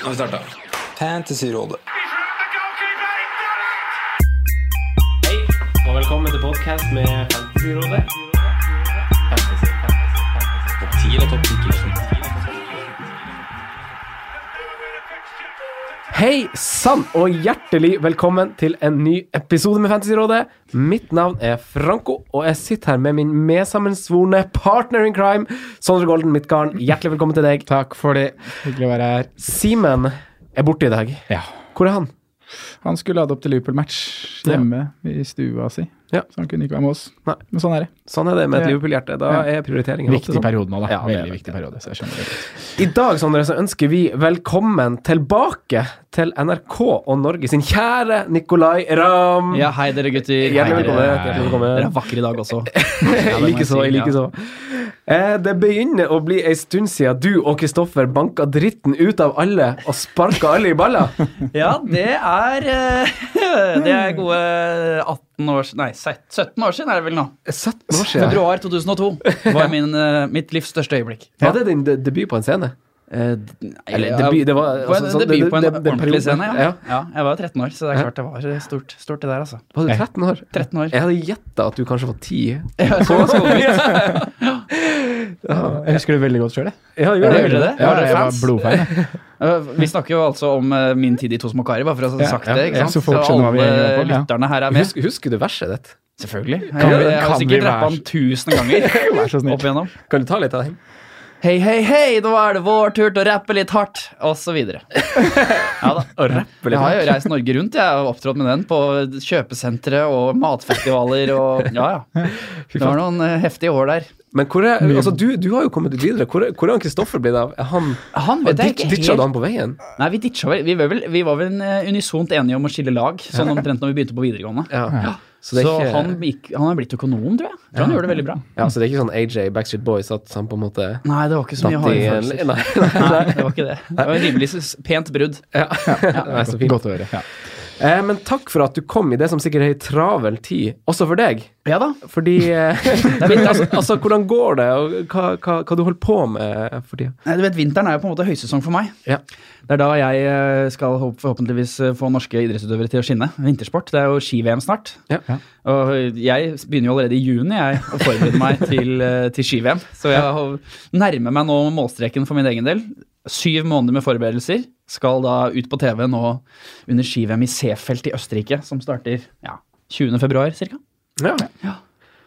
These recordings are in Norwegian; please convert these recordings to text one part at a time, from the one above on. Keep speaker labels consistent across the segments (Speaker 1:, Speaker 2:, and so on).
Speaker 1: Nå har vi starta.
Speaker 2: Fantasyrådet.
Speaker 3: Hei, og velkommen til podcast med Fantasyrådet. Hei sann, og hjertelig velkommen til en ny episode med Fantasyrådet. Mitt navn er Franco, og jeg sitter her med min medsammensvorne partner in crime, Sondre Golden Midtgarden. Hjertelig velkommen til deg.
Speaker 4: Takk for det. Hyggelig å være her.
Speaker 3: Simen er borte i dag.
Speaker 4: Ja.
Speaker 3: Hvor er han?
Speaker 4: Han skulle lade opp til Liverpool-match hjemme i stua si,
Speaker 3: Ja.
Speaker 4: så han kunne ikke være med oss.
Speaker 3: Nei.
Speaker 4: Men sånn er det.
Speaker 3: Sånn er det med et
Speaker 4: Ja.
Speaker 3: Liverpool-hjerte. Da
Speaker 4: Ja.
Speaker 3: er prioriteringen alltid sånn.
Speaker 4: periode nå, da.
Speaker 3: Ja, det er det.
Speaker 4: viktig periode. så jeg skjønner det.
Speaker 3: I dag Sondre, så ønsker vi velkommen tilbake til NRK og Norge sin kjære Nicolay Ramm.
Speaker 5: Ja, hei dere gutter.
Speaker 3: Hjertelig
Speaker 5: Hei, dere.
Speaker 3: velkommen, hjertelig velkommen.
Speaker 5: Dere er vakre i dag også.
Speaker 3: Jeg liker så, jeg liker så. Eh, Det begynner å bli ei stund siden du og Kristoffer banka dritten ut av alle og sparka alle i balla.
Speaker 5: Ja, det er eh, Det er gode 18 år siden Nei, 17 år siden er det vel nå.
Speaker 3: 17 år siden.
Speaker 5: Februar 2002 var min, eh, mitt livs største øyeblikk.
Speaker 3: Var det din de- debut på en scene?
Speaker 5: Eh, d- nei,
Speaker 3: Eller
Speaker 5: ja,
Speaker 3: debut, det var- altså,
Speaker 5: en
Speaker 3: sånn,
Speaker 5: debut
Speaker 3: det-
Speaker 5: på en
Speaker 3: det- det- periode.
Speaker 5: ordentlig scene, ja.
Speaker 3: Ja.
Speaker 5: ja. Jeg var 13 år, så det
Speaker 3: Ja.
Speaker 5: er klart det var eh, stort, stort det der, altså.
Speaker 3: Var du 13 år?
Speaker 5: 13 år.
Speaker 3: Jeg hadde gjetta at du kanskje var 10.
Speaker 5: Så skolenytt.
Speaker 4: Jeg husker det veldig godt sjøl, jeg.
Speaker 3: Ja,
Speaker 5: Ja, gjorde det?
Speaker 4: Ja,
Speaker 5: Var dere
Speaker 4: jeg var
Speaker 5: fans?
Speaker 4: blodfan. jeg.
Speaker 5: Eh, Vi snakker jo altså om eh, min tid i To små karer, bare for å ha
Speaker 4: Ja,
Speaker 5: sagt
Speaker 4: ja,
Speaker 5: det. ikke
Speaker 4: ja,
Speaker 5: sant?
Speaker 4: så folk skjønner hva vi
Speaker 5: alle
Speaker 4: egentlig er på, ja.
Speaker 5: lytterne her er med.
Speaker 3: Husker, husker du verset ditt?
Speaker 5: Selvfølgelig. Jeg,
Speaker 4: vi-
Speaker 5: jeg
Speaker 4: kan
Speaker 5: har
Speaker 4: vi
Speaker 5: sikkert
Speaker 4: være
Speaker 5: rappa den tusen ganger
Speaker 4: Vær så
Speaker 5: opp
Speaker 4: snill.
Speaker 5: igjennom.
Speaker 3: Kan du ta litt av den?
Speaker 5: Hei, hei, hei, nå er det vår tur til å rappe litt hardt, og så videre. Ja da. Jeg har jo reist Norge rundt, jeg har opptrådt med den på kjøpesentre og matfestivaler og ja, ja. Det var noen eh, heftige år der.
Speaker 3: Men hvor er, altså, du, du har jo kommet videre. Hvor, hvor er han Kristoffer blitt av? Er han
Speaker 5: Han vet jeg
Speaker 3: ditch,
Speaker 5: ikke
Speaker 3: Ditcha du
Speaker 5: helt.
Speaker 3: han på veien?
Speaker 5: Nei, vi ditcha vel. Vi var vel, vi var vel eh, unisont enige om å skille lag, sånn omtrent når vi begynte på videregående.
Speaker 3: Ja. Så
Speaker 5: Så,
Speaker 3: det er ikke,
Speaker 5: han, gikk, han er blitt økonom, tror jeg. Jeg tror han gjorde det veldig bra.
Speaker 3: ja, så det er ikke sånn AJ Backstreet Boys at han på en måte
Speaker 5: Nei, det var ikke så mye
Speaker 3: datt i
Speaker 5: harde
Speaker 3: en
Speaker 5: følelser.
Speaker 3: Nei, nei,
Speaker 5: Nei, det var ikke det. Det var en rimelig s- pent brudd.
Speaker 3: nei, så fint.
Speaker 4: Godt å høre. Ja.
Speaker 3: Eh, men takk for at du kom i det som sikkert er ei travel tid, også for deg.
Speaker 5: Ja da.
Speaker 3: Fordi eh, altså, altså, hvordan går det, og hva, hva, hva du holder på med for tida?
Speaker 5: Nei, du vet, Vinteren er jo på en måte høysesong for meg.
Speaker 3: Ja.
Speaker 5: Det er da jeg eh, skal håp- forhåpentligvis eh, få norske idrettsutøvere til å skinne. Vintersport. Det er jo ski-VM snart.
Speaker 3: Ja.
Speaker 4: Ja.
Speaker 5: Og jeg begynner jo allerede i juni jeg, å forberede meg til, eh, til ski-VM. Så jeg har- nærmer meg nå målstreken for min egen del. Syv måneder med forberedelser. Skal da ut på TV nå under ski-VM i Seefeld i Østerrike, som starter ja, 20. februar ca.
Speaker 3: Ja.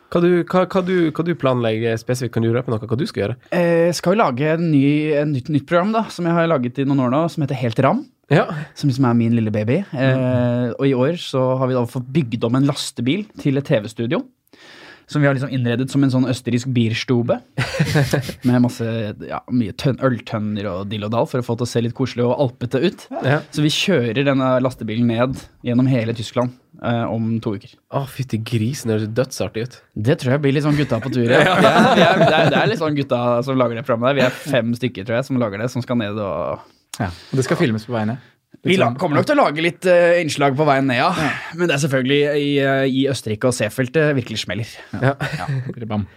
Speaker 3: Hva, du, hva, hva, du, hva du planlegger spesifikt? Kan du røpe noe? Hva du skal gjøre?
Speaker 5: Eh, skal jo lage en ny, en nytt, nytt program da, som jeg har laget i noen år nå, som heter Helt ram.
Speaker 3: Ja.
Speaker 5: som liksom er min lille baby. Eh, og i år så har vi da fått bygd om en lastebil til et TV-studio. Som vi har liksom innredet som en sånn østerriksk bierstube. med masse ja, mye tønn, øltønner og dill og dall for å få det til å se litt koselig og alpete ut.
Speaker 3: ja.
Speaker 5: Så vi kjører denne lastebilen ned gjennom hele Tyskland eh, om to uker.
Speaker 3: Å, fytti grisen, det høres dødsartig ut.
Speaker 5: Det tror jeg blir litt sånn gutta på tur. Ja. Det, er, det, er, det er- det er litt sånn gutta som lager det programmet der. Vi er fem stykker tror jeg, som lager det, som skal ned og
Speaker 4: Ja. Og det skal filmes på veiene. Liksom-
Speaker 5: Vi la-
Speaker 3: Liksom.
Speaker 5: kommer nok til å lage litt eh, innslag på veien ned, ja. Men det er selvfølgelig i, eh, i Østerrike og Seefeld det virkelig smeller.
Speaker 4: Bam.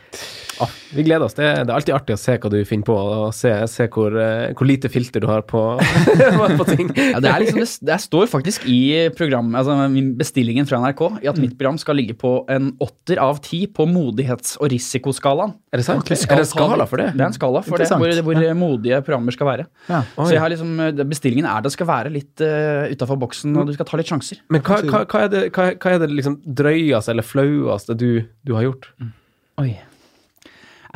Speaker 3: Vi gleder oss. Det, det er alltid artig å se hva du finner på, og se, se hvor, eh, hvor lite filter du har på, på ting.
Speaker 5: Ja, det, er liksom, det, s- det står faktisk i program, altså min bestillingen fra NRK i at mitt program skal ligge på en åtter av ti på modighets- og risikoskalaen.
Speaker 3: Er det sant?
Speaker 5: Vi skal
Speaker 3: Er det
Speaker 5: ta
Speaker 3: skala for det?
Speaker 5: Det er en skala for det,
Speaker 4: Interessant.
Speaker 5: hvor, hvor modige programmer skal være.
Speaker 4: Ja.
Speaker 5: Så jeg har liksom, eh, det- bestillingen er det skal være litt uh, utafor boksen, og du skal ta litt sjanser.
Speaker 3: Men hva, hva, hva, er det, hva, hva er det liksom drøyeste eller flaueste du, du har gjort?
Speaker 5: Oi. Nei,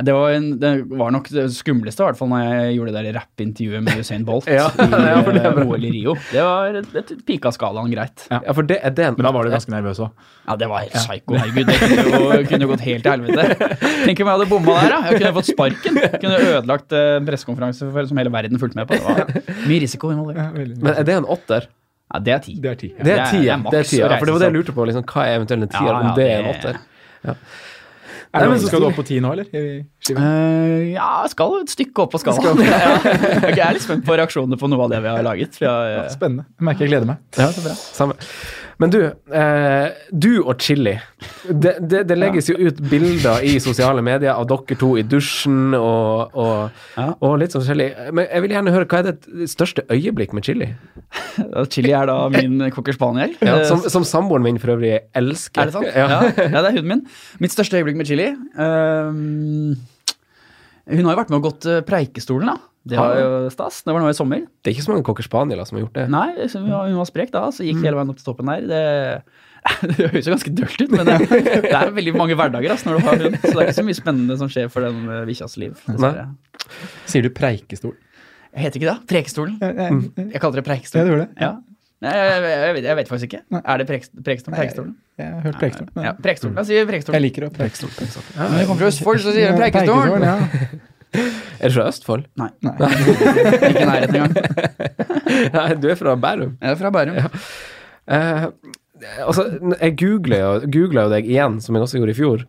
Speaker 5: Det var, en, det var nok det skumleste, i hvert fall når jeg gjorde det der rappintervjuet med Usain Bolt
Speaker 3: Ja,
Speaker 5: i
Speaker 3: ja, for det er
Speaker 5: eh,
Speaker 3: bra.
Speaker 5: OL i Rio. Det var det pika skalaen greit.
Speaker 3: Ja, for det er det en
Speaker 4: Men da var du ganske nervøs òg.
Speaker 5: Ja, det var helt psyko. Herregud, det kunne jo kunne gått helt til helvete. Tenk om jeg hadde bomma der, da. Jeg kunne fått sparken. Jeg kunne ødelagt eh, en pressekonferanse for- som hele verden fulgte med på. Det var mye risiko involvert.
Speaker 3: Men er det en åtter?
Speaker 5: Ja, det er ti.
Speaker 4: Det er ti. Ja.
Speaker 3: Det er
Speaker 5: det er- det
Speaker 3: tier.
Speaker 5: er maks
Speaker 3: Det er tier.
Speaker 5: å
Speaker 3: Ja, for det var det jeg
Speaker 5: reise
Speaker 3: lurte på. Liksom, hva er eventuelt en tier,
Speaker 5: Ja, ja,
Speaker 3: om det er en
Speaker 5: det-
Speaker 3: åtter?
Speaker 4: Er det
Speaker 3: Nei, men så
Speaker 4: skal du
Speaker 3: stor.
Speaker 4: opp på ti nå, eller? I skiven?
Speaker 5: Eh, ja, jeg skal et stykke opp på skalaen. Ja. Ok, Jeg er litt spent på reaksjonene på noe av det vi har laget. for jeg-
Speaker 4: Spennende. Jeg merker jeg gleder meg.
Speaker 3: Ja, så bra. Samme. Men du, eh, du og Chili. Det, det, det legges jo ut bilder i sosiale medier av dere to i dusjen og, og,
Speaker 5: Ja.
Speaker 3: og litt sånn forskjellig. Men jeg vil gjerne høre, hva er det største øyeblikk med Chili?
Speaker 5: Ja, eh, Chili er da min cocker spaniel.
Speaker 3: Ja,
Speaker 5: Eh,
Speaker 3: som som samboeren min for øvrig elsker.
Speaker 5: Er det sant? Ja.
Speaker 3: Ja.
Speaker 5: ja, det er huden min. Mitt største øyeblikk med Chili ehm, Hun har jo vært med og gått eh, Preikestolen, da. Det var jo stas. Det var nå i sommer.
Speaker 3: Det er ikke så mange cocker spaniere som har gjort det.
Speaker 5: Nei, så hun var hun var sprek da, så gikk hele veien opp til toppen der. Det, det høres jo ganske dølt ut, men det, det er veldig mange hverdager ass, når du har hund. Så det er ikke så mye spennende som skjer for den eh, bikkjas liv. dessverre.
Speaker 1: Sier du preikestol?
Speaker 5: Jeg heter ikke det. Preikestolen.
Speaker 4: Ja, ja, ja.
Speaker 5: Jeg kaller det
Speaker 4: Ja,
Speaker 5: Preikestolen.
Speaker 4: det gjorde det.
Speaker 5: Ja. Nei, jeg, jeg, jeg, vet, jeg vet faktisk ikke.
Speaker 4: Nei.
Speaker 5: Er det Preik- Preikestolen? Preikestolen?
Speaker 4: Jeg har hørt Preikestol. men-
Speaker 5: Ja, Preikestolen. La oss si Preikestolen.
Speaker 4: Jeg liker å Preikestol.
Speaker 5: Når jeg kommer fra Østfold, så sier jeg Preikestolen.
Speaker 4: Ja.
Speaker 3: Er du fra Østfold?
Speaker 5: Nei.
Speaker 4: Nei.
Speaker 5: Ikke i nærheten engang.
Speaker 3: Nei, du er fra Bærum.
Speaker 5: Jeg er fra Bærum.
Speaker 3: Eh, altså, jeg googlet jo, googlet jo deg igjen, som jeg også gjorde i fjor.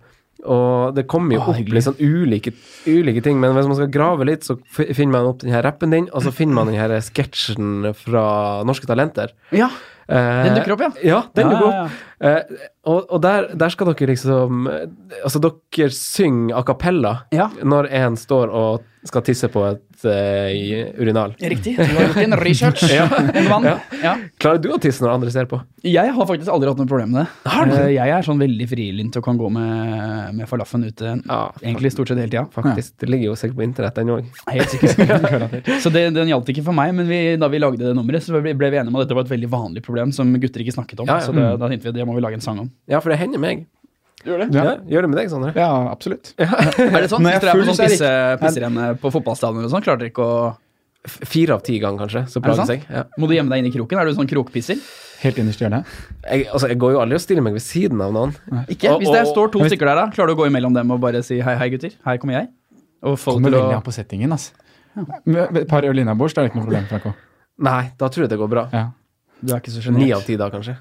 Speaker 3: Og det kommer jo
Speaker 5: Å,
Speaker 3: opp
Speaker 5: hyggelig.
Speaker 3: litt sånn ulike, ulike ting, men hvis man skal grave litt, så f- finner man opp den her rappen din, og så finner man den her sketsjen fra Norske Talenter.
Speaker 5: Ja,
Speaker 3: Eh,
Speaker 5: Den dukker opp, ja.
Speaker 3: Ja, den
Speaker 5: Ja,
Speaker 3: dukker
Speaker 5: ja,
Speaker 3: opp. Eh, og og der, der skal dere liksom eh, Altså, dere synger a cappella
Speaker 5: Ja.
Speaker 3: når en står og skal tisse på et eh, i- urinal.
Speaker 5: riktig. Du har gjort din research. En vann. Ja.
Speaker 3: Klarer du å tisse når andre ser på?
Speaker 5: Jeg har faktisk aldri hatt noe problem med det. Eh, Jeg er sånn veldig frilynt og kan gå med, med falaffen ute
Speaker 3: Ja,
Speaker 5: egentlig stort sett hele tida.
Speaker 3: Faktisk. Det ligger jo sikkert på internett, den òg.
Speaker 5: Helt sikkert. Så det, den gjaldt ikke for meg, men vi, da vi lagde det nummeret, så ble ble vi enige om at dette var et veldig vanlig problem som gutter ikke snakket om.
Speaker 3: Ja, ja.
Speaker 5: Så det, da tenkte vi det må vi lage en sang om.
Speaker 3: Ja, for det hender meg.
Speaker 5: Gjør
Speaker 3: Ja. gjør det med deg, Sondre?
Speaker 4: Ja, absolutt.
Speaker 5: Er det sånn?
Speaker 4: Når jeg
Speaker 5: Hvis dere er på
Speaker 4: er full,
Speaker 5: sånn
Speaker 4: så er det
Speaker 5: pisse, pisserenne på fotballstadion eller sånn, klarer dere ikke å
Speaker 3: F- Fire av ti ganger, kanskje. Så
Speaker 5: Er det
Speaker 3: plager
Speaker 5: sant?
Speaker 3: jeg. Ja.
Speaker 5: Må du gjemme deg inn i kroken? Er du sånn krokpisser?
Speaker 4: Helt innerst i hjørnet.
Speaker 3: Jeg, altså, jeg går jo aldri og stiller meg ved siden av noen.
Speaker 5: Ikke?
Speaker 3: Og-
Speaker 5: Hvis det
Speaker 3: og-
Speaker 5: står to stykker der, da, klarer du å gå imellom dem og bare si hei, hei, gutter, her kommer jeg? Og få
Speaker 4: Kommer
Speaker 5: til å
Speaker 4: veldig an på settingen, altså. Med et par øl innabords, da er det ikke noe problem, Franco.
Speaker 3: Nei, da tror jeg det går bra.
Speaker 4: Ja.
Speaker 5: Du er ikke så
Speaker 3: Ni
Speaker 5: sjenert.
Speaker 3: av ti da, kanskje.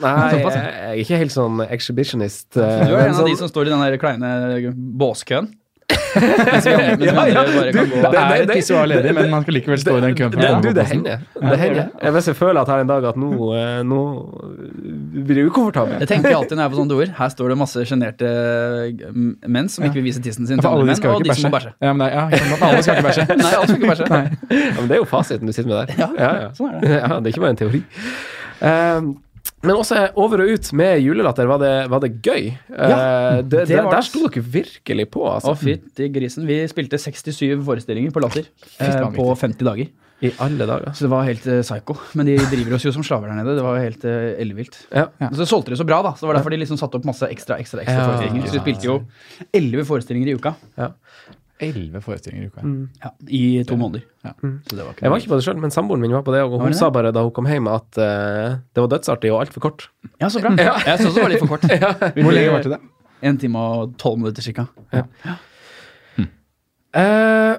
Speaker 3: Nei, jeg,
Speaker 5: Såpass, ja.
Speaker 3: jeg er ikke helt sånn exhibitionist. eh, sånn- Du
Speaker 5: Du er en av de som står i den der kleine båskøen. Mens vi andre- mens vi andre bare kan gå-
Speaker 4: Det er
Speaker 3: det-
Speaker 4: et
Speaker 3: det-
Speaker 4: pissoar ledig, men man skal likevel stå i den køen. for
Speaker 3: det,
Speaker 4: å få
Speaker 3: du, det
Speaker 4: plassen.
Speaker 3: hender. Det hender. Jeg, hvis jeg føler at her en dag at nå, eh, nå blir jeg ukomfortabel.
Speaker 5: Jeg tenker alltid når jeg er på sånne doer. Her står det masse sjenerte m- menn som ikke vil vise tissen sin
Speaker 4: Ja,
Speaker 5: til
Speaker 4: For
Speaker 5: andre
Speaker 4: alle de
Speaker 5: menn,
Speaker 4: skal jo
Speaker 5: og
Speaker 4: ikke
Speaker 5: de som må
Speaker 4: bæsje.
Speaker 5: bæsje.
Speaker 4: Ja, men det er- ja, ikke sant, alle skal ikke bæsje.
Speaker 5: Nei, alle skal ikke bæsje.
Speaker 3: Ja, men det er jo fasiten du sitter med der. Ja, ja.
Speaker 5: sånn er
Speaker 3: det. Ja, det er ikke bare en teori. Ehm, men også over og ut med julelatter, var det, var det gøy? Eh, det,
Speaker 5: det
Speaker 3: der-
Speaker 5: var
Speaker 3: der
Speaker 5: det.
Speaker 3: sto dere virkelig på, altså.
Speaker 5: Å, fytti grisen. Vi spilte 67 forestillinger på Latter eh,
Speaker 4: faen,
Speaker 5: på 50 dager.
Speaker 3: I alle dager.
Speaker 5: Så det var helt eh, psycho. Men de driver oss jo som slaver der nede. Det var jo helt eh, ellevilt.
Speaker 3: Ja.
Speaker 4: Ja.
Speaker 5: Så solgte de så bra, da. Så det var derfor de liksom satte opp masse ekstra ekstra, ekstra
Speaker 3: Ja.
Speaker 5: forestillinger. Så vi spilte jo elleve forestillinger i uka
Speaker 4: Elleve forestillinger i uka.
Speaker 5: ja, i to måneder. Mm.
Speaker 4: Ja.
Speaker 5: Så det var ikke
Speaker 3: Jeg var ikke på det sjøl, men samboeren min var på det, og hun
Speaker 5: det?
Speaker 3: sa bare da hun kom hjem at eh, det var dødsartig og altfor kort.
Speaker 5: Ja, så bra. Jeg syns det var litt for kort.
Speaker 4: Hvor lenge varte det?
Speaker 5: En time og tolv minutter cirka.
Speaker 3: Eh,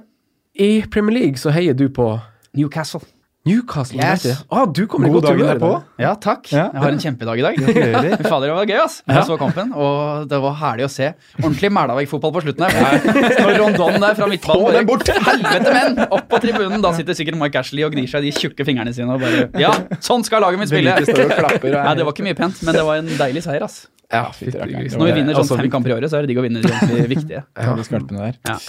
Speaker 3: I Premier League så heier du på
Speaker 5: Newcastle.
Speaker 3: Newcastle.
Speaker 5: Yes.
Speaker 3: vet du. Ah, du kommer i
Speaker 4: God
Speaker 3: godt
Speaker 4: dagen
Speaker 3: humør i
Speaker 4: derpå.
Speaker 3: dag.
Speaker 5: Ja, takk.
Speaker 4: Ja.
Speaker 5: Jeg har en kjempedag i dag. Fy Fader, det var gøy, ass. Jeg så kampen, og det var herlig å se. Ordentlig Mælavik-fotball på slutten her. Når Rondon der fra midtbanen bare- Helvete, menn! Opp på tribunen. Da sitter sikkert Mike Ashley og gnir seg i de tjukke fingrene sine og bare Ja, sånn skal laget mitt spille!
Speaker 4: Benitez står og klapper og er
Speaker 5: Nei, det var ikke mye pent, men det var en deilig seier, ass.
Speaker 3: Ja,
Speaker 4: fytti
Speaker 3: fytti
Speaker 4: rakkeren.
Speaker 3: grisen.
Speaker 5: Når vi vinner
Speaker 3: Altså,
Speaker 5: sånn fem kamper i året, så er det digg å vinne de ordentlig viktige.
Speaker 4: Ta de skarpene der.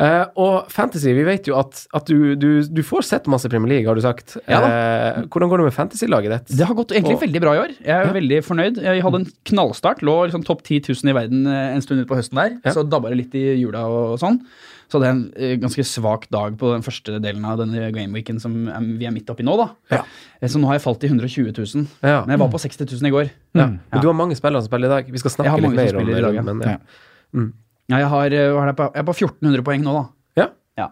Speaker 3: Eh, og fantasy, vi vet jo at, at du, du, du får sett masse Premier League, har du sagt.
Speaker 5: Ja
Speaker 3: Eh, hvordan går det med fantasy-laget ditt?
Speaker 5: Det har gått egentlig
Speaker 3: Og-
Speaker 5: veldig bra i år. Jeg er veldig fornøyd. Jeg hadde en knallstart. Lå liksom topp 10 000 i verden eh, en stund ut på høsten der.
Speaker 3: Ja.
Speaker 5: Så dabba det litt i jula og sånn. Så hadde jeg en eh, ganske svak dag på den første delen av denne gameweeken som eh, vi er midt oppi nå, da.
Speaker 3: Ja.
Speaker 5: Eh, Så nå har jeg falt til 120 000.
Speaker 3: Ja.
Speaker 5: Men jeg var på 60 000 i går.
Speaker 3: Ja.
Speaker 4: Mm.
Speaker 3: Men du har mange spillere som spiller i dag. Vi skal
Speaker 5: Jeg
Speaker 3: snakke
Speaker 5: har
Speaker 3: litt
Speaker 5: mange som
Speaker 3: mer om
Speaker 5: spiller
Speaker 3: det.
Speaker 5: i dag, ja.
Speaker 3: men, ja.
Speaker 4: Ja.
Speaker 5: Ja, jeg, har, eh, hva er det på, jeg er på 1400 poeng nå, da.
Speaker 3: Ja.
Speaker 5: ja.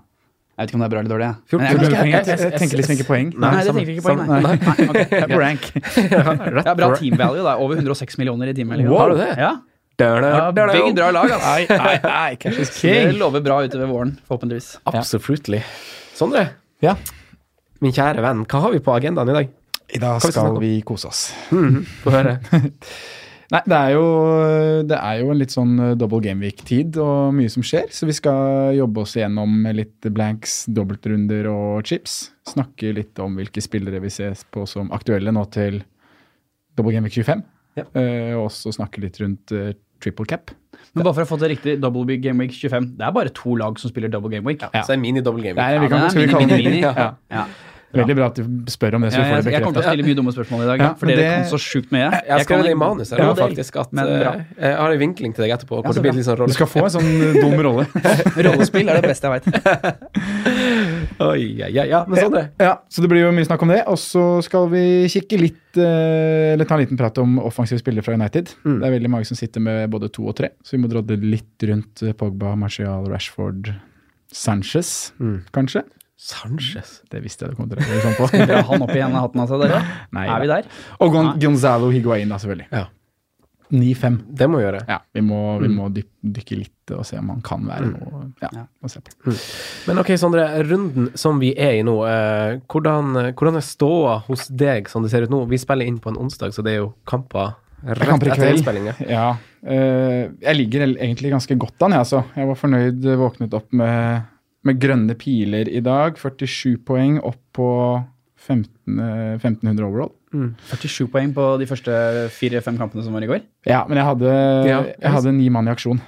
Speaker 5: Jeg vet ikke om det er bra eller dårlig, jeg. Men jeg.
Speaker 3: 1400
Speaker 5: er ganske-
Speaker 4: Jeg, jeg tenker liksom ikke poeng.
Speaker 5: Nei, det
Speaker 3: samme-
Speaker 5: tenker jeg ikke poeng.
Speaker 3: samme-
Speaker 5: Nei. Nei, ok.
Speaker 4: Jeg er på rank.
Speaker 3: Rett
Speaker 5: Jeg har bra
Speaker 3: på-
Speaker 5: team value, da. Over 106 millioner i team value.
Speaker 3: Wow. Har du det?
Speaker 5: Ja.
Speaker 3: Da, da,
Speaker 5: Ja,
Speaker 3: da, da.
Speaker 5: Begge drar lag, altså.
Speaker 4: Nei, nei, nei, cash is
Speaker 5: Det
Speaker 4: king.
Speaker 5: lover bra utover våren, forhåpentligvis.
Speaker 3: Absolutely. Sondre,
Speaker 4: Ja,
Speaker 3: min kjære venn, hva har vi på agendaen i dag?
Speaker 4: i dag
Speaker 3: vi snakke om?
Speaker 4: skal vi kose oss.
Speaker 3: Få høre.
Speaker 4: Nei, det er, jo, det er jo en litt sånn eh, double game week-tid og mye som skjer. Så vi skal jobbe oss gjennom litt blanks, dobbeltrunder og chips. Snakke litt om hvilke spillere vi ses på som aktuelle nå til Double Game Week 25.
Speaker 3: Ja.
Speaker 4: Eh, og også snakke litt rundt eh, triple cap.
Speaker 5: Men bare for å få det riktig, Double Big Game Week 25. Det er bare to lag som spiller Double Game Week.
Speaker 3: Så det er mini-double game.
Speaker 4: Nei, vi
Speaker 5: det
Speaker 4: kan,
Speaker 5: er
Speaker 4: skal vi
Speaker 5: mini,
Speaker 4: kalle det
Speaker 5: mini, mini.
Speaker 4: Ja.
Speaker 5: Ja.
Speaker 4: Veldig bra at du spør om det, så vi
Speaker 5: jeg,
Speaker 4: får
Speaker 5: jeg,
Speaker 4: det
Speaker 5: jeg kommer til
Speaker 4: bekreftet.
Speaker 5: å stille mye dumme spørsmål i dag,
Speaker 4: Ja,
Speaker 5: ja, for
Speaker 4: men
Speaker 5: dere
Speaker 4: det-
Speaker 5: kan så sjukt mye.
Speaker 3: Jeg har skrevet det i manus. her,
Speaker 5: Ja,
Speaker 3: og faktisk at
Speaker 5: men
Speaker 3: eh,
Speaker 5: bra.
Speaker 3: Jeg har en vink-link til deg etterpå. Hvor
Speaker 5: så
Speaker 3: det blir
Speaker 5: bra.
Speaker 3: litt sånn
Speaker 4: Du
Speaker 3: rolle.
Speaker 4: skal få en sånn eh, dum rolle.
Speaker 5: Rollespill er det beste jeg veit.
Speaker 3: Oi, ja, ja, ja, men sånn er det.
Speaker 4: Ja, så det blir jo mye snakk om det. Og så skal vi kikke litt eh, Eller ta en liten prat om offensive spillere fra United.
Speaker 3: Mm.
Speaker 4: Det er veldig mange som sitter med både to og tre, så vi må drodde litt rundt eh, Pogba, Martial, Rashford, Sanchez,
Speaker 3: Mm.
Speaker 4: kanskje.
Speaker 3: Sanchez.
Speaker 4: Det visste jeg du kom til å reagere sånn på.
Speaker 5: Dra han opp i enden av hatten, altså. Dere.
Speaker 4: Nei,
Speaker 5: Er vi der?
Speaker 4: Og Gon Gonzalo Higuain, da, selvfølgelig.
Speaker 3: Ja.
Speaker 4: 9-5.
Speaker 3: Det må vi gjøre.
Speaker 4: Ja, vi må, vi må dyp, dykke litt og se om han kan være noe. Ja, må se på.
Speaker 3: Men ok, Sondre. Runden som vi er i nå, eh, hvordan, hvordan er ståa hos deg som det ser ut nå? Vi spiller inn på en onsdag, så det er jo kamper rett
Speaker 4: Kamper i
Speaker 3: etter
Speaker 4: kveld.
Speaker 3: innspillinga.
Speaker 4: Ja. eh, jeg ligger el- egentlig ganske godt an, jeg, altså. Jeg var fornøyd, eh, våknet opp med, med grønne piler i dag. 47 poeng opp på 15, eh, 1500 overall.
Speaker 5: 47 poeng på de første fire-fem kampene som var i går.
Speaker 4: Ja, men jeg hadde,
Speaker 3: Ja.
Speaker 4: jeg hadde ni mann i aksjon.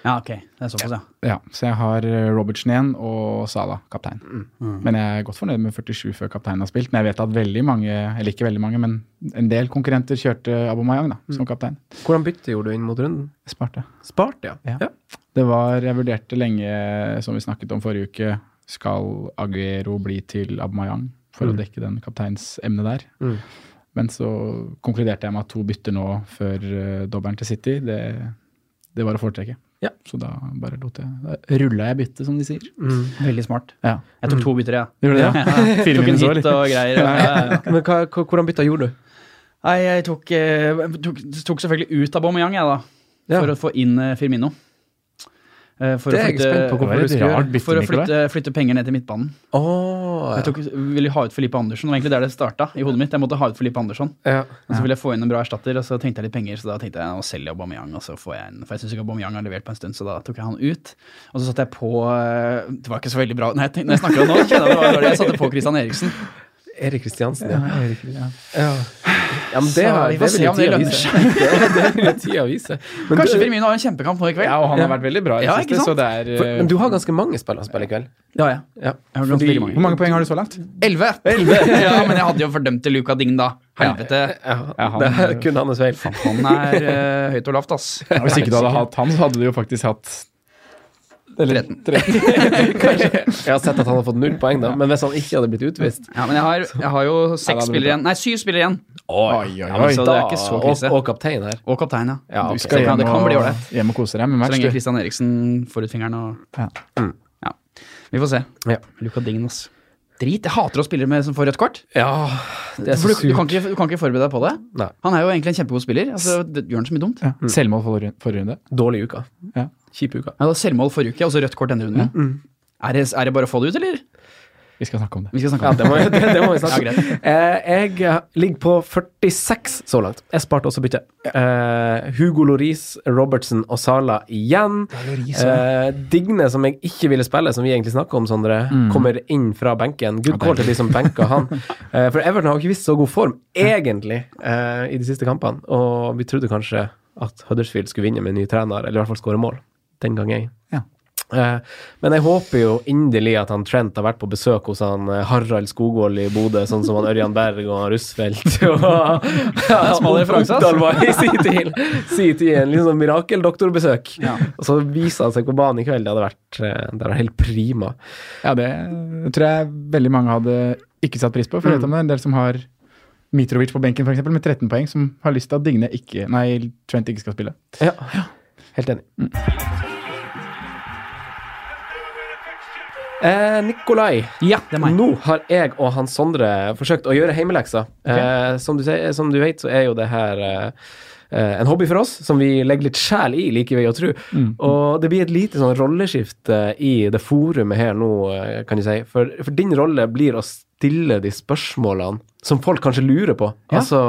Speaker 5: Ja, ok. Det er såpass, ja.
Speaker 4: Ja, så jeg har eh, Robertsen igjen og Sala, kaptein. Men jeg er godt fornøyd med 47 før kapteinen har spilt. Men jeg vet at veldig mange, eller ikke veldig mange, men en del konkurrenter kjørte Abomayang da, som kaptein.
Speaker 3: Hvordan bytte gjorde du inn mot runden?
Speaker 4: Smart, det.
Speaker 3: Spart, ja.
Speaker 4: Ja. Det var, jeg vurderte lenge, som vi snakket om forrige uke, skal Aguero bli til Abmayang for å dekke den kapteinsemnet der.
Speaker 3: Mm.
Speaker 4: Men så konkluderte jeg med at to bytter nå før uh, dobbelen til City, det, det var å foretrekke.
Speaker 3: Ja.
Speaker 4: Så da bare lot jeg Da rulla jeg byttet, som de sier.
Speaker 5: Veldig smart.
Speaker 4: Ja.
Speaker 3: Mm.
Speaker 5: Jeg tok to bytter, ja.
Speaker 4: Gjorde det?
Speaker 5: Ja.
Speaker 4: Fire
Speaker 5: Tok en
Speaker 4: minus år,
Speaker 5: hit
Speaker 4: eller?
Speaker 5: og greier. Ja, ja, ja.
Speaker 3: Men hva, hva- hvordan bytta gjorde du?
Speaker 5: Nei, jeg tok, eh, tok, tok selvfølgelig ut av Aubameyang, jeg, da.
Speaker 3: Ja.
Speaker 5: For å få inn eh, Firmino. Eh, for
Speaker 3: Det er
Speaker 5: å
Speaker 3: jeg spent på
Speaker 5: flytte,
Speaker 3: hvorfor du
Speaker 4: Det var et
Speaker 3: skulle gjøre
Speaker 4: rart
Speaker 3: det.
Speaker 4: bytte,
Speaker 5: for å
Speaker 4: Nicolai.
Speaker 5: flytte, flytte penger ned til midtbanen.
Speaker 3: Åh, ja.
Speaker 5: Jeg tok, ville ha ut Filippe Andersson. Det var egentlig der det starta i hodet mitt. Jeg måtte ha ut Filippe Andersson.
Speaker 3: ja.
Speaker 5: Og så ville jeg få inn en bra erstatter, og så tenkte jeg litt penger, så da tenkte jeg nå selger jeg Aubameyang, og så får jeg en For jeg syns ikke Aubameyang har levert på en stund, så da tok jeg han ut. Og så satte jeg på eh, Det var ikke så veldig bra Nei, jeg tenkte, når jeg snakker om det nå, kjenner jeg det var dårlig. Jeg satte på Christian Eriksen.
Speaker 3: Erik Kristiansen, ja.
Speaker 4: Ja, Erik, ja.
Speaker 3: ja. ja men det,
Speaker 5: Så
Speaker 3: har, det
Speaker 5: vi får
Speaker 3: vil
Speaker 5: se
Speaker 3: jo
Speaker 5: om det
Speaker 3: tida
Speaker 5: lønner
Speaker 3: vise. Ja, det vil jo tida vise. Men
Speaker 5: Kanskje
Speaker 3: du,
Speaker 5: Firmino har en kjempekamp nå i kveld.
Speaker 4: ja, og han har vært veldig bra i det
Speaker 5: Ja, ikke
Speaker 4: siste, så
Speaker 5: sant?
Speaker 4: det er
Speaker 3: for,
Speaker 4: eh,
Speaker 3: men du har ganske mange spill å spille i kveld.
Speaker 5: Ja, ja.
Speaker 3: Ja.
Speaker 5: Jeg har ganske mange.
Speaker 4: Hvor mange poeng har du så langt?
Speaker 5: 11! ja, men jeg hadde jo fordømt til Luka Ding, da. Helvete.
Speaker 3: Ja,
Speaker 4: Ja, han-
Speaker 3: det er kun hans feil.
Speaker 5: Han er eh, høyt og lavt, ass.
Speaker 4: Hvis ikke du hadde hatt han, så hadde du jo faktisk hatt eller, 13.
Speaker 3: Jeg har sett at han har fått null poeng, da. Men hvis han ikke hadde blitt utvist
Speaker 5: Ja, men jeg har, jeg har jo
Speaker 4: Ja, da
Speaker 5: seks
Speaker 4: blir det
Speaker 5: spillere igjen. Nei, syv spillere igjen.
Speaker 4: Oi, oi,
Speaker 5: Ja, men
Speaker 4: oi.
Speaker 5: så det er ikke så krise.
Speaker 3: Og, og kaptein her.
Speaker 5: Og kaptein, ja.
Speaker 3: Ja,
Speaker 4: Du
Speaker 3: ok.
Speaker 4: skal
Speaker 5: Så kan-
Speaker 4: hjem
Speaker 5: det kan
Speaker 4: og,
Speaker 5: bli ålreit.
Speaker 4: hjem og kose deg med
Speaker 5: Så
Speaker 4: match.
Speaker 5: lenge
Speaker 4: du.
Speaker 5: Christian Eriksen får ut fingeren og
Speaker 4: Ja.
Speaker 5: Ja. Vi får se.
Speaker 3: Ja.
Speaker 5: Luka Ding, ass. Drit. Jeg hater å spille med som får rødt kort.
Speaker 3: Ja, det er
Speaker 5: For
Speaker 3: så
Speaker 5: du,
Speaker 3: surt.
Speaker 5: du, kan ikke, du kan ikke forberede deg på det.
Speaker 3: Nei.
Speaker 5: Han er jo egentlig en kjempegod spiller. Altså, det gjør han så mye dumt.
Speaker 4: Ja. Selvmål forrige forrige runde.
Speaker 3: Dårlig uke.
Speaker 4: Ja.
Speaker 3: Kjip uke.
Speaker 5: Ja, det var selvmål forrige uke, og så rødt kort denne runden. Er, det, er det bare å få det ut, eller?
Speaker 4: Vi skal snakke om det.
Speaker 5: Vi skal snakke
Speaker 3: Ja,
Speaker 5: om
Speaker 3: det må, det, det må vi snakke
Speaker 5: Ja,
Speaker 3: om. Eh, jeg ligger på 46 så langt. Jeg sparte også bytte. Eh, Hugo Loris, Robertson og Sala igjen. Eh, Digne, som jeg ikke ville spille, som vi egentlig snakker om, Sondre, kommer inn fra benken. Good call til de som benka han. Eh, for Everton har jo ikke vist så god form, egentlig, eh, i de siste kampene. Og vi trodde kanskje at Huddersfield skulle vinne med en ny trener, eller i hvert fall skåre mål. Den gang jeg
Speaker 4: Ja.
Speaker 3: Eh, Men jeg håper jo inderlig at han Trent har vært på besøk hos han eh, Harald Skogvold i Bodø, sånn som han Ørjan Berg og han Russfeldt og
Speaker 5: Smal referanse, ass.
Speaker 3: Oppdal var i sin tid. Sin tid en liksom mirakeldoktorbesøk.
Speaker 5: Ja.
Speaker 3: Og så viser han seg på banen i kveld. Det hadde vært, eh, det hadde vært helt prima.
Speaker 4: Ja, det tror jeg veldig mange hadde ikke satt pris på. For jeg vet om det er en del som har Mitrovic på benken for eksempel, med 13 poeng, som har lyst til at Digne ikke, nei, Trent ikke skal spille.
Speaker 3: Ja. Helt enig.
Speaker 5: Mm.
Speaker 3: Eh, Nikolai,
Speaker 5: det. Ja, det er meg.
Speaker 3: nå har jeg og han Sondre forsøkt å gjøre heimelekser. Eh, som, du sier, som du vet, så er jo det her eh, eh, en hobby for oss, som vi legger litt sjel i, liker vi å tro.
Speaker 5: Mm.
Speaker 3: Og det blir et lite sånn rolleskifte i det eh, forumet her nå, eh, kan du si. For, for din rolle blir å stille de spørsmålene som folk kanskje lurer på.
Speaker 5: Ja.
Speaker 3: Altså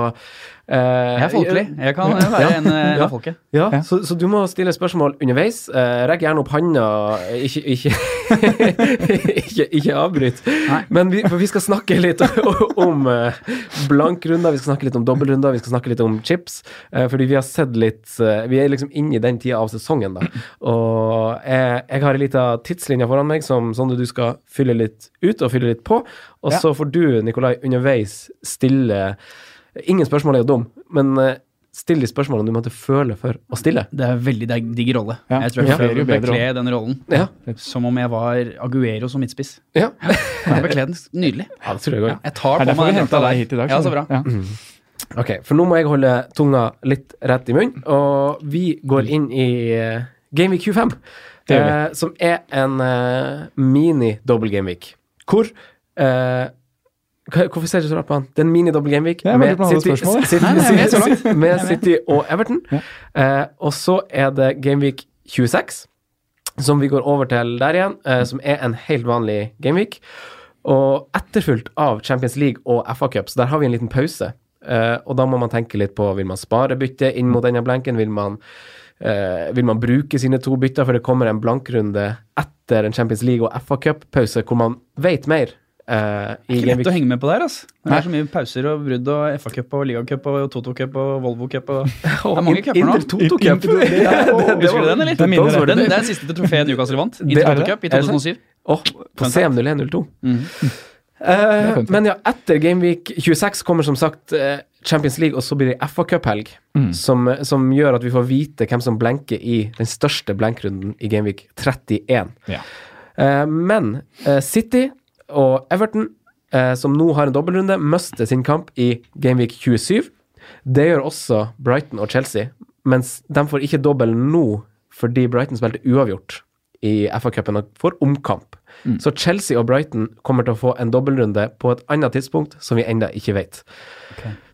Speaker 3: eh,
Speaker 5: Jeg er folkelig. Jeg kan eh, være en eh, en av folket.
Speaker 3: Ja,
Speaker 4: Ja.
Speaker 3: Så, så du må stille spørsmål underveis. Eh, Rekk gjerne opp handa. eh, Ikke, ikke, ikke, ikke avbryt.
Speaker 5: Nei.
Speaker 3: Men vi, for vi skal snakke litt om eh, blankrunder, vi skal snakke litt om dobbeltrunder, vi skal snakke litt om chips. eh, Fordi vi har sett litt eh, Vi er liksom inne i den tida av sesongen, da. Og jeg, jeg har ei lita tidslinje foran meg som sånn at du skal fylle litt ut og fylle litt på. Og
Speaker 5: Ja.
Speaker 3: så får du, Nikolai, underveis stille Ingen spørsmål er jo dum, men eh, still de spørsmålene du måtte føle for å stille.
Speaker 5: Det er veldig deg- digg rolle.
Speaker 4: Ja,
Speaker 5: Jeg tror
Speaker 4: ja.
Speaker 5: jeg prøver å
Speaker 4: Flere jo bedre
Speaker 5: bekle den rollen
Speaker 3: Ja.
Speaker 5: som om jeg var Aguero som midtspiss.
Speaker 3: Ja,
Speaker 5: Jeg bekler den nydelig.
Speaker 3: ja det tror jeg går.
Speaker 5: Jeg
Speaker 4: Det
Speaker 5: tar
Speaker 4: er
Speaker 5: på
Speaker 4: derfor
Speaker 5: meg
Speaker 4: vi
Speaker 5: den
Speaker 4: henta
Speaker 5: drakta
Speaker 4: deg hit i
Speaker 5: der.
Speaker 4: dag.
Speaker 5: Ja, så
Speaker 4: skjønner
Speaker 5: bra. Mm.
Speaker 4: du. Ja.
Speaker 3: Ok, for nå må jeg holde tunga litt rett i munnen, og vi går inn i eh, Game Week 25,
Speaker 4: Det gjør
Speaker 3: eh, som er en eh, mini-double Game Week. Hvor eh, hva- Hvorfor ser du så rart på han? Det er en mini-double Game Week
Speaker 4: Det er veldig blandet
Speaker 3: City,
Speaker 4: spørsmål, det.
Speaker 3: City-
Speaker 5: Nei, nei, jeg er så langt.
Speaker 3: City- med City og Everton. Eh, og så er det Game Week 26, som vi går over til der igjen, eh, som er en helt vanlig Game Week. Og etterfulgt av Champions League og FA Cup, så der har vi en liten pause. Eh, og da må man tenke litt på vil man spare byttet inn mot denne blanken. Vil man, eh, vil man bruke sine to bytter, for det kommer en blankrunde etter en Champions League og FA Cup-pause hvor man vet mer. eh, i
Speaker 5: Ikke
Speaker 3: Game
Speaker 5: lett å
Speaker 3: Week.
Speaker 5: henge med på der, altså. Det er så mye pauser og brudd og FA-cup og ligacup og Toto-cup og Volvo-cup og Det er mange cuper nå.
Speaker 3: Inter Toto Cup!
Speaker 4: Inter- det-
Speaker 3: Ja, det- det
Speaker 5: Husker du
Speaker 3: var-
Speaker 5: den, eller?
Speaker 4: det er mine, det.
Speaker 5: den, det er den siste til trofeet Newcastle vant.
Speaker 3: Det
Speaker 5: Inter
Speaker 3: er det.
Speaker 5: Toto Cup i
Speaker 3: Er det sant?
Speaker 5: 2007.
Speaker 3: Åh, på
Speaker 5: Fun
Speaker 3: CM0102.
Speaker 5: Mhm.
Speaker 3: Eh,
Speaker 4: Mm. fun fact.
Speaker 3: men ja, etter Gameweek 26 kommer som sagt eh, Champions League, og så blir det FA Cup-helg.
Speaker 4: Mm.
Speaker 3: Som, eh, som gjør at vi får vite hvem som blenker i den største blenkrunden i Gameweek 31.
Speaker 4: Ja.
Speaker 3: Eh, men eh, City og Everton, eh, som nå har en dobbeltrunde, mister sin kamp i Gameweek 27. Det gjør også Brighton og Chelsea, mens de får ikke dobbel nå fordi Brighton spilte uavgjort i FA-cupen og får omkamp. Så Chelsea og Brighton kommer til å få en dobbeltrunde på et annet tidspunkt som vi ennå ikke vet.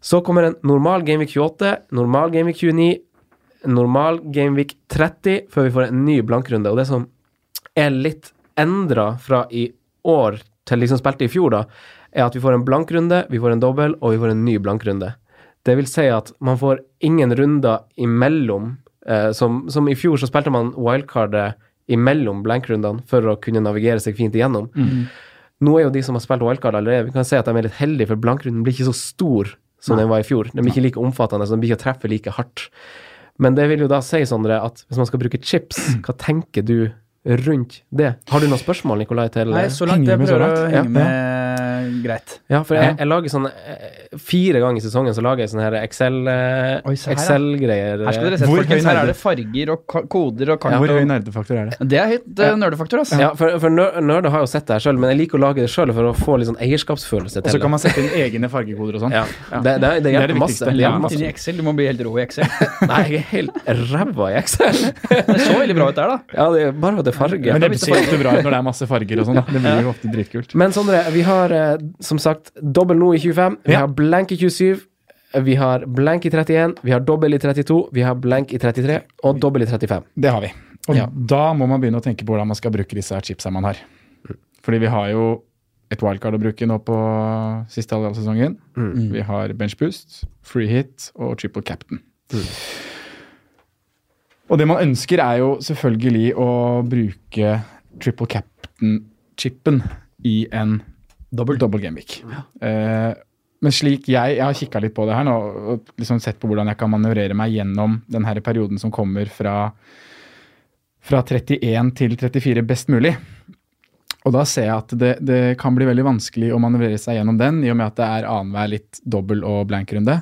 Speaker 3: Så kommer en normal Gameweek 28, normal Gameweek 29, normal Gameweek 30, før vi får en ny blankrunde. Og det som er litt endra fra i år til liksom spilte i fjor, da, er at vi får en blankrunde, vi får en dobbel, og vi får en ny blankrunde. Det vil si at man får ingen runder imellom. Eh, som, som i fjor så spilte man wildcardet imellom blankrundene for å kunne navigere seg fint igjennom.
Speaker 5: Mhm.
Speaker 3: Nå er jo de som har spilt wildcard allerede, vi kan si at de er litt heldige, for blankrunden blir ikke så stor som den var i fjor. Den blir ikke like omfattende, så den blir ikke å treffe like hardt. Men det vil jo da si, Sondre, at hvis man skal bruke chips, hva tenker du rundt det? Har du noen spørsmål, Nikolai, til eh,
Speaker 5: Nei, så
Speaker 4: langt
Speaker 5: langt
Speaker 4: jeg Henger med
Speaker 5: jeg
Speaker 4: så
Speaker 5: prøver
Speaker 4: prøver å
Speaker 5: å
Speaker 4: langt. henge Ja.
Speaker 5: henge med greit.
Speaker 3: Ja, for jeg, jeg lager sånn eh, Fire ganger i sesongen så lager jeg sånne her Excel, eh,
Speaker 5: Oi, se her, ja.
Speaker 3: Excel-greier.
Speaker 5: Her skal dere se,
Speaker 4: Hvor
Speaker 5: folkens.
Speaker 4: høy
Speaker 5: Her
Speaker 4: nerde?
Speaker 5: er det farger og ka- koder og
Speaker 4: Ja.
Speaker 5: kart.
Speaker 4: Hvor høy
Speaker 5: og-
Speaker 4: nerdefaktor er det?
Speaker 5: Det er høyt eh, nerdefaktor, ass.
Speaker 3: Ja, for, for ner- nerder har jo sett det her sjøl, men jeg liker å lage det sjøl for å få litt sånn eierskapsfølelse
Speaker 4: Og
Speaker 3: til
Speaker 4: så
Speaker 3: det.
Speaker 4: kan man sette inn egne fargekoder og sånn.
Speaker 3: Ja, det, det, det
Speaker 4: det
Speaker 3: hjelper masse.
Speaker 4: viktigste.
Speaker 3: Det
Speaker 5: Ja,
Speaker 3: hjelper
Speaker 5: inn i
Speaker 3: masse.
Speaker 5: Excel. Du må bli helt rå i Excel.
Speaker 3: Nei, jeg er helt ræva i Excel.
Speaker 5: Det så veldig bra ut der, da.
Speaker 3: Ja, det er bare for at det er farge.
Speaker 4: Men det ser ofte bra ut når det er masse farger og sånn. da. Det blir jo ofte dritkult.
Speaker 3: Men Sondre, vi har eh, som sagt dobbel nå i 25. Vi
Speaker 4: Ja.
Speaker 3: har blank i 27. Vi har blank i 31. Vi har dobbel i 32. Vi har blank i 33. Og dobbel i 35.
Speaker 4: Det har vi. Og
Speaker 3: Ja.
Speaker 4: da må man begynne å tenke på hvordan man skal bruke disse her chipsa man har. Fordi vi har jo et wildcard å bruke nå på siste halvdel av sesongen. Vi har bench boost, free hit og triple captain. Og det man ønsker, er jo selvfølgelig å bruke triple captain-chipen i en dobbel, game week. Eh, men slik jeg, jeg har kikka litt på det her nå, og liksom sett på hvordan jeg kan manøvrere meg gjennom den her perioden som kommer fra fra 31 til 34 best mulig. Og da ser jeg at det, det kan bli veldig vanskelig å manøvrere seg gjennom den, i og med at det er annenhver litt dobbel- og blank-runde.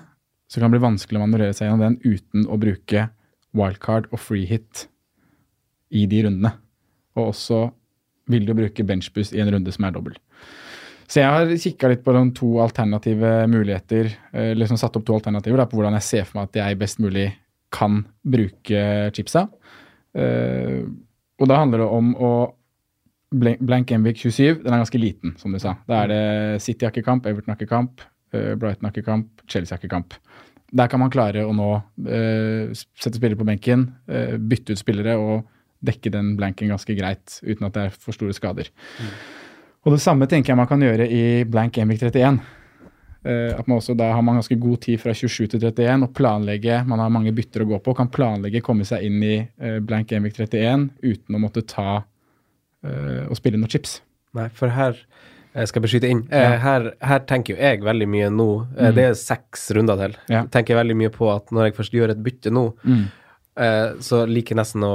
Speaker 4: Så kan det bli vanskelig å manøvrere seg gjennom den uten å bruke wildcard og free hit i de rundene. Og også vil du bruke benchboost i en runde som er dobbel. Så jeg har kikka litt på de to alternative muligheter, eh, liksom satt opp to alternativer da, på hvordan jeg ser for meg at jeg best mulig kan bruke chipsa. Eh, og da handler det om å blank, blank Envik 27, den er ganske liten, som du sa. Da er det City har ikke kamp, Everton har ikke kamp, eh, Brighton har ikke kamp, Chelsea har ikke kamp. Der kan man klare å nå eh, s- sette spillere på benken, eh, bytte ut spillere og dekke den blanken ganske greit uten at det er for store skader. Og det samme tenker jeg man kan gjøre i blank Envik 31. eh, at man også da har man ganske god tid fra 27 til 31 og planlegge. Man har mange bytter å gå på og kan planlegge komme seg inn i eh, blank Envik 31 uten å måtte ta eh, og spille noen chips.
Speaker 3: Nei, for her jeg skal jeg beskytte inn. Eh, Her, her tenker jo jeg veldig mye nå. eh, Det er seks runder til.
Speaker 4: Mm. Ja. Mm.
Speaker 3: Tenker jeg veldig mye på at når jeg først gjør et bytte nå, eh, så liker jeg nesten å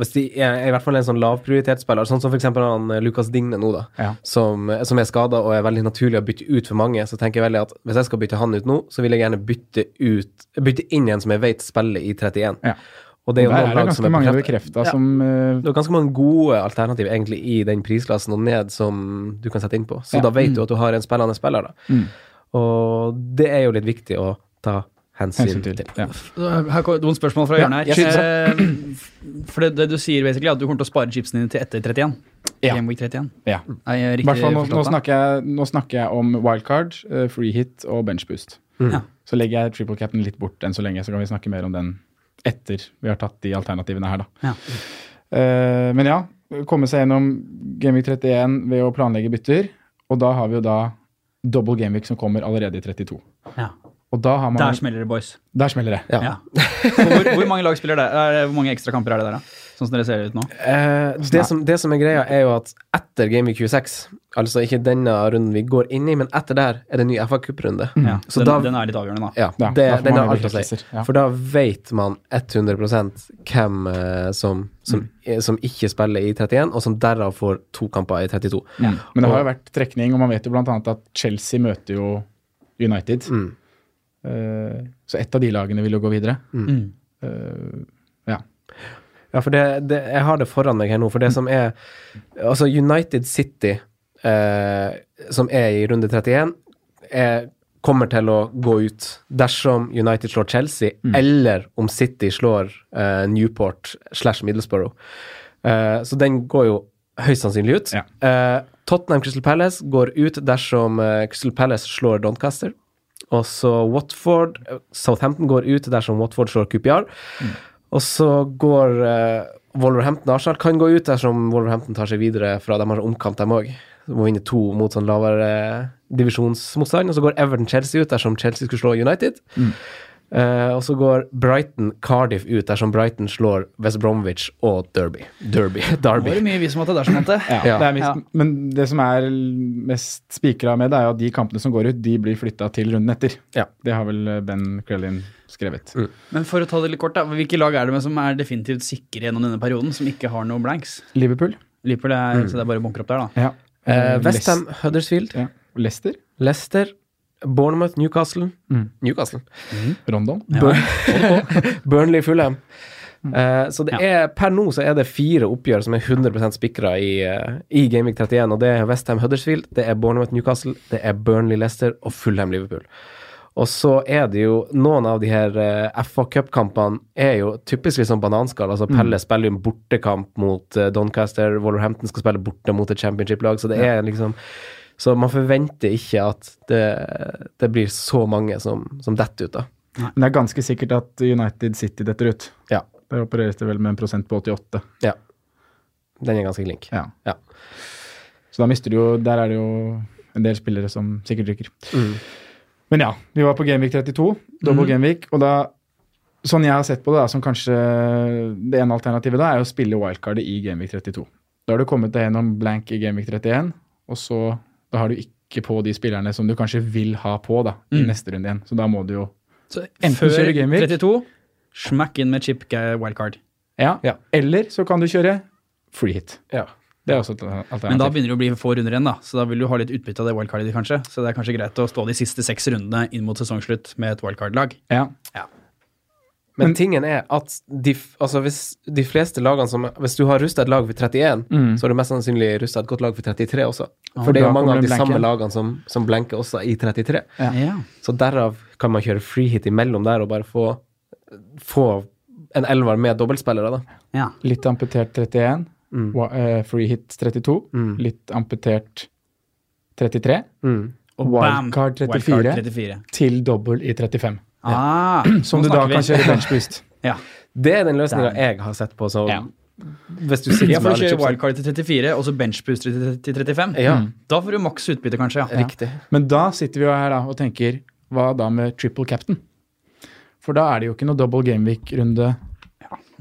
Speaker 3: Hvis de er, er i hvert fall en sånn lavprioritetsspiller, sånn som for eksempel han eh, Lukas Digne nå, da,
Speaker 4: Ja.
Speaker 3: som, eh, som er skada og er veldig naturlig å bytte ut for mange, så tenker jeg veldig at hvis jeg skal bytte han ut nå, så vil jeg gjerne bytte, ut, bytte inn en som jeg vet spiller i 31.
Speaker 4: Ja.
Speaker 3: Og det er jo
Speaker 4: Der
Speaker 3: noen
Speaker 4: er det
Speaker 3: lag som
Speaker 4: ganske
Speaker 3: er
Speaker 4: mange
Speaker 3: bekreftet.
Speaker 4: bekrefta som eh,
Speaker 3: Det er ganske mange gode alternativ egentlig i den prisklassen og ned som du kan sette inn på. Så da vet
Speaker 4: Mm.
Speaker 3: du at du har en spillende spiller, da. Og det er jo litt viktig å ta hensyn,
Speaker 4: hensyn til.
Speaker 3: til.
Speaker 4: Ja.
Speaker 5: Her kommer noen spørsmål fra
Speaker 4: Ja,
Speaker 5: hjørnet
Speaker 4: jeg
Speaker 5: her.
Speaker 4: skyter
Speaker 5: Eh, For det, det du sier, basically, er at du kommer til å spare chipsene dine til etter 31.
Speaker 4: Ja.
Speaker 5: Game week 31.
Speaker 4: ja.
Speaker 5: Er
Speaker 4: I
Speaker 5: jeg riktig
Speaker 4: hvert fall nå,
Speaker 5: forstått
Speaker 4: nå,
Speaker 5: da?
Speaker 4: snakker jeg, nå snakker jeg om wildcard, eh, free hit og bench boost.
Speaker 3: Mm.
Speaker 5: Ja.
Speaker 4: Så legger jeg triple cap'n litt bort enn så lenge, så kan vi snakke mer om den etter vi har tatt de alternativene her, da.
Speaker 5: Ja.
Speaker 4: Eh, men ja, komme seg gjennom Gameweek 31 ved å planlegge bytter. Og da har vi jo da double Gameweek som kommer allerede i 32.
Speaker 5: Ja.
Speaker 4: Og da har man
Speaker 5: Der smeller det, boys.
Speaker 4: der smeller det.
Speaker 3: Ja.
Speaker 5: Ja. Hvor, hvor mange lag spiller det? Er det? Hvor mange ekstra kamper er det der, da? Sånn som dere ser ut nå?
Speaker 3: Eh, det, som, det som er greia, er jo at etter Game Week 26, altså ikke denne runden vi går inn i, men etter der, er det ny FA Cup-runde.
Speaker 5: Ja.
Speaker 3: Så
Speaker 5: den,
Speaker 3: da-
Speaker 5: den er litt avgjørende, da.
Speaker 3: Ja,
Speaker 4: Mm. Ja,
Speaker 3: det,
Speaker 4: da får
Speaker 3: den
Speaker 4: man
Speaker 3: har alt å si.
Speaker 4: overraskelser, ja.
Speaker 3: For da vet man 100 hvem eh, som, som,
Speaker 4: Mm.
Speaker 3: som ikke spiller i 31, og som derav får to kamper i 32.
Speaker 4: Mm. Men det har jo vært trekning, og man vet jo bl.a. at Chelsea møter jo United.
Speaker 3: Mm.
Speaker 4: Eh, så ett av de lagene vil jo gå videre.
Speaker 5: Mm.
Speaker 4: Eh, ja.
Speaker 3: Ja, for det, det, jeg har det foran meg her nå, for det som er Altså, United City, eh, som er i runde 31, er, kommer til å gå ut dersom United slår Chelsea, eller om City slår eh, Newport slash Middlesbrough. Eh, så den går jo høyst sannsynlig ut.
Speaker 4: Ja.
Speaker 3: Eh, Tottenham Crystal Palace går ut dersom eh, Crystal Palace slår Doncaster. Og så Watford eh, Southampton går ut dersom Watford slår QPR. Og så går eh, Wolverhampton Arsenal kan gå ut dersom Wolverhampton tar seg videre fra De har så omkamp, dem òg. De må vinne to mot sånn lavere eh, divisjonsmotstand. Og så går Everton Chelsea ut dersom Chelsea skulle slå United. Eh, og så går Brighton Cardiff ut dersom Brighton slår West Bromwich og Derby. Derby.
Speaker 5: Det var
Speaker 3: Derby.
Speaker 5: det mye vi som måtte der som måtte.
Speaker 4: Ja,
Speaker 3: Ja.
Speaker 4: Det er mest,
Speaker 5: Ja.
Speaker 4: Men det som er mest spikra med det, er jo at de kampene som går ut, de blir flytta til runden etter.
Speaker 3: Ja. Mm.
Speaker 4: Det har vel eh, Ben Crellin skrevet.
Speaker 5: Men for å ta det litt kort, da. Hvilke lag er det med som er definitivt sikre gjennom denne perioden, som ikke har noe blanks?
Speaker 4: Liverpool.
Speaker 5: Liverpool er, så det er bare å bunker opp der, da.
Speaker 4: Ja.
Speaker 3: Uh, Westham Huddersfield.
Speaker 4: Ja. Leicester.
Speaker 3: Leicester. Bournemouth Newcastle.
Speaker 4: Mm.
Speaker 3: Newcastle.
Speaker 4: Rondon.
Speaker 3: Burnley Fulham. Eh, så det
Speaker 5: Ja.
Speaker 3: er, per nå så er det fire oppgjør som er 100 spikra i, uh, i Gaming 31. og Det er Westham Huddersfield, det er Bournemouth Newcastle, det er Burnley Leicester og Fulham Liverpool. Og så er det jo noen av de her eh, FA Cup-kampene er jo typisk litt sånn bananskall. Altså Pelle spiller jo en bortekamp mot eh, Doncaster, Wolverhampton skal spille borte mot et championship-lag, så det er liksom Så man forventer ikke at det, det blir så mange som, som detter ut, da.
Speaker 4: Men det er ganske sikkert at United City detter ut.
Speaker 3: Ja.
Speaker 4: Der opereres det vel med en prosent på 88.
Speaker 3: Ja. Den er ganske klink.
Speaker 4: Ja.
Speaker 3: Ja.
Speaker 4: Så da mister du jo Der er det jo en del spillere som sikkert rykker. Men ja, vi var på Gameweek 32, double Gameweek, og da Sånn jeg har sett på det, da, som kanskje det ene alternativet da, er å spille wildcardet i Gameweek 32. Da har du kommet deg gjennom blank i Gameweek 31, og så da har du ikke på de spillerne som du kanskje vil ha på da, i neste runde igjen. Så da må du jo
Speaker 5: Så
Speaker 4: Enten
Speaker 5: før
Speaker 4: kjører Game Week.
Speaker 5: 32, smack inn med chip eh, wildcard.
Speaker 4: ja.
Speaker 3: Ja.
Speaker 4: Eller så kan du kjøre free hit. Det er også et alternativ.
Speaker 5: Men da begynner det å bli få runder igjen, da, så da vil du ha litt utbytte av det wildcardet ditt, kanskje. Så det er kanskje greit å stå de siste seks rundene inn mot sesongslutt med et wildcard-lag.
Speaker 4: ja.
Speaker 3: Men tingen er at de, f- altså hvis de fleste lagene som Hvis du har rusta et lag for 31, så har du mest sannsynlig rusta et godt lag for 33 også. For det er jo
Speaker 4: da
Speaker 3: mange
Speaker 4: kommer
Speaker 3: av de
Speaker 4: det en blank
Speaker 3: samme
Speaker 4: igjen.
Speaker 3: lagene som, som blenker også i 33.
Speaker 5: Ja.
Speaker 3: Så derav kan man kjøre free hit imellom der og bare få, få en elver med dobbeltspillere, da.
Speaker 5: Ja.
Speaker 4: Litt amputert 31. wa- eh, free hit 32. Litt amputert 33.
Speaker 3: Mm.
Speaker 5: Og bam!
Speaker 4: Wildcard 34.
Speaker 5: Wildcard 34.
Speaker 4: Til dobbel i 35.
Speaker 5: Ah,
Speaker 4: Som
Speaker 5: nå
Speaker 4: du da
Speaker 5: snakker vi.
Speaker 4: kan kjøre bench boost.
Speaker 5: Ja.
Speaker 3: Det er den løsninga jeg har sett på som,
Speaker 4: Ja.
Speaker 3: Hvis du sitter
Speaker 5: Ja,
Speaker 3: med
Speaker 5: for du
Speaker 3: alle
Speaker 5: kjører
Speaker 3: chipsene.
Speaker 5: wildcard til 34, og så benchbooster til til 35.
Speaker 3: Ja.
Speaker 5: Mm. Da får du maks utbytte, kanskje. ja.
Speaker 3: Riktig.
Speaker 4: Men da sitter vi jo her da og tenker hva da med triple captain? For da er det jo ikke noe double gameweek-runde.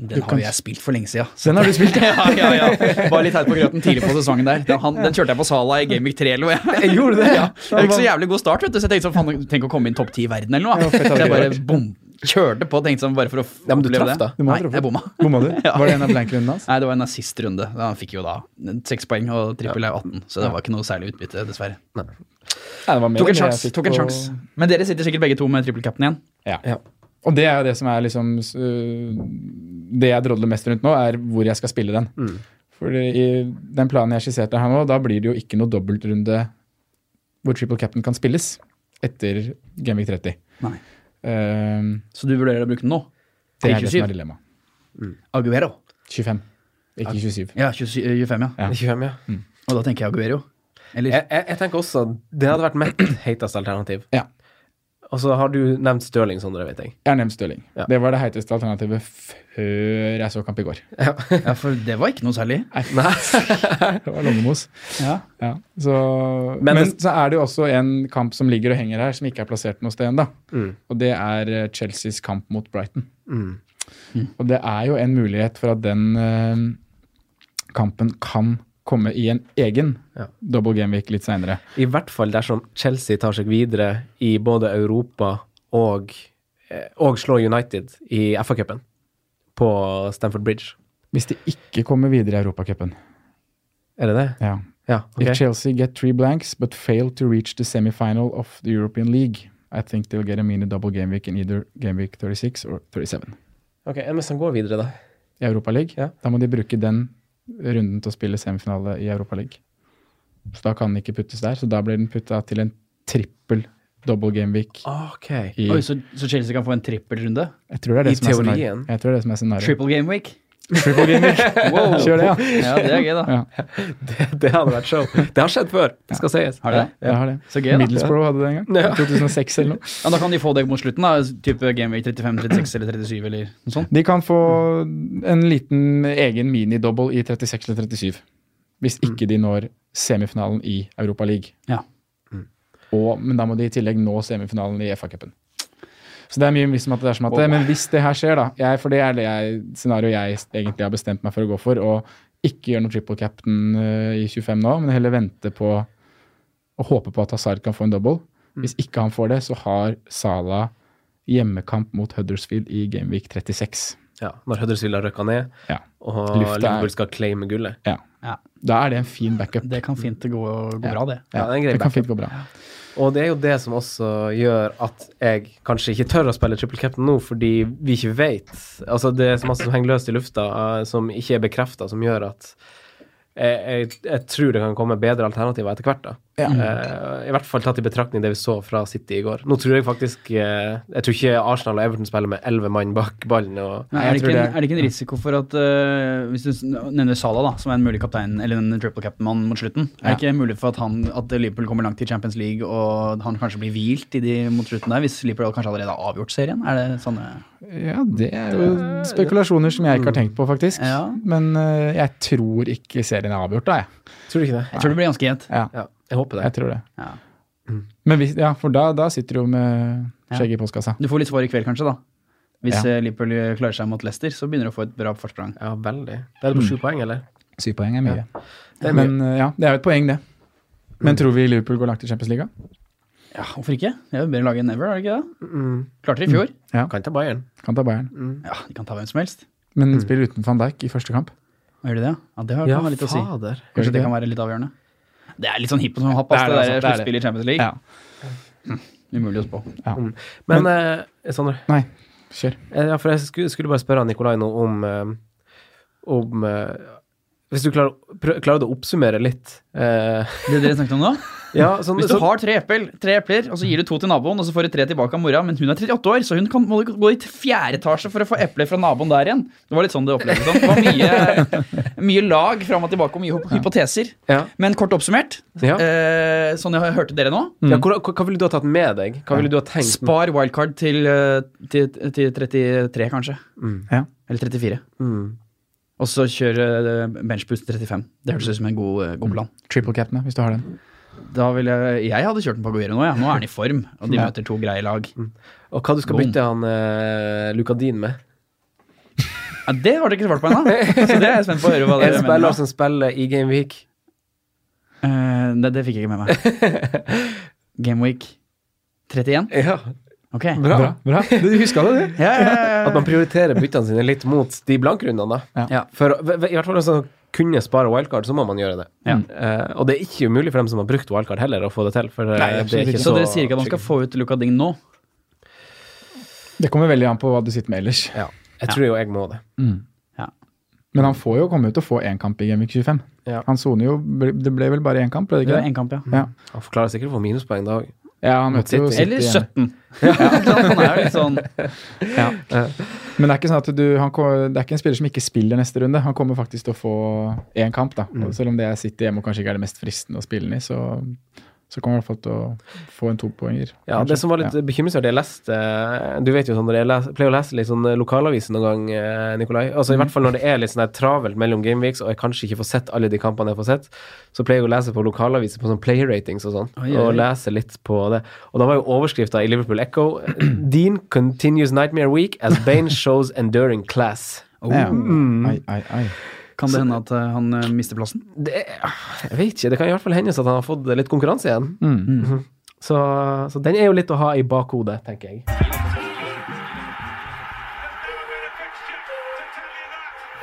Speaker 5: Den har jo jeg spilt for lenge siden.
Speaker 4: Så Den har du spilt,
Speaker 5: ja, ja, ja. Bare litt her på grøten tidlig på sesongen der. Den, han, den kjørte jeg på Sala i Gamevik 3 eller noe. jeg.
Speaker 4: Jeg gjorde det!
Speaker 5: Ja, det var ikke så jævlig god start, vet du. Så jeg tenkte sånn, faen, tenk å komme inn topp ti i verden eller noe. Så jeg bare bom, kjørte på, tenkte sånn, bare for å f-
Speaker 3: Ja, men du traff,
Speaker 5: oppleve
Speaker 3: da.
Speaker 5: det.
Speaker 4: Du må ha
Speaker 5: Nei,
Speaker 4: truffet.
Speaker 5: jeg bomma.
Speaker 4: Bomma du? Var det en av blank-rundene hans?
Speaker 5: Nei, det var en assist-runde. Han fikk jo da seks poeng, og trippel er 18, så det var ikke noe særlig utbytte, dessverre.
Speaker 4: Nei, det var mer enn
Speaker 5: Tok en
Speaker 4: det jeg
Speaker 5: sjans,
Speaker 4: fikk
Speaker 5: tok en
Speaker 4: på-
Speaker 5: sjans. Men dere sitter sikkert begge to med trippel-cap'n igjen.
Speaker 3: Ja.
Speaker 4: Og det er jo det som er liksom s- øh, Det jeg drodler mest rundt nå, er hvor jeg skal spille den. For i den planen jeg skisserte her nå, da blir det jo ikke noe dobbeltrunde hvor triple captain kan spilles etter Gamvik 30.
Speaker 5: Nei.
Speaker 4: Ehm,
Speaker 5: Så du vurderer å bruke den nå?
Speaker 4: det
Speaker 5: Til
Speaker 4: er det som
Speaker 5: 27.
Speaker 4: er dilemmaet.
Speaker 5: Aguero.
Speaker 4: 25, ikke 27.
Speaker 5: Ja, 27, 25, ja.
Speaker 4: Ja.
Speaker 3: 25, ja.
Speaker 5: Og da tenker jeg Aguero. Eller
Speaker 3: Jeg, jeg, jeg tenker også det hadde vært mitt heiteste alternativ.
Speaker 4: Ja.
Speaker 3: Og så har du nevnt Stirling, Sondre, vet jeg.
Speaker 4: Jeg har nevnt Stirling.
Speaker 3: Ja.
Speaker 4: Det var det heiteste alternativet før jeg så kamp i går.
Speaker 5: Ja, for det var ikke noe særlig.
Speaker 4: Det var Longemos.
Speaker 5: Ja.
Speaker 4: Ja, så,
Speaker 3: Men-
Speaker 4: men, så er det jo også en kamp som ligger og henger her, som ikke er plassert noe sted ennå.
Speaker 3: Mm.
Speaker 4: Og det er eh, Chelseas kamp mot Brighton.
Speaker 3: Mm.
Speaker 4: Og det er jo en mulighet for at den eh, kampen kan komme i en egen
Speaker 3: Ja.
Speaker 4: double game week litt seinere.
Speaker 3: I hvert fall dersom Chelsea tar seg videre i både Europa og, eh, og slår United i FA-cupen på Stamford Bridge.
Speaker 4: Hvis de ikke kommer videre i Europacupen.
Speaker 3: Er det det?
Speaker 4: Ja.
Speaker 3: Ja.
Speaker 4: If
Speaker 3: ok.
Speaker 4: Chelsea get three blanks but fail to reach the semifinal of the European League, I think they'll get a mini double game week in either game week 36 or 37.
Speaker 3: Ok, Men som går videre, da?
Speaker 4: i Europa League.
Speaker 3: Ja.
Speaker 4: Da må de bruke den runden til å spille semifinale i Europa League. Så da kan den ikke puttes der, så da blir den putta til en trippel double game week.
Speaker 3: Ok.
Speaker 4: I,
Speaker 5: Oi, så, så Chelsea kan få en trippelrunde?
Speaker 4: jeg tror det er det
Speaker 3: i
Speaker 4: som er
Speaker 3: teorien.
Speaker 4: scenarioet. Jeg tror det er det som er scenarioet.
Speaker 5: Triple game week?
Speaker 4: Triple game week.
Speaker 5: Wow.
Speaker 4: Kjør det, ja.
Speaker 5: Ja, det er gøy, da.
Speaker 4: Ja.
Speaker 3: Det hadde vært show. Det har skjedd før, det skal sies.
Speaker 5: Har de det?
Speaker 4: Jeg har det.
Speaker 5: Så gøy, da.
Speaker 4: Middlesbrough hadde det en gang.
Speaker 3: Ja.
Speaker 4: 2006 eller noe.
Speaker 5: Ja, da kan de få det mot slutten, da. Type game week 35, 36 eller 37 eller noe sånt.
Speaker 4: De kan få en liten egen mini-double i 36 eller 37. Hvis ikke de når semifinalen i Europa League.
Speaker 5: Ja.
Speaker 4: Og, men da må de i tillegg nå semifinalen i FA-cupen. Så det er mye hvis om at det er som at det, Men hvis det her skjer, da jeg, For det er det jeg- scenarioet jeg egentlig har bestemt meg for å gå for. Og ikke gjøre noe triple captain eh, i 25 nå, men heller vente på og håpe på at Hazard kan få en double. Hvis ikke han får det, så har Salah hjemmekamp mot Huddersfield i Gameweek 36.
Speaker 3: Ja, Når Huddersfield har røkka ned,
Speaker 4: Ja.
Speaker 3: og
Speaker 4: Lufta er-
Speaker 3: Liverpool skal claime gullet.
Speaker 4: ja.
Speaker 5: Ja,
Speaker 4: Da er det en fin backup.
Speaker 5: Det kan fint gå, gå bra, det.
Speaker 3: Ja, det er en grei
Speaker 4: det kan fint gå bra.
Speaker 3: Og det er jo det som også gjør at jeg kanskje ikke tør å spille triple captain nå, fordi vi ikke vet. Altså, det er så masse som henger løst i lufta, eh, som ikke er bekrefta, som gjør at jeg, jeg, jeg tror det kan komme bedre alternativer etter hvert. da. Eh, I hvert fall tatt i betraktning det vi så fra City i går. Nå tror jeg faktisk eh, Jeg tror ikke Arsenal og Everton spiller med elleve mann bak ballen. og
Speaker 5: Nei,
Speaker 4: Jeg
Speaker 5: er, det
Speaker 4: tror
Speaker 5: ikke en,
Speaker 4: det-
Speaker 5: er det ikke en risiko for at eh, Hvis du s- nevner Salah, da, som er en mulig kaptein, eller en triple captain-mann mot slutten, er det ikke mulig for at, han, at Liverpool kommer langt i Champions League, og han kanskje blir hvilt i de mot slutten der, hvis Liverpool kanskje allerede har avgjort serien? Er det sånne
Speaker 4: Ja, det er jo spekulasjoner som jeg ikke har tenkt på, faktisk.
Speaker 5: Ja.
Speaker 4: Men eh, jeg tror ikke serien er avgjort, da, jeg.
Speaker 3: Tror du ikke det?
Speaker 5: Jeg tror det blir ganske jevnt.
Speaker 4: Ja,
Speaker 3: Ja, jeg håper det.
Speaker 4: jeg tror det.
Speaker 5: Ja.
Speaker 3: Mm.
Speaker 4: Men hvis, ja, for da, da sitter du jo med skjegget i postkassa.
Speaker 5: Du får litt svar i kveld, kanskje, da. Hvis
Speaker 4: Ja.
Speaker 5: eh, Liverpool klarer seg mot Leicester, så begynner du å få et bra forsprang.
Speaker 3: Ja, veldig. Det er det på
Speaker 5: Mm.
Speaker 3: sju poeng, eller?
Speaker 4: Syv poeng er mye.
Speaker 3: Det er mye.
Speaker 4: Men eh, ja, det er jo et poeng, det.
Speaker 3: Mm.
Speaker 4: Men tror vi Liverpool går langt i Champions League?
Speaker 5: Ja, hvorfor ikke? Det er jo bedre lag enn ever, er det ikke det?
Speaker 3: Mm,
Speaker 5: Klarte det i fjor.
Speaker 3: kan ta Bayern.
Speaker 4: Kan ta Bayern.
Speaker 5: Ja, de kan ta hvem som helst.
Speaker 4: Men
Speaker 3: Mm.
Speaker 4: spiller uten van Dijk i første kamp.
Speaker 5: Og Gjør de det? Ja, det har
Speaker 3: Ja,
Speaker 5: kan være litt å si.
Speaker 3: fader.
Speaker 5: Kanskje det
Speaker 4: det?
Speaker 5: kan være litt avgjørende. Det er litt sånn hipp og sånn happ, ass,
Speaker 4: Det er
Speaker 5: det,
Speaker 4: det,
Speaker 5: der
Speaker 4: altså, det er
Speaker 5: sluttspillet i Champions League. Mm.
Speaker 4: Ja.
Speaker 5: Umulig å spå.
Speaker 4: ja.
Speaker 3: Men, eh, Sondre,
Speaker 4: Nei, kjør.
Speaker 3: Eh, Ja, for jeg skulle, skulle bare spørre Nikolai nå om, eh, om eh, Hvis du klarer, prø, klarer du å oppsummere litt eh,
Speaker 5: Det dere snakket om nå?
Speaker 3: Ja, sånn
Speaker 5: Hvis du
Speaker 3: så-
Speaker 5: har tre, epler, tre epler, og så gir du to til naboen, og så får du tre tilbake av mora, men hun er 38 år, så hun kan, må gå i fjerde etasje for å få epler fra naboen der igjen. Det var litt sånn det opplevdes. Sånn. Det var mye, mye lag fram og tilbake og mye hypo- hypoteser.
Speaker 3: ja.
Speaker 5: Men kort oppsummert,
Speaker 3: Ja.
Speaker 5: eh, mm. sånn jeg hørte dere nå,
Speaker 3: Ja, hvor, hva, hva ville du ha tatt med deg? Hva ville du ha tenkt?
Speaker 5: spar wildcard til, eh, til, til 33, kanskje.
Speaker 4: Ja.
Speaker 5: Eller 34.
Speaker 3: Mm.
Speaker 5: Og så kjøre eh, benchboost 35. Det hørtes ut som en god, eh,
Speaker 4: Mm.
Speaker 5: god plan.
Speaker 4: Triple cap'n, ja, hvis du har den.
Speaker 5: Da vil jeg, jeg hadde kjørt den på Aguero nå, ja. Nå er han i form, og de
Speaker 4: Ja.
Speaker 5: møter to greie lag.
Speaker 3: Og hva du skal
Speaker 5: Boom.
Speaker 3: bytte han eh, Lukadin med?
Speaker 5: Ja, det har dere ikke svart på ennå, så det er jeg spent på å høre hva
Speaker 3: En
Speaker 5: dere
Speaker 3: spiller
Speaker 5: mener.
Speaker 3: som spiller i Game Week.
Speaker 5: Eh, det, det fikk jeg ikke med meg. Gameweek 31?
Speaker 3: Ja,
Speaker 5: Ok. Ja,
Speaker 3: bra.
Speaker 4: bra. Du huska det, du.
Speaker 5: ja, ja,
Speaker 3: At
Speaker 5: ja.
Speaker 3: man prioriterer byttene sine litt mot de blankrundene, da.
Speaker 4: Ja.
Speaker 5: Ja.
Speaker 3: For v- v- i hvert fall hvis man kunne spare wildcard, så må man gjøre det.
Speaker 5: Ja.
Speaker 3: Eh, og det er ikke umulig for dem som har brukt wildcard heller, å få det til. For eh, det
Speaker 4: Nei,
Speaker 3: er
Speaker 4: absolutt
Speaker 3: ikke
Speaker 4: ikke.
Speaker 5: Så dere sier ikke at man skal få ut Luka Ding nå?
Speaker 4: Det kommer veldig an på hva du sitter med ellers.
Speaker 3: ja. Jeg tror jo jeg må det.
Speaker 4: Mm. Men han får jo komme ut og få én kamp i Gamvik 25.
Speaker 3: Ja.
Speaker 4: Han soner jo Det ble vel bare én kamp, ble det
Speaker 5: Det
Speaker 4: ikke
Speaker 5: er
Speaker 4: det?
Speaker 5: en kamp, ja.
Speaker 4: Ja.
Speaker 3: Han forklarer sikkert å få minuspoeng da òg.
Speaker 4: ja, han møter jo
Speaker 3: City.
Speaker 4: City
Speaker 5: Eller
Speaker 4: igjen.
Speaker 5: 17. Ja, ikke sant? han er jo litt sånn
Speaker 4: Men det er ikke sånn at du, han, ko- det er ikke en spiller som ikke spiller neste runde. Han kommer faktisk til å få én kamp, da.
Speaker 3: Mm.
Speaker 4: Og Selv om det er City hjemme og kanskje ikke er det mest fristende å spille den i, så, så kommer han i hvert fall til å få en topoenger.
Speaker 3: Ja,
Speaker 4: kanskje.
Speaker 3: det som var litt
Speaker 4: Ja.
Speaker 3: bekymringsfullt, jeg leste Du vet jo sånn, når jeg les, pleier å lese litt sånn eh, lokalaviser noen gang, eh, Nikolai. Altså I
Speaker 4: Mm.
Speaker 3: hvert fall når det er litt sånn der travelt mellom gameweeks, og jeg kanskje ikke får sett alle de kampene jeg får sett, så pleier jeg å lese på lokalaviser på sånn player ratings og sånn,
Speaker 5: Oi, oi, oi.
Speaker 3: og lese litt på det. Og da var jo overskrifta i Liverpool Echo Dean continues nightmare week as Bane shows enduring class.
Speaker 4: Ja.
Speaker 5: oh,
Speaker 3: Mm.
Speaker 4: Ai, ai, ai.
Speaker 5: Kan det hende at eh, han eh, mister plassen?
Speaker 3: Det, jeg vet ikke, det kan i hvert fall hendes at han har fått litt konkurranse igjen.
Speaker 4: Mm.
Speaker 3: Så, så den er jo litt å ha i bakhodet, tenker jeg.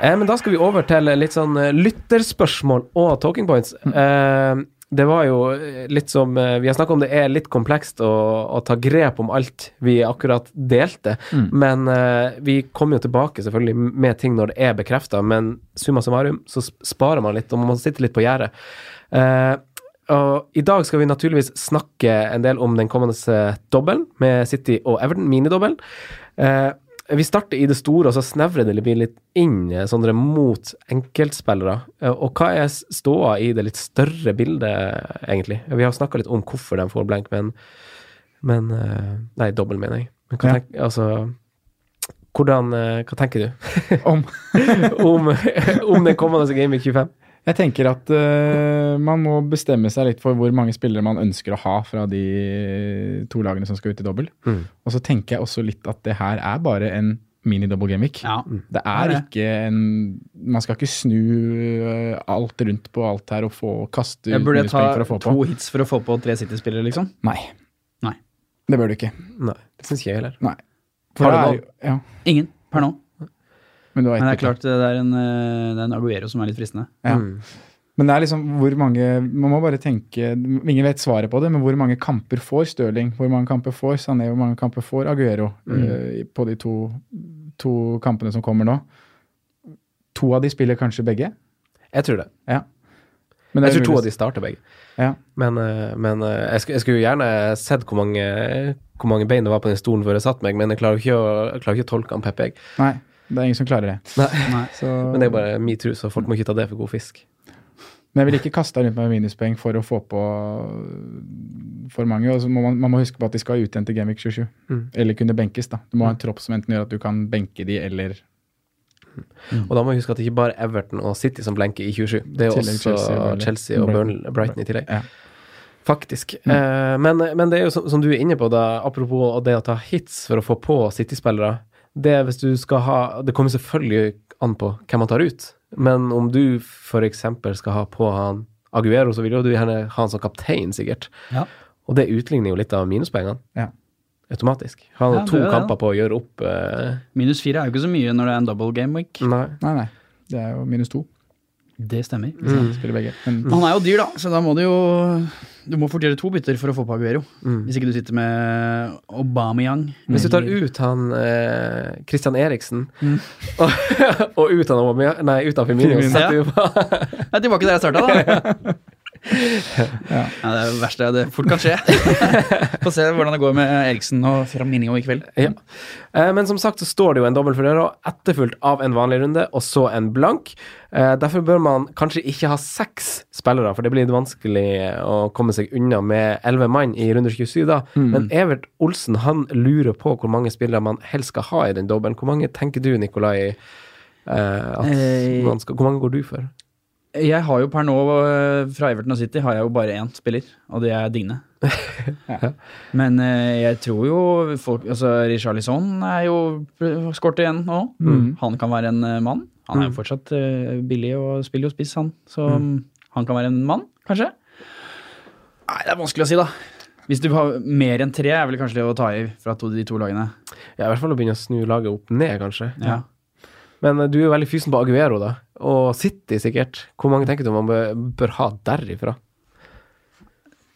Speaker 3: Eh, men da skal vi over til litt sånn eh, lytterspørsmål og talking points. Eh, det var jo eh, litt som eh, Vi har snakka om det er litt komplekst å, å ta grep om alt vi akkurat delte. Men eh, vi kommer jo tilbake selvfølgelig med ting når det er bekrefta, men summa summarum så sp- sparer man litt, og man sitter litt på gjerdet. Eh, og I dag skal vi naturligvis snakke en del om den kommende eh, dobbelen med City og Everton, minidobbelen. Eh, vi starter i det store, og så snevrer det blir litt inn eh, Sondre, mot enkeltspillere. Eh, og hva er s- ståa i det litt større bildet, egentlig? Vi har snakka litt om hvorfor de får blank, men, men eh, Nei, dobbel, mener jeg. Men hva
Speaker 4: Ja.
Speaker 3: tenk, altså, hvordan, eh, hva tenker du
Speaker 4: Om
Speaker 3: om, om den kommende Game Week 25?
Speaker 4: Jeg tenker at eh, man må bestemme seg litt for hvor mange spillere man ønsker å ha fra de to lagene som skal ut i dobbel.
Speaker 3: Mm.
Speaker 4: Og så tenker jeg også litt at det her er bare en mini-double gamvik.
Speaker 5: Ja.
Speaker 4: Det er
Speaker 5: Det er det.
Speaker 4: ikke en Man skal ikke snu eh, alt rundt på alt her og få kaste
Speaker 5: Jeg burde ta
Speaker 4: minuspoeng for å få på.
Speaker 5: to hits for å få på tre City-spillere, liksom.
Speaker 4: Nei.
Speaker 5: Nei.
Speaker 4: Det bør du ikke.
Speaker 3: Nei, det syns ikke jeg heller.
Speaker 4: Nei.
Speaker 3: Har du
Speaker 4: det er
Speaker 3: valg?
Speaker 4: jo- ja,
Speaker 5: Ingen per nå.
Speaker 4: men, du har
Speaker 5: Men det er
Speaker 4: ikke-
Speaker 5: klart eh, det er en, eh, det er en Aguero som er litt fristende.
Speaker 4: Ja.
Speaker 3: Mm.
Speaker 4: men det er liksom hvor mange Man må bare tenke Ingen vet svaret på det, men hvor mange kamper får Stirling? Hvor mange kamper får Sané? Hvor mange kamper får Aguero
Speaker 5: Mm.
Speaker 4: eh, på de to, to kampene som kommer nå? To av de spiller kanskje begge?
Speaker 3: Jeg tror det.
Speaker 4: Ja. Men
Speaker 3: Jeg tror to av
Speaker 4: mulig-
Speaker 3: de starter begge.
Speaker 4: ja.
Speaker 3: Men, eh, men eh, jeg, skulle, jeg skulle jo gjerne sett hvor mange, hvor mange bein det var på den stolen før jeg satt meg, men jeg klarer jo ikke å, jeg klarer ikke å tolke han Peppe, jeg.
Speaker 4: Nei, det er ingen som klarer det.
Speaker 5: Nei.
Speaker 4: Så,
Speaker 3: Men det er bare metoo, så folk må ikke ta det for god fisk.
Speaker 4: Men jeg vil ikke kaste rundt meg med minuspoeng for å få på øh, for mange. Og så må man, man må huske på at de skal ut igjen til Gamvik 27.
Speaker 3: Mm.
Speaker 4: Eller kunne benkes, da. Du må ha en tropp som enten gjør at du kan benke de, eller Mm.
Speaker 3: Og da må vi huske at det ikke bare er Everton og City som blenker i 27. Det er jo
Speaker 4: Tillegg
Speaker 3: også
Speaker 4: Chelsea Mm.
Speaker 3: Chelsea
Speaker 4: og
Speaker 3: og,
Speaker 4: Burnley.
Speaker 3: Burnley- Brighton i tillegg.
Speaker 4: Ja.
Speaker 3: Faktisk.
Speaker 5: Mm.
Speaker 3: Eh, men, men det er jo som, som du er inne på, da, apropos det å ta hits for å få på City-spillere. Det er hvis du skal ha Det kommer selvfølgelig an på hvem man tar ut. Men om du f.eks. skal ha på han Aguero, så vil jo du gjerne ha han som kaptein, sikkert.
Speaker 5: Ja.
Speaker 3: Og det utligner jo litt av minuspoengene.
Speaker 4: Ja.
Speaker 3: Automatisk. Han har
Speaker 5: Ja, det
Speaker 3: to
Speaker 5: gjør det, da.
Speaker 3: kamper på å gjøre opp eh,
Speaker 5: Minus fire er jo ikke så mye når det er en double game week.
Speaker 3: Nei.
Speaker 4: Nei, nei. Det er jo minus to.
Speaker 5: Det stemmer.
Speaker 4: Mm. Spiller begge. Men
Speaker 5: Men han er jo dyr, da, så da må du jo Du må fort gjøre to bytter for å få på Aguero. Hvis ikke du sitter med Aubameyang.
Speaker 3: mm. Hvis du tar
Speaker 5: eller-
Speaker 3: ut han eh, Christian Eriksen og, og ut han Aubameyang- Nei, ut han Firmino, så
Speaker 5: Mm. Firmino.
Speaker 3: setter vi på
Speaker 5: Jeg er tilbake der jeg starta, da. ja. det er det verste det fort kan skje. Få se hvordan det går med Eriksen og Firmino i kveld.
Speaker 3: Ja. Eh, Men som sagt så står det jo en dobbel for døra, etterfulgt av en vanlig runde og så en blank. Eh, Derfor bør man kanskje ikke ha seks spillere, for det blir litt vanskelig eh, å komme seg unna med elleve mann i runde 27 da.
Speaker 5: Mm.
Speaker 3: Men Evert Olsen han lurer på hvor mange spillere man helst skal ha i den dobbelen. Hvor mange tenker du, Nikolai, eh, Eh, at
Speaker 5: Eh,
Speaker 3: man skal, hvor mange går du for?
Speaker 5: Jeg har jo per nå, eh, fra Everton og City, har jeg jo bare én spiller, og det er Digne. Men eh, jeg tror jo folk altså Richarlison er jo eh, skåret igjen nå. Han kan være en eh, mann. Han er jo fortsatt eh, billig og spiller jo spiss, han. Så mm, han kan være en mann, kanskje. Nei, det er vanskelig å si, da. Hvis du har mer enn tre, er vel kanskje det å ta i fra to, de to lagene.
Speaker 3: Ja, I hvert fall å begynne å snu laget opp ned, kanskje.
Speaker 5: Ja.
Speaker 3: Men eh, du er jo veldig fysen på Aguero, da. Og City, sikkert. Hvor mange tenker du man bør, bør ha derifra?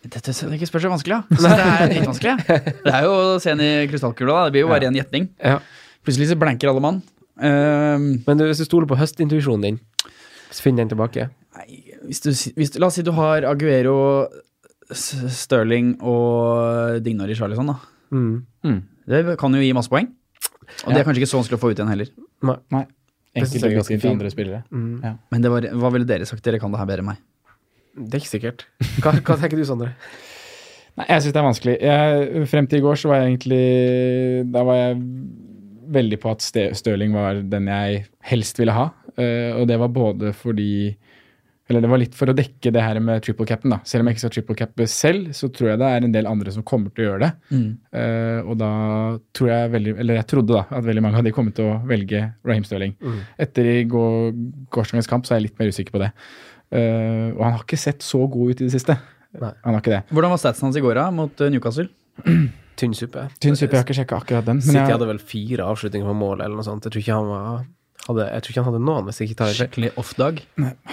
Speaker 5: Dette det er ikke spørs så vanskelig, da. Så det er dritvanskelig. ja. Det er jo å se inn i krystallkula, da. Det blir jo bare en gjetning.
Speaker 3: Ja.
Speaker 5: Plutselig så blanker alle mann. Ehm,
Speaker 3: Men du, hvis du stoler på høstintuisjonen din, så finn den tilbake.
Speaker 5: Nei, hvis du, si- hvis du, la oss si du har Aguero, S- Sterling og Dignar i Charlison, da.
Speaker 3: Mm.
Speaker 5: Det kan jo gi masse poeng. Og det er kanskje ikke så vanskelig å få ut igjen heller.
Speaker 4: Nei.
Speaker 3: Det synes
Speaker 4: Enkelt
Speaker 3: jeg er
Speaker 4: å
Speaker 3: ganske
Speaker 4: vise til
Speaker 3: fint.
Speaker 4: andre spillere.
Speaker 5: Men det var, hva ville dere sagt? Dere kan det her bedre enn meg.
Speaker 3: Det er ikke sikkert. Hva, hva tenker du, Sondre?
Speaker 4: Nei, jeg syns det er vanskelig. Jeg, frem til i går så var jeg egentlig Da var jeg veldig på at Ste- Stirling var den jeg helst ville ha. Eh, og det var både fordi Eller det var litt for å dekke det her med triple capen, da. Selv om jeg ikke skal triple cappe selv, så tror jeg det er en del andre som kommer til å gjøre det. Eh, og da tror jeg veldig Eller jeg trodde da at veldig mange av de kom til å velge Raheem Stirling. Etter i går, gårsdagens kamp så er jeg litt mer usikker på det. Eh, og han har ikke sett så god ut i det siste.
Speaker 3: Nei.
Speaker 4: Han har ikke det.
Speaker 5: Hvordan var statsen hans i går da, mot eh, Newcastle?
Speaker 3: Tynn suppe.
Speaker 4: Tynn suppe, jeg har ikke sjekka akkurat den.
Speaker 3: City
Speaker 4: Men jeg,
Speaker 3: hadde vel fire avslutninger på mål, eller noe sånt. Jeg tror ikke han var hadde, Jeg tror ikke han hadde noen, hvis jeg ikke tar helt feil.
Speaker 5: Skikkelig off-dag.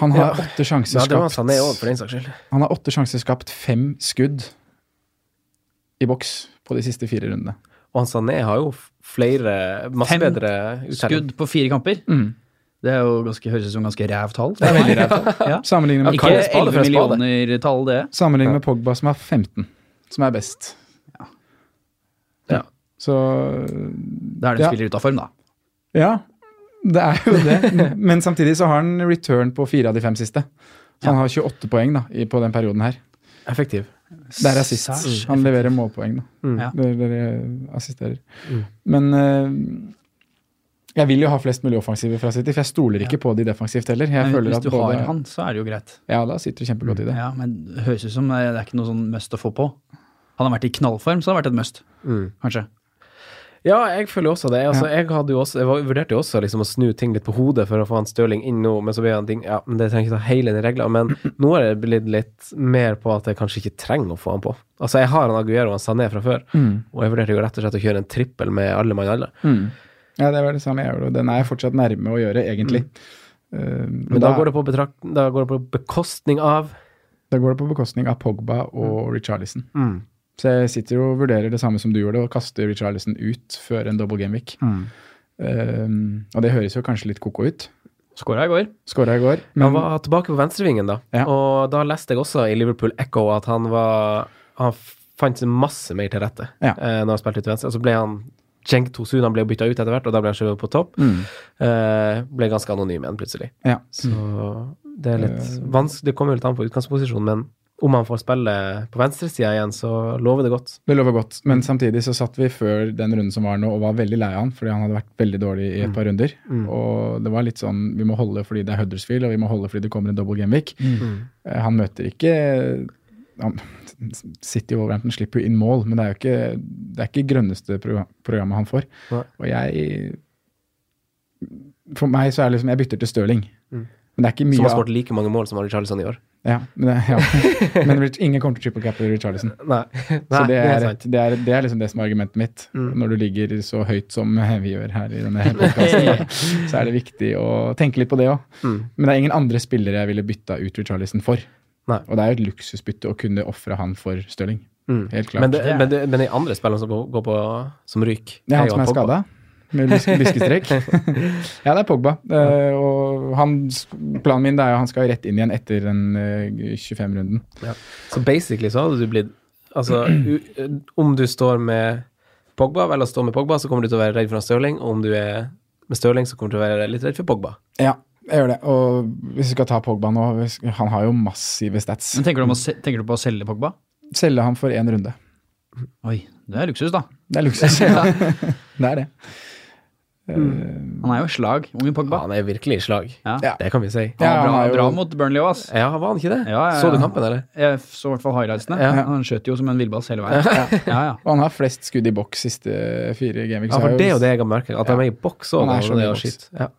Speaker 4: han har
Speaker 3: Ja.
Speaker 4: åtte sjanser
Speaker 3: Ja, det var sånn
Speaker 4: skapt.
Speaker 3: Sané òg, for den saks skyld.
Speaker 4: Han har åtte sjanser skapt, fem skudd i boks på de siste fire rundene.
Speaker 3: Og han Sané har jo f- flere masse
Speaker 5: Fem
Speaker 3: bedre uttelling.
Speaker 5: Skudd på fire kamper.
Speaker 4: Mm.
Speaker 5: Det er jo ganske, høres ut som ganske ræv tall.
Speaker 4: Det er veldig rævt.
Speaker 5: Ja.
Speaker 4: Sammenlignet med,
Speaker 5: Ikke
Speaker 3: Kall det spade for
Speaker 5: 11
Speaker 3: en spade.
Speaker 5: millioner tall, det.
Speaker 4: sammenlignet med Pogba, som har 15, som er best.
Speaker 3: Ja.
Speaker 4: Så
Speaker 5: Da er det en
Speaker 4: Ja.
Speaker 5: spiller ute av form, da.
Speaker 4: Ja, det er jo det. Men samtidig så har han return på fire av de fem siste. Så han har 28 poeng da, i- på den perioden her.
Speaker 3: Effektiv.
Speaker 4: Det er assist.
Speaker 5: Særs
Speaker 4: Han leverer målpoeng, da.
Speaker 3: Mm.
Speaker 5: Mm. Ja.
Speaker 4: Dere dere assisterer. Men eh, jeg vil jo ha flest mulig offensive fra City, for jeg stoler ikke på de defensivt heller. Jeg
Speaker 5: Men
Speaker 4: føler
Speaker 5: hvis
Speaker 4: at
Speaker 5: du
Speaker 4: både,
Speaker 5: har han, Mm. så er det jo greit.
Speaker 4: Ja, da sitter du kjempegodt i det.
Speaker 5: Ja, men det høres ut som det er ikke noe sånn must å få på. Han har vært i knallform, så det har vært et must,
Speaker 3: Mm.
Speaker 5: kanskje.
Speaker 3: Ja, jeg føler også det. Altså, jeg, hadde jo også, jeg var- vurderte jo også liksom, å snu ting litt på hodet for å få han Stirling inn nå, men så ble han ting Ja, men det trenger ikke ta hele den regla, men nå har jeg blitt litt mer på at jeg kanskje ikke trenger å få han på. Altså, jeg har han Aguero og han Sané fra før,
Speaker 4: Mm.
Speaker 3: og jeg vurderte jo rett og slett å kjøre en trippel med alle mann alle.
Speaker 4: Ja, det var det samme jeg gjorde. og Den er jeg fortsatt nærme å gjøre, egentlig. Eh,
Speaker 3: Men da, går det på betrakt, da går det på bekostning av
Speaker 4: da går det på bekostning av Pogba og Richarlison.
Speaker 3: mm.
Speaker 4: Så jeg sitter jo og vurderer det samme som du gjorde, og kaster Richarlison ut før en double game week. Eh, og det høres jo kanskje litt koko ut.
Speaker 5: Skåra i går.
Speaker 4: Skåra i går,
Speaker 3: Han
Speaker 4: men
Speaker 3: var tilbake på venstrevingen, da.
Speaker 4: Ja.
Speaker 3: Og da leste jeg også i Liverpool Echo at han var Han fant seg masse mer til rette
Speaker 4: Ja.
Speaker 3: eh, når han spilte ut til venstre. Og så ble han Cenk Tosun han ble bytta ut etter hvert, og da ble han skjøvet på topp.
Speaker 4: Mm.
Speaker 3: Eh, ble ganske anonym igjen, plutselig.
Speaker 4: ja.
Speaker 3: Så det er litt
Speaker 4: Mm.
Speaker 3: vanskelig Det kommer jo litt an på utgangsposisjon, men om han får spille på venstresida igjen, så lover det godt.
Speaker 4: Det lover godt, men samtidig så satt vi før den runden som var nå og var veldig lei av han, fordi han hadde vært veldig dårlig i
Speaker 3: Mm.
Speaker 4: et par runder. Og det var litt sånn vi må holde fordi det er Huddersfield, og vi må holde fordi det kommer en double game week.
Speaker 3: Mm.
Speaker 4: Eh, Han møter ikke han, City og Wolverhampton slipper jo inn mål, men det er jo ikke det er ikke grønneste progra- programmet han får.
Speaker 3: Nei.
Speaker 4: Og jeg For meg så er det liksom Jeg bytter til Stirling. Men det er ikke mye
Speaker 3: Mm. Som har
Speaker 4: av-
Speaker 3: skåret like mange mål som Charlison i år.
Speaker 4: ja, men, det, ja. men Rich- ingen kommer til triple cap i Charlison.
Speaker 3: Nei,
Speaker 4: Så det er,
Speaker 3: sant.
Speaker 4: et, det, er, det er liksom det som er argumentet mitt. Når du ligger så høyt som vi gjør her i denne podkasten, så er det viktig å tenke litt på det òg.
Speaker 3: Mm.
Speaker 4: Men det er ingen andre spillere jeg ville bytta ut Richarlison for.
Speaker 3: Nei.
Speaker 4: Og det er jo et luksusbytte å kunne ofre han for Stirling. Helt
Speaker 3: Mm.
Speaker 4: klart.
Speaker 3: Men, det, men, det, men de andre spillerne som går, går på som ryk
Speaker 4: det er han
Speaker 3: jo
Speaker 4: som er
Speaker 3: Pogba.
Speaker 4: skada. Med lyske, lyskestrekk. ja, det er Pogba. Eh, og han, planen min det er jo han skal rett inn igjen etter den eh, 25-runden.
Speaker 3: Så basically så hadde du blitt Altså, u, om du står med Pogba, vel å stå med Pogba, så kommer du til å være redd for han Stirling. Og om du er med Stirling, så kommer du til å være litt redd for Pogba.
Speaker 4: Ja, jeg gjør det. Og hvis vi skal ta Pogba nå hvis- Han har jo massive stats.
Speaker 5: Men tenker du, om å, se- tenker du på å selge Pogba?
Speaker 4: selge ham for én runde.
Speaker 5: Oi, det er luksus, da.
Speaker 4: Det er luksus. det er det.
Speaker 3: Mm.
Speaker 4: Eh,
Speaker 5: Han er jo i slag, unge Pogba.
Speaker 3: Han er virkelig i slag.
Speaker 5: Ja.
Speaker 4: Ja.
Speaker 3: Det kan vi si.
Speaker 5: Han var
Speaker 4: Ja,
Speaker 5: bra,
Speaker 4: han er jo-
Speaker 5: bra mot Burnley òg, ass.
Speaker 3: Ja, var han ikke det?
Speaker 5: Ja, ja, ja.
Speaker 3: Så du kampen, eller?
Speaker 5: Jeg så i hvert fall highlightsene.
Speaker 3: Ja.
Speaker 5: Han skjøt jo som en villbass hele veien. Ja, ja.
Speaker 4: Og han har flest skudd i boks siste fire
Speaker 3: Ja,
Speaker 4: gameweeks.
Speaker 3: for det er jo det jeg har merket. At de er i boks og
Speaker 4: Han er
Speaker 3: og
Speaker 4: så
Speaker 3: det
Speaker 4: mye i
Speaker 3: er sånn
Speaker 4: boks.
Speaker 3: shit. Ja.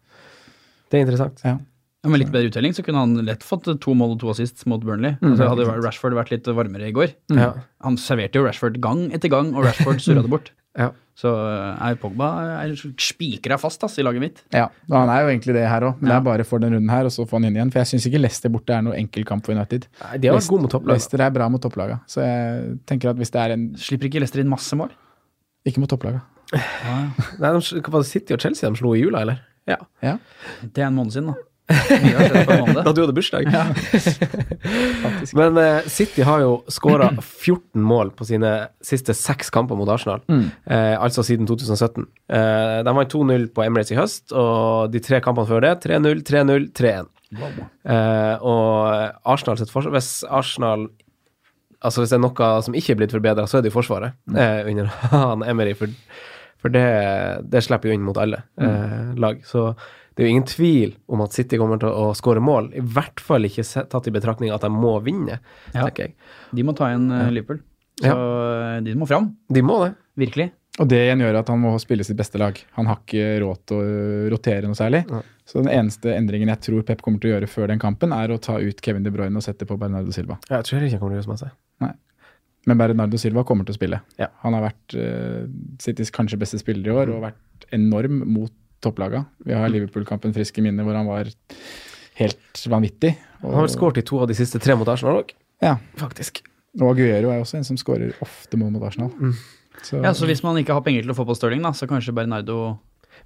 Speaker 3: Det er interessant.
Speaker 4: Ja.
Speaker 5: Ja, Med litt bedre uttelling så kunne han lett fått to mål og to assist mot Burnley. Altså, hadde jo Rashford vært litt varmere i går.
Speaker 3: Ja.
Speaker 5: Han serverte jo Rashford gang etter gang, og Rashford surra det bort.
Speaker 3: Ja.
Speaker 5: Så eh, er Pogba er spikra fast ass, i laget mitt.
Speaker 4: Ja, og han er jo egentlig det her òg, men det
Speaker 5: Ja.
Speaker 4: er bare for den runden her, og så få han inn igjen. For jeg syns ikke Leicester borte er noe enkel kamp for United.
Speaker 3: Nei, De har vært gode mot topplaget.
Speaker 4: Leicester er bra mot topplaga, så jeg tenker at hvis det er en
Speaker 5: Slipper ikke Leicester inn masse mål?
Speaker 4: Ikke mot topplaga.
Speaker 3: Nei, de, hva var det City og Chelsea de slo i jula, eller? Ja.
Speaker 4: Ja,
Speaker 5: Det er en måned siden, da. Mye har skjedd på en måned.
Speaker 3: Da du hadde bursdag. Men eh, City har jo skåra 14 mål på sine siste seks kamper mot Arsenal. Eh, altså siden 2017. Eh, de vant 2-0 på Emirates i høst, og de tre kampene før det 3-0, 3-0, 3-1. Eh, og Arsenal sitt forsvar Hvis Arsenal Altså hvis det er noe som ikke er blitt forbedra, så er det jo Forsvaret eh, under han Emery, for, for det, det slipper jo inn mot alle eh, lag. Så det er jo ingen tvil om at City kommer til å skåre mål, i hvert fall ikke se- tatt i betraktning at de må vinne,
Speaker 5: Ja.
Speaker 3: tenker jeg.
Speaker 5: De må ta igjen eh, Liverpool. Så eh, de må fram.
Speaker 3: De må det.
Speaker 5: Virkelig.
Speaker 4: Og det igjen gjør at han må spille sitt beste lag. Han har ikke råd til å rotere noe særlig. Så den eneste endringen jeg tror Pep kommer til å gjøre før den kampen, er å ta ut Kevin De Bruyne og sette på Bernardo Silva.
Speaker 3: Jeg tror ikke de kommer til å gjøre så masse.
Speaker 4: Men Bernardo Silva kommer til å spille.
Speaker 3: Ja.
Speaker 4: Han har vært eh, Citys kanskje beste spiller i år og vært enorm mot topplaga. Vi
Speaker 3: Mm.
Speaker 4: har Liverpool-kampen frisk i minne hvor han var helt vanvittig.
Speaker 3: Han har vel skåret i to av de siste tre mot Arsenal òg,
Speaker 4: Ja.
Speaker 3: faktisk.
Speaker 4: Og Aguero er også en som skårer ofte mål mot Arsenal.
Speaker 3: Mm.
Speaker 4: Så,
Speaker 5: Ja, Så hvis man ikke har penger til å få på Stirling, da, så kanskje Bernardo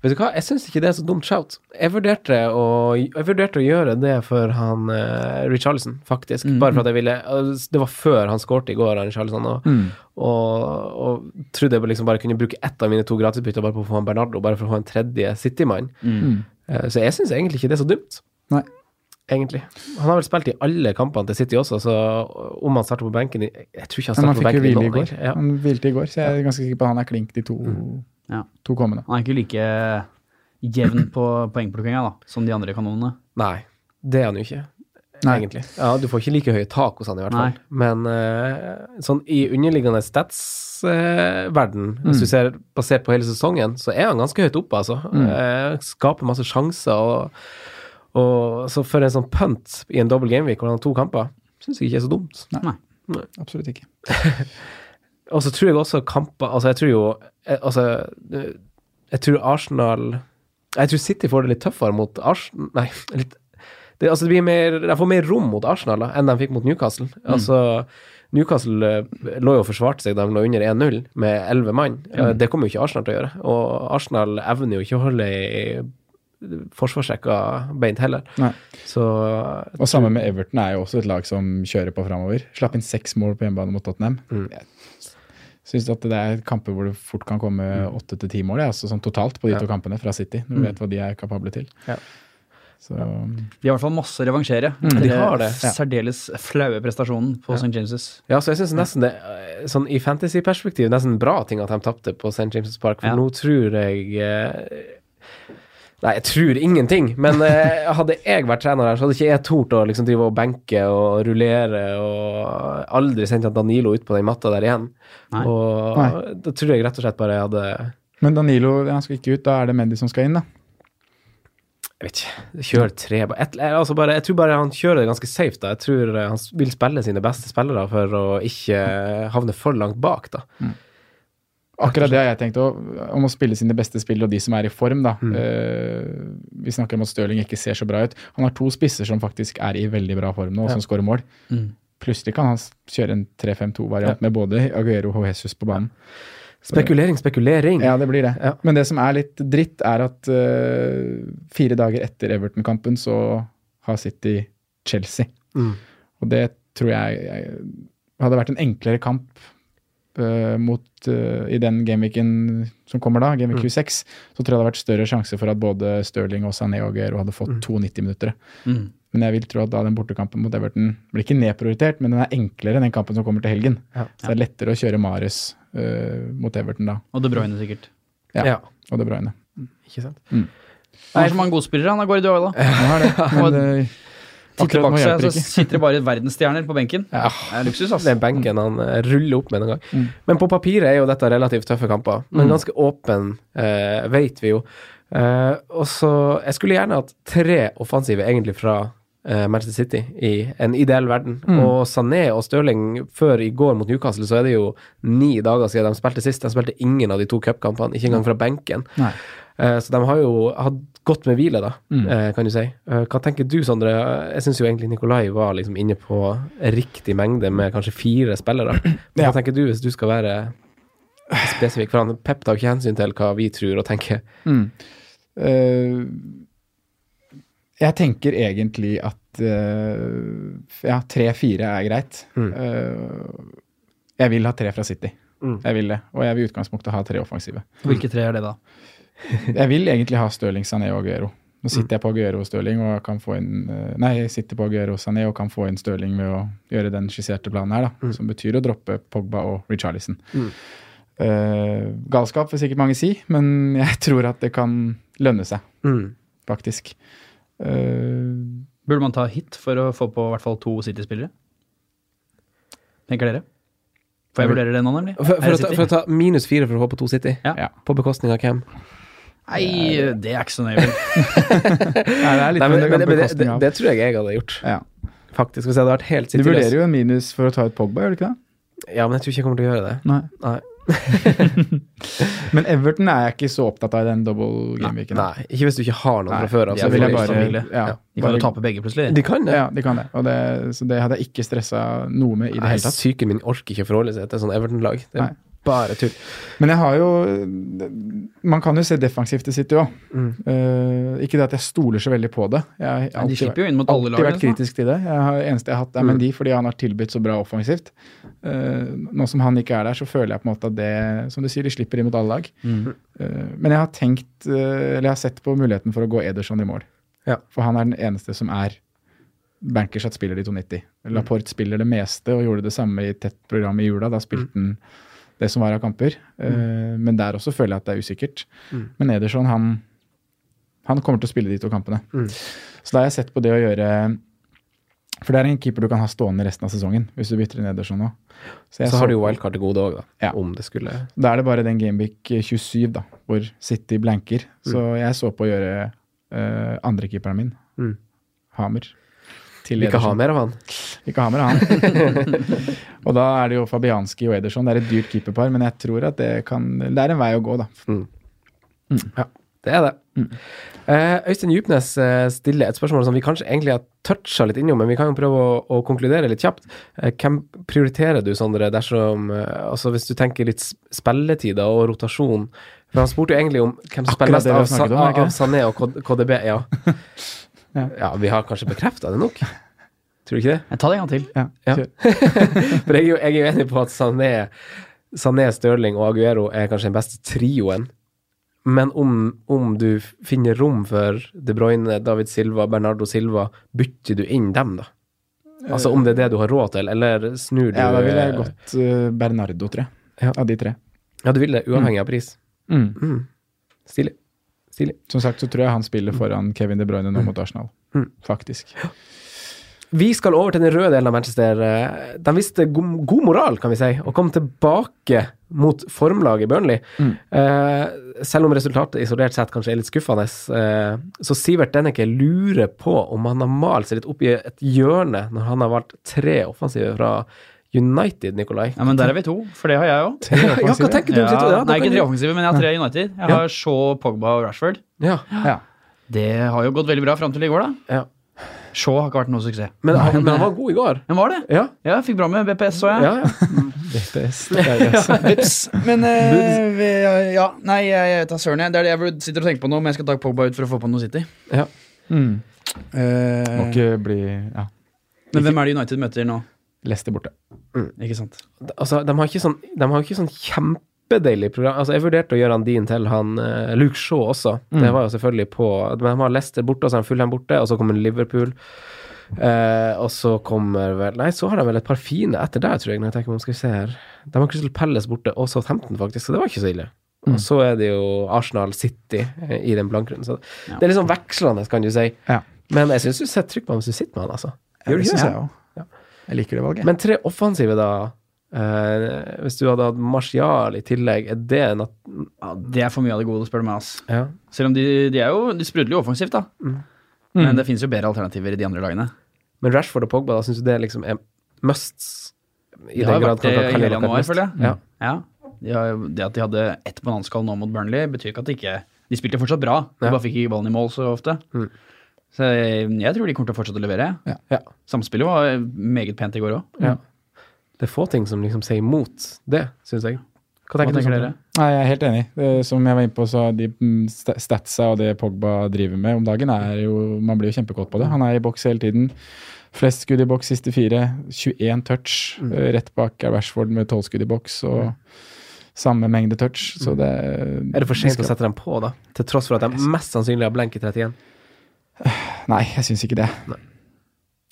Speaker 3: Vet du hva, jeg syns ikke det er så dumt shout. Jeg vurderte å, jeg vurderte å gjøre det for han eh, Richarlison, faktisk.
Speaker 5: Mm.
Speaker 3: Bare for at jeg ville altså, Det var før han skårte i går, han Richarlison, og,
Speaker 4: Mm.
Speaker 3: og, og trodde jeg liksom bare kunne bruke ett av mine to gratisbytter bare på å få han Bernardo, bare for å få en tredje City-mann.
Speaker 4: Mm.
Speaker 3: Eh, så jeg syns egentlig ikke det er så dumt.
Speaker 4: Nei.
Speaker 3: Egentlig. Han har vel spilt i alle kampene til City også, så om han starter på benken i Jeg tror ikke han
Speaker 4: Men han
Speaker 3: starter på
Speaker 4: fikk jo
Speaker 3: benken
Speaker 4: hvile i
Speaker 3: noen,
Speaker 4: går.
Speaker 3: egentlig. Ja. Mm.
Speaker 4: Han hvilte i går, så jeg er ganske sikker på at han er klink de to,
Speaker 5: Ja.
Speaker 4: to kommende.
Speaker 5: Han er ikke like jevn på poengplukkinga da, som de andre kanonene.
Speaker 3: Nei, det er han jo ikke.
Speaker 4: Nei.
Speaker 3: egentlig. Ja, du får ikke like høye tak hos han i hvert fall.
Speaker 5: Nei.
Speaker 3: Men eh, sånn i underliggende stats-verden, hvis du ser basert på hele sesongen, så er han ganske høyt oppe, altså. Eh, skaper masse sjanser og, og Så for en sånn punt i en dobbel gameweek hvor han har to kamper, syns jeg ikke er så dumt.
Speaker 4: Absolutt ikke.
Speaker 3: Og så tror jeg også kamper Altså, jeg tror jo eh, Altså, eh, jeg tror Arsenal Jeg tror City får det litt tøffere mot Arsenal Nei, litt det, altså det blir mer, De får mer rom mot Arsenal da, enn de fikk mot Newcastle. Altså, Newcastle eh, lå jo og forsvarte seg da de lå under 1-0 med 11 mann. Eh, Det kommer jo ikke Arsenal til å gjøre. Og Arsenal evner jo ikke å holde i forsvarsrekka beint heller.
Speaker 4: Nei.
Speaker 3: Så
Speaker 4: Og sammen med Everton er jo også et lag som kjører på framover. Slapp inn seks mål på hjemmebane mot Tottenham.
Speaker 3: Mm.
Speaker 4: Jeg syns at det er kamper hvor det fort kan komme
Speaker 3: Mm.
Speaker 4: åtte til ti mål, ja, altså sånn totalt på de to kampene fra City. Når du vet hva de er kapable til.
Speaker 3: Ja.
Speaker 4: Så
Speaker 5: De har i hvert fall masse å revansjere.
Speaker 4: Mm.
Speaker 5: etter
Speaker 3: de har det.
Speaker 5: f- Særdeles flaue prestasjonen på St. James'.
Speaker 3: Ja, så jeg synes nesten det eh, Sånn i fantasy-perspektiv, nesten bra ting at de tapte på St. James' Park, for
Speaker 5: Ja.
Speaker 3: nå tror jeg eh, Nei, jeg tror ingenting, men eh, hadde jeg vært trener her, så hadde ikke jeg tort å liksom drive og benke og rullere og aldri sendt han Danilo ut på den matta der igjen.
Speaker 5: Nei.
Speaker 3: Og
Speaker 4: Nei.
Speaker 3: da tror jeg rett og slett bare jeg hadde
Speaker 4: Men Danilo han skal ikke ut, da er det Mendy som skal inn, da.
Speaker 3: Jeg vet ikke Kjør tre ba- et, eller altså bare, Jeg tror bare han kjører det ganske safe, da. Jeg tror eh, han s- vil spille sine beste spillere for å ikke havne for langt bak, da.
Speaker 4: Akkurat det har jeg tenkt òg, om å spille sine beste spill og de som er i form, da.
Speaker 3: Mm.
Speaker 4: Eh, vi snakker om at Stirling ikke ser så bra ut. Han har to spisser som faktisk er i veldig bra form nå, og som skårer mål. Mm. Plutselig kan han s- kjøre en 3-5-2-variant med både Aguero og Jesus på banen.
Speaker 3: Spekulering, spekulering.
Speaker 4: Ja, det blir det.
Speaker 3: Ja.
Speaker 4: Men det som er litt dritt, er at eh, fire dager etter Everton-kampen så har City Chelsea.
Speaker 3: Mm.
Speaker 4: Og det tror jeg, jeg hadde vært en enklere kamp eh, mot, eh, i den gameweeken som kommer da, gameweek 26, så tror jeg det hadde vært større sjanse for at både Stirling og Sané og Aguero hadde fått to 90-minuttere.
Speaker 5: Mm.
Speaker 4: Men jeg vil tro at da den bortekampen mot Everton blir ikke nedprioritert, men den er enklere enn den kampen som kommer til helgen.
Speaker 3: Ja.
Speaker 4: Så det er lettere å kjøre Marius eh, mot Everton da,
Speaker 5: Og De Bruyne, sikkert.
Speaker 4: Ja.
Speaker 3: Ja.
Speaker 4: og det Bruyne.
Speaker 3: Ikke sant?
Speaker 5: Han har så mange godspillere, han av Guardiola.
Speaker 4: Han har det,
Speaker 5: Og-
Speaker 4: men eh,
Speaker 5: Titter
Speaker 4: akkurat
Speaker 5: bak
Speaker 4: nå
Speaker 5: seg,
Speaker 4: hjelper
Speaker 5: så
Speaker 4: det ikke.
Speaker 5: sitter det bare verdensstjerner på benken.
Speaker 3: Ja.
Speaker 5: Det er luksus, ass.
Speaker 3: Det er benken han eh, ruller opp med en gang.
Speaker 4: Mm.
Speaker 3: Men på papiret er jo dette relativt tøffe kamper. Men ganske åpen, eh, vet vi jo. Eh, og så Jeg skulle gjerne hatt tre offensive egentlig fra eh, Manchester City i en ideell verden.
Speaker 4: Mm.
Speaker 3: Og Sané og Stirling før i går mot Newcastle, så er det jo ni dager siden de spilte sist. De spilte ingen av de to cupkampene, ikke
Speaker 4: Mm.
Speaker 3: engang fra benken.
Speaker 4: Nei.
Speaker 3: Eh, Så de har jo hatt godt med hvile, da,
Speaker 4: Mm.
Speaker 3: eh, kan du si. Eh, Hva tenker du, Sondre? Jeg syns jo egentlig Nikolai var liksom inne på riktig mengde med kanskje fire spillere. Men
Speaker 4: Ja.
Speaker 3: hva tenker du, hvis du skal være spesifikk? For han Pep tar jo ikke hensyn til hva vi tror og tenker.
Speaker 4: Mm. Eh, jeg tenker egentlig at eh, ja, tre-fire er greit.
Speaker 3: Mm.
Speaker 4: Eh, jeg vil ha tre fra City.
Speaker 3: Mm.
Speaker 4: Jeg vil det. Og jeg vil i utgangspunktet ha tre offensive.
Speaker 5: Hvilke tre er det, da?
Speaker 4: Jeg vil egentlig ha Stirling, Sané og Aguero. Nå sitter jeg på Aguero og Stirling og kan få inn eh, Nei, jeg sitter på Aguero og Sané og kan få inn Stirling ved å gjøre den skisserte planen her, da. Som betyr å droppe Pogba og Richarlison.
Speaker 3: Mm.
Speaker 4: Eh, galskap vil sikkert mange si, men jeg tror at det kan lønne seg faktisk. Eh,
Speaker 5: Burde man ta hit for å få på i hvert fall to City-spillere? Tenker dere? For jeg vurderer det nå, nemlig.
Speaker 3: For,
Speaker 5: Er
Speaker 3: for, å
Speaker 5: det
Speaker 3: ta,
Speaker 5: City?
Speaker 3: for å ta minus fire for å håpe to City.
Speaker 5: Ja.
Speaker 4: Ja.
Speaker 3: På bekostning av hvem?
Speaker 5: Nei, det er ikke så nøye. vel.
Speaker 4: ja, det er litt
Speaker 3: Nei, men, men,
Speaker 4: under
Speaker 3: men det, det,
Speaker 4: bekostning av.
Speaker 3: det tror jeg jeg hadde gjort,
Speaker 4: ja.
Speaker 3: faktisk. Hvis jeg hadde vært helt
Speaker 4: Du
Speaker 3: City-løs.
Speaker 4: vurderer jo en minus for å ta ut Pogba, gjør du ikke det?
Speaker 3: Ja, men jeg tror ikke jeg kommer til å gjøre det.
Speaker 4: Nei.
Speaker 3: Nei.
Speaker 4: Men Everton er jeg ikke så opptatt av i den double game-weeken.
Speaker 3: Nei, ikke hvis du ikke har noen
Speaker 4: Nei,
Speaker 3: fra før av.
Speaker 5: det
Speaker 4: Så
Speaker 3: så
Speaker 4: vil
Speaker 3: får
Speaker 4: jeg
Speaker 3: du
Speaker 4: bare
Speaker 3: stabile.
Speaker 4: ja,
Speaker 5: De kan
Speaker 4: bare-
Speaker 5: jo tape begge plutselig.
Speaker 3: De kan det.
Speaker 4: Ja, de kan det. Og det. Så det hadde jeg ikke stressa noe med i det
Speaker 3: Nei,
Speaker 4: hele tatt.
Speaker 3: Psyken min orker ikke å forholde seg til sånn Everton-lag. Det er
Speaker 4: Nei.
Speaker 3: bare tull.
Speaker 4: Men jeg har jo Man kan jo se defensivt til City òg. ikke det at jeg stoler så veldig på det. Jeg har
Speaker 5: Nei, Mm. de
Speaker 4: alltid,
Speaker 5: slipper jo inn mot alle
Speaker 4: alltid vært
Speaker 5: lagene. Mm. liksom.
Speaker 4: kritisk til det. Jeg har, eneste jeg har hatt er Mendy, fordi han har tilbudt så bra offensivt. Eh, nå som han ikke er der, så føler jeg på en måte at det Som du sier, de slipper inn mot alle lag.
Speaker 5: Mm.
Speaker 4: Eh, men jeg har tenkt, eh, eller jeg har sett på muligheten for å gå Ederson i mål.
Speaker 3: Ja.
Speaker 4: For han er den eneste som er Bankershot spiller de 290.
Speaker 3: Mm.
Speaker 4: Laporte spiller det meste og gjorde det samme i tett program i jula. Da spilte
Speaker 3: Mm.
Speaker 4: han det som var av kamper. Eh, Men der også føler jeg at det er usikkert.
Speaker 3: Mm.
Speaker 4: Men Ederson, han, han kommer til å spille de to kampene.
Speaker 3: Mm.
Speaker 4: Så da har jeg sett på det å gjøre For det er en keeper du kan ha stående resten av sesongen hvis du bytter inn Ederson nå. Så jeg
Speaker 3: Så har
Speaker 4: så-
Speaker 3: du jo wildcard til gode òg, da.
Speaker 4: Ja.
Speaker 3: Om det skulle
Speaker 4: da er det bare den Gameweek 27, da, hvor City blanker. Så jeg så på å gjøre eh, andrekeeperen min,
Speaker 3: Mm.
Speaker 4: Hamer, til
Speaker 3: Vi kan ha
Speaker 4: Ederson.
Speaker 3: mer av han.
Speaker 4: Ikke Hamer, han. og da er det jo Fabianski og Ederson. Det er et dyrt keeperpar, men jeg tror at det kan Det er en vei å gå, da. Mm.
Speaker 3: Det er det. Eh, Øystein Djupnes eh, stiller et spørsmål som vi kanskje egentlig har toucha litt innom, men vi kan jo prøve å, å konkludere litt kjapt. Eh, hvem prioriterer du, Sondre, dersom eh, Altså hvis du tenker litt s- spilletider og rotasjon? For han spurte jo egentlig om hvem som
Speaker 4: Akkurat
Speaker 3: spiller mest
Speaker 4: det vi
Speaker 3: av,
Speaker 4: snakket
Speaker 3: Sa-
Speaker 4: om, er ikke
Speaker 3: av
Speaker 4: det?
Speaker 3: Sané og K- KDB. Ja.
Speaker 4: Ja.
Speaker 3: ja, vi har kanskje bekrefta det nok? Tror du ikke det?
Speaker 5: Jeg tar det en gang til.
Speaker 4: Ja,
Speaker 3: Ja.
Speaker 4: kjør.
Speaker 3: For jeg er jo jeg er jo enig på at Sané, Sané Stirling og Aguero er kanskje den beste trioen. Men om, om du finner rom for De Bruyne, David Silva, Bernardo Silva, bytter du inn dem, da? Altså om det er det du har råd til, eller snur du
Speaker 4: ja da ville
Speaker 3: eh,
Speaker 4: jeg gått eh, Bernardo, tror jeg.
Speaker 3: Ja.
Speaker 4: Av de tre.
Speaker 3: Ja, du vil det, uavhengig av pris.
Speaker 4: Mm.
Speaker 3: Mm. Stilig. Stilig.
Speaker 4: Som sagt så tror jeg han spiller foran Kevin De
Speaker 3: Mm.
Speaker 4: Bruyne nå mot Arsenal. Faktisk.
Speaker 3: Vi skal over til den røde delen av Manchester. Eh, De viste god, god moral, kan vi si, og kom tilbake mot formlaget Burnley.
Speaker 5: Mm.
Speaker 3: Eh, selv om resultatet isolert sett kanskje er litt skuffende, eh, så Sivert Denneke lurer på om han har malt seg litt opp i et hjørne når han har valgt tre offensive fra United, Nikolai.
Speaker 5: Ja, Men der er vi to, for det har jeg òg.
Speaker 4: Tre
Speaker 3: Ja, hva
Speaker 4: offensive.
Speaker 3: tenker du om sitt-
Speaker 5: Ja,
Speaker 3: da
Speaker 5: nei,
Speaker 3: kan
Speaker 5: ikke
Speaker 3: du-
Speaker 5: tre offensive, men jeg har tre United. Jeg har Shaw, Pogba og Rashford.
Speaker 3: Ja,
Speaker 4: Ja.
Speaker 5: Det har jo gått veldig bra fram til i går, da.
Speaker 3: ja.
Speaker 5: Shaw har ikke vært noe suksess.
Speaker 3: Men, han, men han var god i går.
Speaker 5: Men var det?
Speaker 3: Ja,
Speaker 5: Ja, jeg fikk bra med BPS, så jeg.
Speaker 3: ja, ja.
Speaker 4: BTS. Det er det, altså.
Speaker 5: Vips. Men eh, vi- ja, nei, jeg, jeg vet da søren. jeg. Det er det jeg burde- sitter og tenker på nå, om jeg skal ta Pogba ut for å få på noe City.
Speaker 3: ja.
Speaker 4: Mm.
Speaker 5: Eh,
Speaker 4: Må ikke bli ja,
Speaker 5: men hvem er det United møter nå?
Speaker 4: Leicester borte.
Speaker 5: Ikke sant?
Speaker 3: Altså, de har ikke sånn, de har ikke sånn kjempedeilig program. Altså, jeg vurderte å gjøre han din til han eh, Luke Shaw også.
Speaker 2: Mm.
Speaker 3: Det var jo selvfølgelig på Men de har Leicester borte, og så har de Fulham borte, og så kommer Liverpool. Eh, og så kommer vel Nei, så har de vel et par fine etter der, tror jeg. Når jeg tenker meg om, skal vi se her. De har Crystal Palace borte, og Southampton, faktisk, så det var ikke så ille.
Speaker 2: Mm.
Speaker 3: Og så er det jo Arsenal City eh, i den blankrunden. Så det er liksom vekslende, kan du si.
Speaker 2: Ja.
Speaker 3: Men jeg syns du setter trykk på ham hvis du sitter med han, altså.
Speaker 2: Ja, det
Speaker 3: ikke
Speaker 2: syns
Speaker 3: det?
Speaker 2: jeg òg. Jeg liker det valget.
Speaker 3: Men tre offensive, da. eh, hvis du hadde hatt Martial i tillegg, er det en at...
Speaker 5: Ja, det er for mye av det gode, spør du meg. ass.
Speaker 3: Ja.
Speaker 5: Selv om de, de er jo De sprudler jo offensivt, da.
Speaker 4: Mm.
Speaker 5: Men det finnes jo bedre alternativer i de andre lagene.
Speaker 3: Men Rashford og Pogba, da syns du det liksom er musts? I
Speaker 5: Det
Speaker 3: den
Speaker 5: har jo
Speaker 3: grad
Speaker 5: vært det
Speaker 3: kanskje at
Speaker 5: i
Speaker 3: Khalil
Speaker 5: hele
Speaker 3: har vært
Speaker 5: januar,
Speaker 3: must.
Speaker 5: føler jeg.
Speaker 3: Ja.
Speaker 5: Ja. De har, jo- det at de hadde ett bananskall nå mot Burnley, betyr ikke at de ikke De spilte fortsatt bra, de
Speaker 3: Ja.
Speaker 5: bare fikk ikke ballen i mål så ofte.
Speaker 3: Mm.
Speaker 5: Så jeg, jeg tror de kommer til å fortsette å levere.
Speaker 2: Ja.
Speaker 3: Ja.
Speaker 5: Samspillet var meget pent i går òg.
Speaker 3: Det er få ting som liksom sier imot det, syns jeg. Hva tenker, du, sånn? Sondre?
Speaker 4: Nei, jeg er helt enig. Det, som jeg var inne på, så de mm, sta- statsa og det Pogba driver med om dagen, er jo Man blir jo kjempekåt på det. Han er i boks hele tiden. Flest skudd i boks siste fire. 21 touch.
Speaker 3: Mm.
Speaker 4: Eh, Rett bak er Rashford med 12 skudd i boks og samme mengde touch. Så det
Speaker 3: Mm. Er det for sent å sette dem på, da? Til tross for at de mest sannsynlig har blenk i 31?
Speaker 4: Nei, jeg syns ikke det.
Speaker 3: Nei.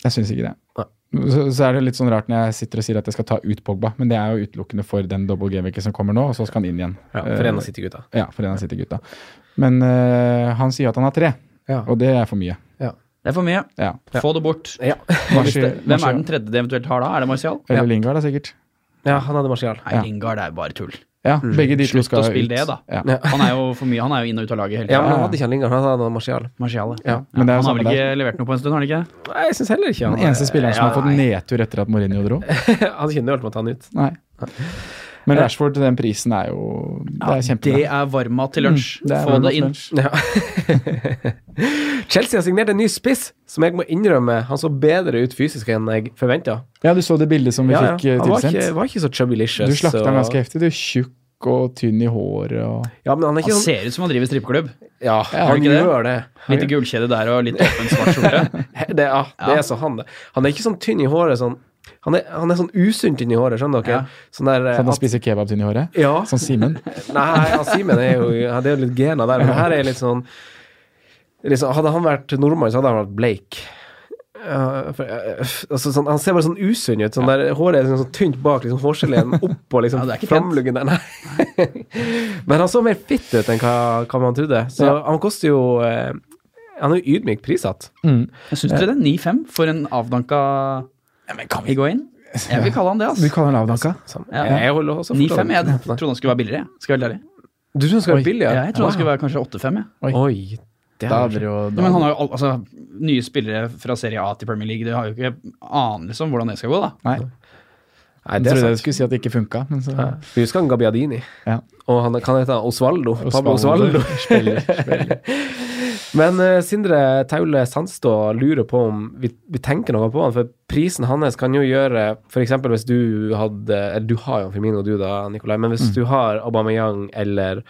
Speaker 4: Jeg syns ikke det.
Speaker 3: Nei.
Speaker 4: Så, så er det litt sånn rart når jeg sitter og sier at jeg skal ta ut Pogba, men det er jo utelukkende for den double game-veken som kommer nå, og så skal han inn igjen. Eh,
Speaker 3: Ja, for en av City-gutta.
Speaker 4: Ja, for den sitter gutta. Men eh, han sier at han har tre,
Speaker 3: Ja.
Speaker 4: og det er for mye.
Speaker 5: Det er for mye.
Speaker 4: Ja.
Speaker 5: Få det bort.
Speaker 3: Ja.
Speaker 4: Martial-
Speaker 5: Hvem er
Speaker 4: Martial-
Speaker 5: den tredje de eventuelt har da? Er det Martial?
Speaker 4: Eller Lingard, da, sikkert.
Speaker 3: ja, han hadde Martial.
Speaker 5: Nei,
Speaker 4: Ja.
Speaker 5: Lingard er jo bare tull.
Speaker 4: Ja, begge de to
Speaker 5: Mm. Slutt
Speaker 4: skal
Speaker 5: å
Speaker 4: ut.
Speaker 5: spille det, da.
Speaker 4: Ja.
Speaker 3: Ja.
Speaker 5: Han er jo for mye, han er jo inn og ut av laget hele
Speaker 3: Ja,
Speaker 5: tiden.
Speaker 3: men han hadde ikke han Lingard, han hadde han Martial.
Speaker 5: Martial,
Speaker 3: Ja,
Speaker 4: men det er jo
Speaker 5: han har
Speaker 4: samme
Speaker 5: vel ikke levert noe på en stund, har han ikke?
Speaker 3: Nei, jeg syns heller ikke han
Speaker 4: Den eneste spilleren som
Speaker 3: Ja,
Speaker 4: har fått
Speaker 3: nei.
Speaker 4: nedtur etter at Mourinho dro.
Speaker 3: Hadde ikke nølt med å ta han ut.
Speaker 4: Nei. Men Rashford til den prisen er jo Det er
Speaker 5: det
Speaker 4: kjempebra. Mm,
Speaker 5: er varmmat til lunsj.
Speaker 4: Det er
Speaker 5: Få det
Speaker 4: Bournemouth
Speaker 5: inn.
Speaker 4: Lunch.
Speaker 3: Ja. Chelsea har signert en ny spiss, som jeg må innrømme han så bedre ut fysisk enn jeg forventa.
Speaker 4: Ja, du så det bildet som vi
Speaker 3: Ja, ja.
Speaker 4: fikk eh,
Speaker 3: Han var ikke,
Speaker 4: tilsendt.
Speaker 3: var ikke så chubbylicious.
Speaker 4: Du slakta
Speaker 3: så-
Speaker 4: han ganske heftig. Du er tjukk og tynn i håret og
Speaker 3: Ja, men han er ikke
Speaker 5: Han
Speaker 3: sånn
Speaker 5: ser ut som han driver strippeklubb.
Speaker 3: Ja,
Speaker 5: har
Speaker 3: han
Speaker 5: ikke det?
Speaker 3: gjør det.
Speaker 5: Litt gullkjede der og litt åpen svart skjorte.
Speaker 3: He- Det, ja, det
Speaker 5: Ja.
Speaker 3: er så han, det. Han er ikke sånn tynn i håret, sånn Han er, han er sånn usunn tynn i håret, skjønner dere?
Speaker 5: Ja.
Speaker 3: Sånn der eh,
Speaker 4: Sånn at han
Speaker 3: at,
Speaker 4: spiser kebab tynn i håret?
Speaker 3: Ja.
Speaker 4: Sånn Simen?
Speaker 3: Nei, han Simen er jo ja, Det er jo litt gener der, men her er litt sånn liksom, Hadde han vært nordmann, så hadde han vært bleik. Ja, for, eh, f- altså, sånn, han ser bare sånn usunn ut. Sånn der, håret er liksom sånn tynt bak, liksom, hårgeleen oppå liksom,
Speaker 5: Ja, det er ikke pent.
Speaker 3: framluggen der. Nei. Men han så mer fitt ut enn hva, hva man trodde. Så han koster jo eh, Han er jo ydmykt prissatt.
Speaker 5: Jeg syns dere det er 9-5 for en avdanka Higuain? Jeg vil kalle han det,
Speaker 2: Du
Speaker 5: altså.
Speaker 2: kaller han avdanka?
Speaker 3: Sånn.
Speaker 5: Ja.
Speaker 3: Jeg holder også fortsatt-
Speaker 5: 9-5, jeg trodde han skulle være billigere. jeg. Skal jeg være ærlig.
Speaker 3: Du tror han skal være billig? ja?
Speaker 5: Jeg trodde han skulle være kanskje 8-5. jeg.
Speaker 3: Oi. det
Speaker 4: Da
Speaker 3: er
Speaker 4: hadde det jo
Speaker 5: Ja, men han har jo al- altså, nye spillere fra Serie A til Premier League. Du har jo ikke anelse om hvordan det skal gå, da.
Speaker 4: Nei.
Speaker 3: Nei,
Speaker 4: Jeg
Speaker 3: det er
Speaker 4: trodde
Speaker 3: sant.
Speaker 4: jeg skulle si at det ikke funka, men så
Speaker 3: Vi husker han Gabbiadini.
Speaker 4: Ja.
Speaker 3: Og han kan hete Osvaldo. Pablo Osvaldo.
Speaker 4: Spiller, spiller.
Speaker 3: Men eh, Sindre Taule Sandstå lurer på om vi, vi tenker noe på han, for prisen hans kan jo gjøre F.eks. hvis du hadde Eller du har jo Firmino, du da, Nikolai, men hvis du har Aubameyang eller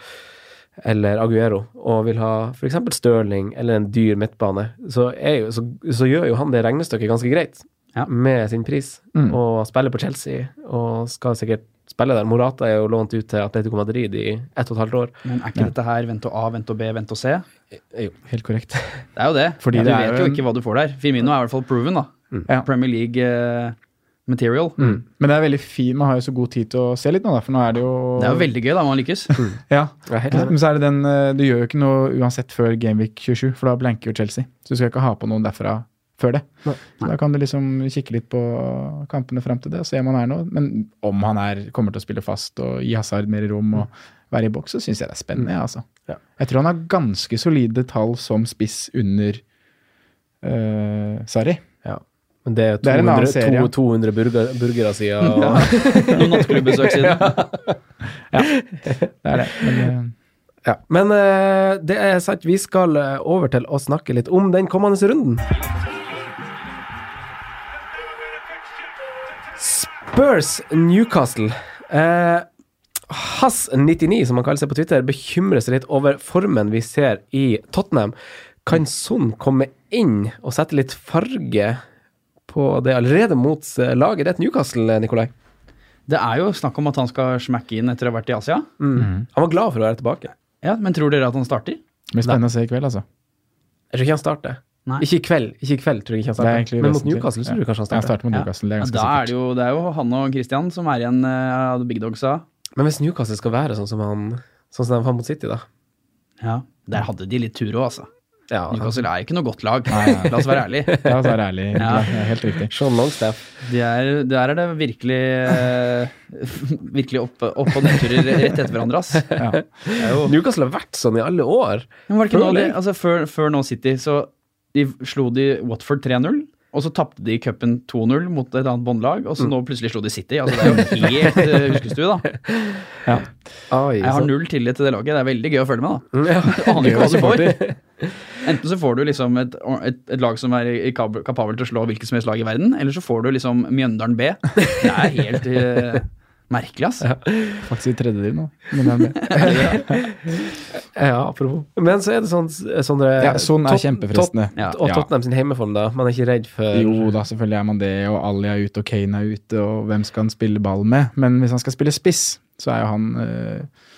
Speaker 3: eller Aguero, og vil ha f.eks. Stirling eller en dyr midtbane, så, er jo, så, så gjør jo han det regnestykket ganske greit
Speaker 5: Ja.
Speaker 3: med sin pris, og spiller på Chelsea, og skal sikkert spille der. Morata er jo lånt ut til Atletico Madrid i ett og et halvt år.
Speaker 5: Men er ikke dette her vent og A, vent og B, vent og C?
Speaker 4: Helt korrekt.
Speaker 5: Det er jo det.
Speaker 4: Fordi
Speaker 5: du
Speaker 4: det er jo
Speaker 5: vet jo
Speaker 4: en- Mm.
Speaker 5: ikke hva du får der. Firmino er i hvert fall proven, da.
Speaker 4: Ja.
Speaker 5: Premier League eh, material.
Speaker 4: Men det er veldig fint, man har jo så god tid til å se litt nå, da, for nå er det jo
Speaker 5: Det er jo veldig gøy da, om han lykkes.
Speaker 4: Ja.
Speaker 3: Jeg er helt enig.
Speaker 4: Men så er det den eh, Du gjør jo ikke noe uansett før Gameweek 27, for da blanker jo Chelsea. Så du skal ikke ha på noen derfra før det. Så da kan du liksom kikke litt på kampene fram til det og se om han er noe. Men om han er, kommer til å spille fast og gi Hazard mer rom og være i boks, så syns jeg det er spennende, jeg, altså.
Speaker 3: Ja.
Speaker 4: Jeg tror han har ganske solide tall som spiss under uh, Sarri.
Speaker 3: Ja. Men det er
Speaker 4: er en annen
Speaker 3: 200,
Speaker 4: serie, ja.
Speaker 3: 200, 200 burger, burgere siden. Og,
Speaker 5: Noen nattklubbesøk siden.
Speaker 4: Det er det. Men, eh,
Speaker 3: ja. Men eh, det er sant, vi skal eh, over til å snakke litt om den kommende runden. Spurs Newcastle. Eh, Hass99, som han kaller seg på Twitter, bekymrer seg litt over formen vi ser i Tottenham. Kan Son komme inn og sette litt farge på det allerede mot eh, laget? Det er et Newcastle, Nikolai.
Speaker 5: Det er jo snakk om at han skal smekke inn etter å ha vært i Asia.
Speaker 3: Mm. Han var glad for å være tilbake.
Speaker 5: Ja, Men tror dere at han starter?
Speaker 4: det blir spennende å se i kveld, altså.
Speaker 3: Jeg tror ikke han starter.
Speaker 5: Nei.
Speaker 3: Ikke i kveld, ikke i kveld tror jeg ikke han
Speaker 4: Det er
Speaker 3: starter.
Speaker 4: egentlig
Speaker 3: Men mot
Speaker 4: vesentlig.
Speaker 3: Newcastle så tror
Speaker 4: Ja.
Speaker 3: du kanskje han
Speaker 4: Jeg
Speaker 3: starter.
Speaker 4: starter mot Newcastle, det er
Speaker 5: Ja,
Speaker 4: ganske
Speaker 5: da er
Speaker 4: sikkert.
Speaker 5: det, jo, det er jo han og Christian som er igjen eh, av The Big Dogs. da.
Speaker 3: Men hvis Newcastle skal være sånn som han Sånn som de fant mot City, da.
Speaker 5: Ja. Der hadde de litt tur òg, altså.
Speaker 3: Ja,
Speaker 5: Newcastle er ikke noe godt lag,
Speaker 4: Nei.
Speaker 5: la oss være ærlige.
Speaker 4: La oss være ærlige.
Speaker 5: Ja.
Speaker 4: Det er Helt riktig.
Speaker 3: Sean Longstaff.
Speaker 5: De er, der er det virkelig eh, Virkelig opp, opp- og nedturer rett etter hverandre, ass.
Speaker 4: Ja.
Speaker 5: Det er jo
Speaker 3: Newcastle har vært sånn i alle år.
Speaker 5: Men var det ikke nå de,
Speaker 3: Føler jeg.
Speaker 5: altså før, før nå City, så de slo de Watford 3-0, og så tapte de cupen 2-0 mot et annet båndlag, og så nå plutselig slo de City. Altså det er jo helt eh, huskestue, da.
Speaker 3: Oi,
Speaker 5: Jeg har
Speaker 3: sånn.
Speaker 5: null tillit til det laget. Det er veldig gøy å følge med, da.
Speaker 3: Ja.
Speaker 5: Du aner ikke hva du får. Enten så får du liksom et, et, et lag som er i- i kab- kapabel til å slå hvilket som helst lag i verden, eller så får du liksom Mjøndalen B. Det er helt eh, merkelig, ass.
Speaker 4: Faktisk i tredje div nå. Men det er det.
Speaker 3: ja, apropos. Men så er det sånn Sondre
Speaker 4: Ja, sånn er
Speaker 3: Tot-
Speaker 4: kjempefristende.
Speaker 5: Ja.
Speaker 3: Tot- Og
Speaker 4: Ja.
Speaker 3: Tottenham sin hjemmeform, da. Man er ikke redd for
Speaker 4: Jo da, selvfølgelig er man det, og Ali er ute, og Kane er ute, og hvem skal han spille ball med? Men hvis han skal spille spiss, så er jo han eh,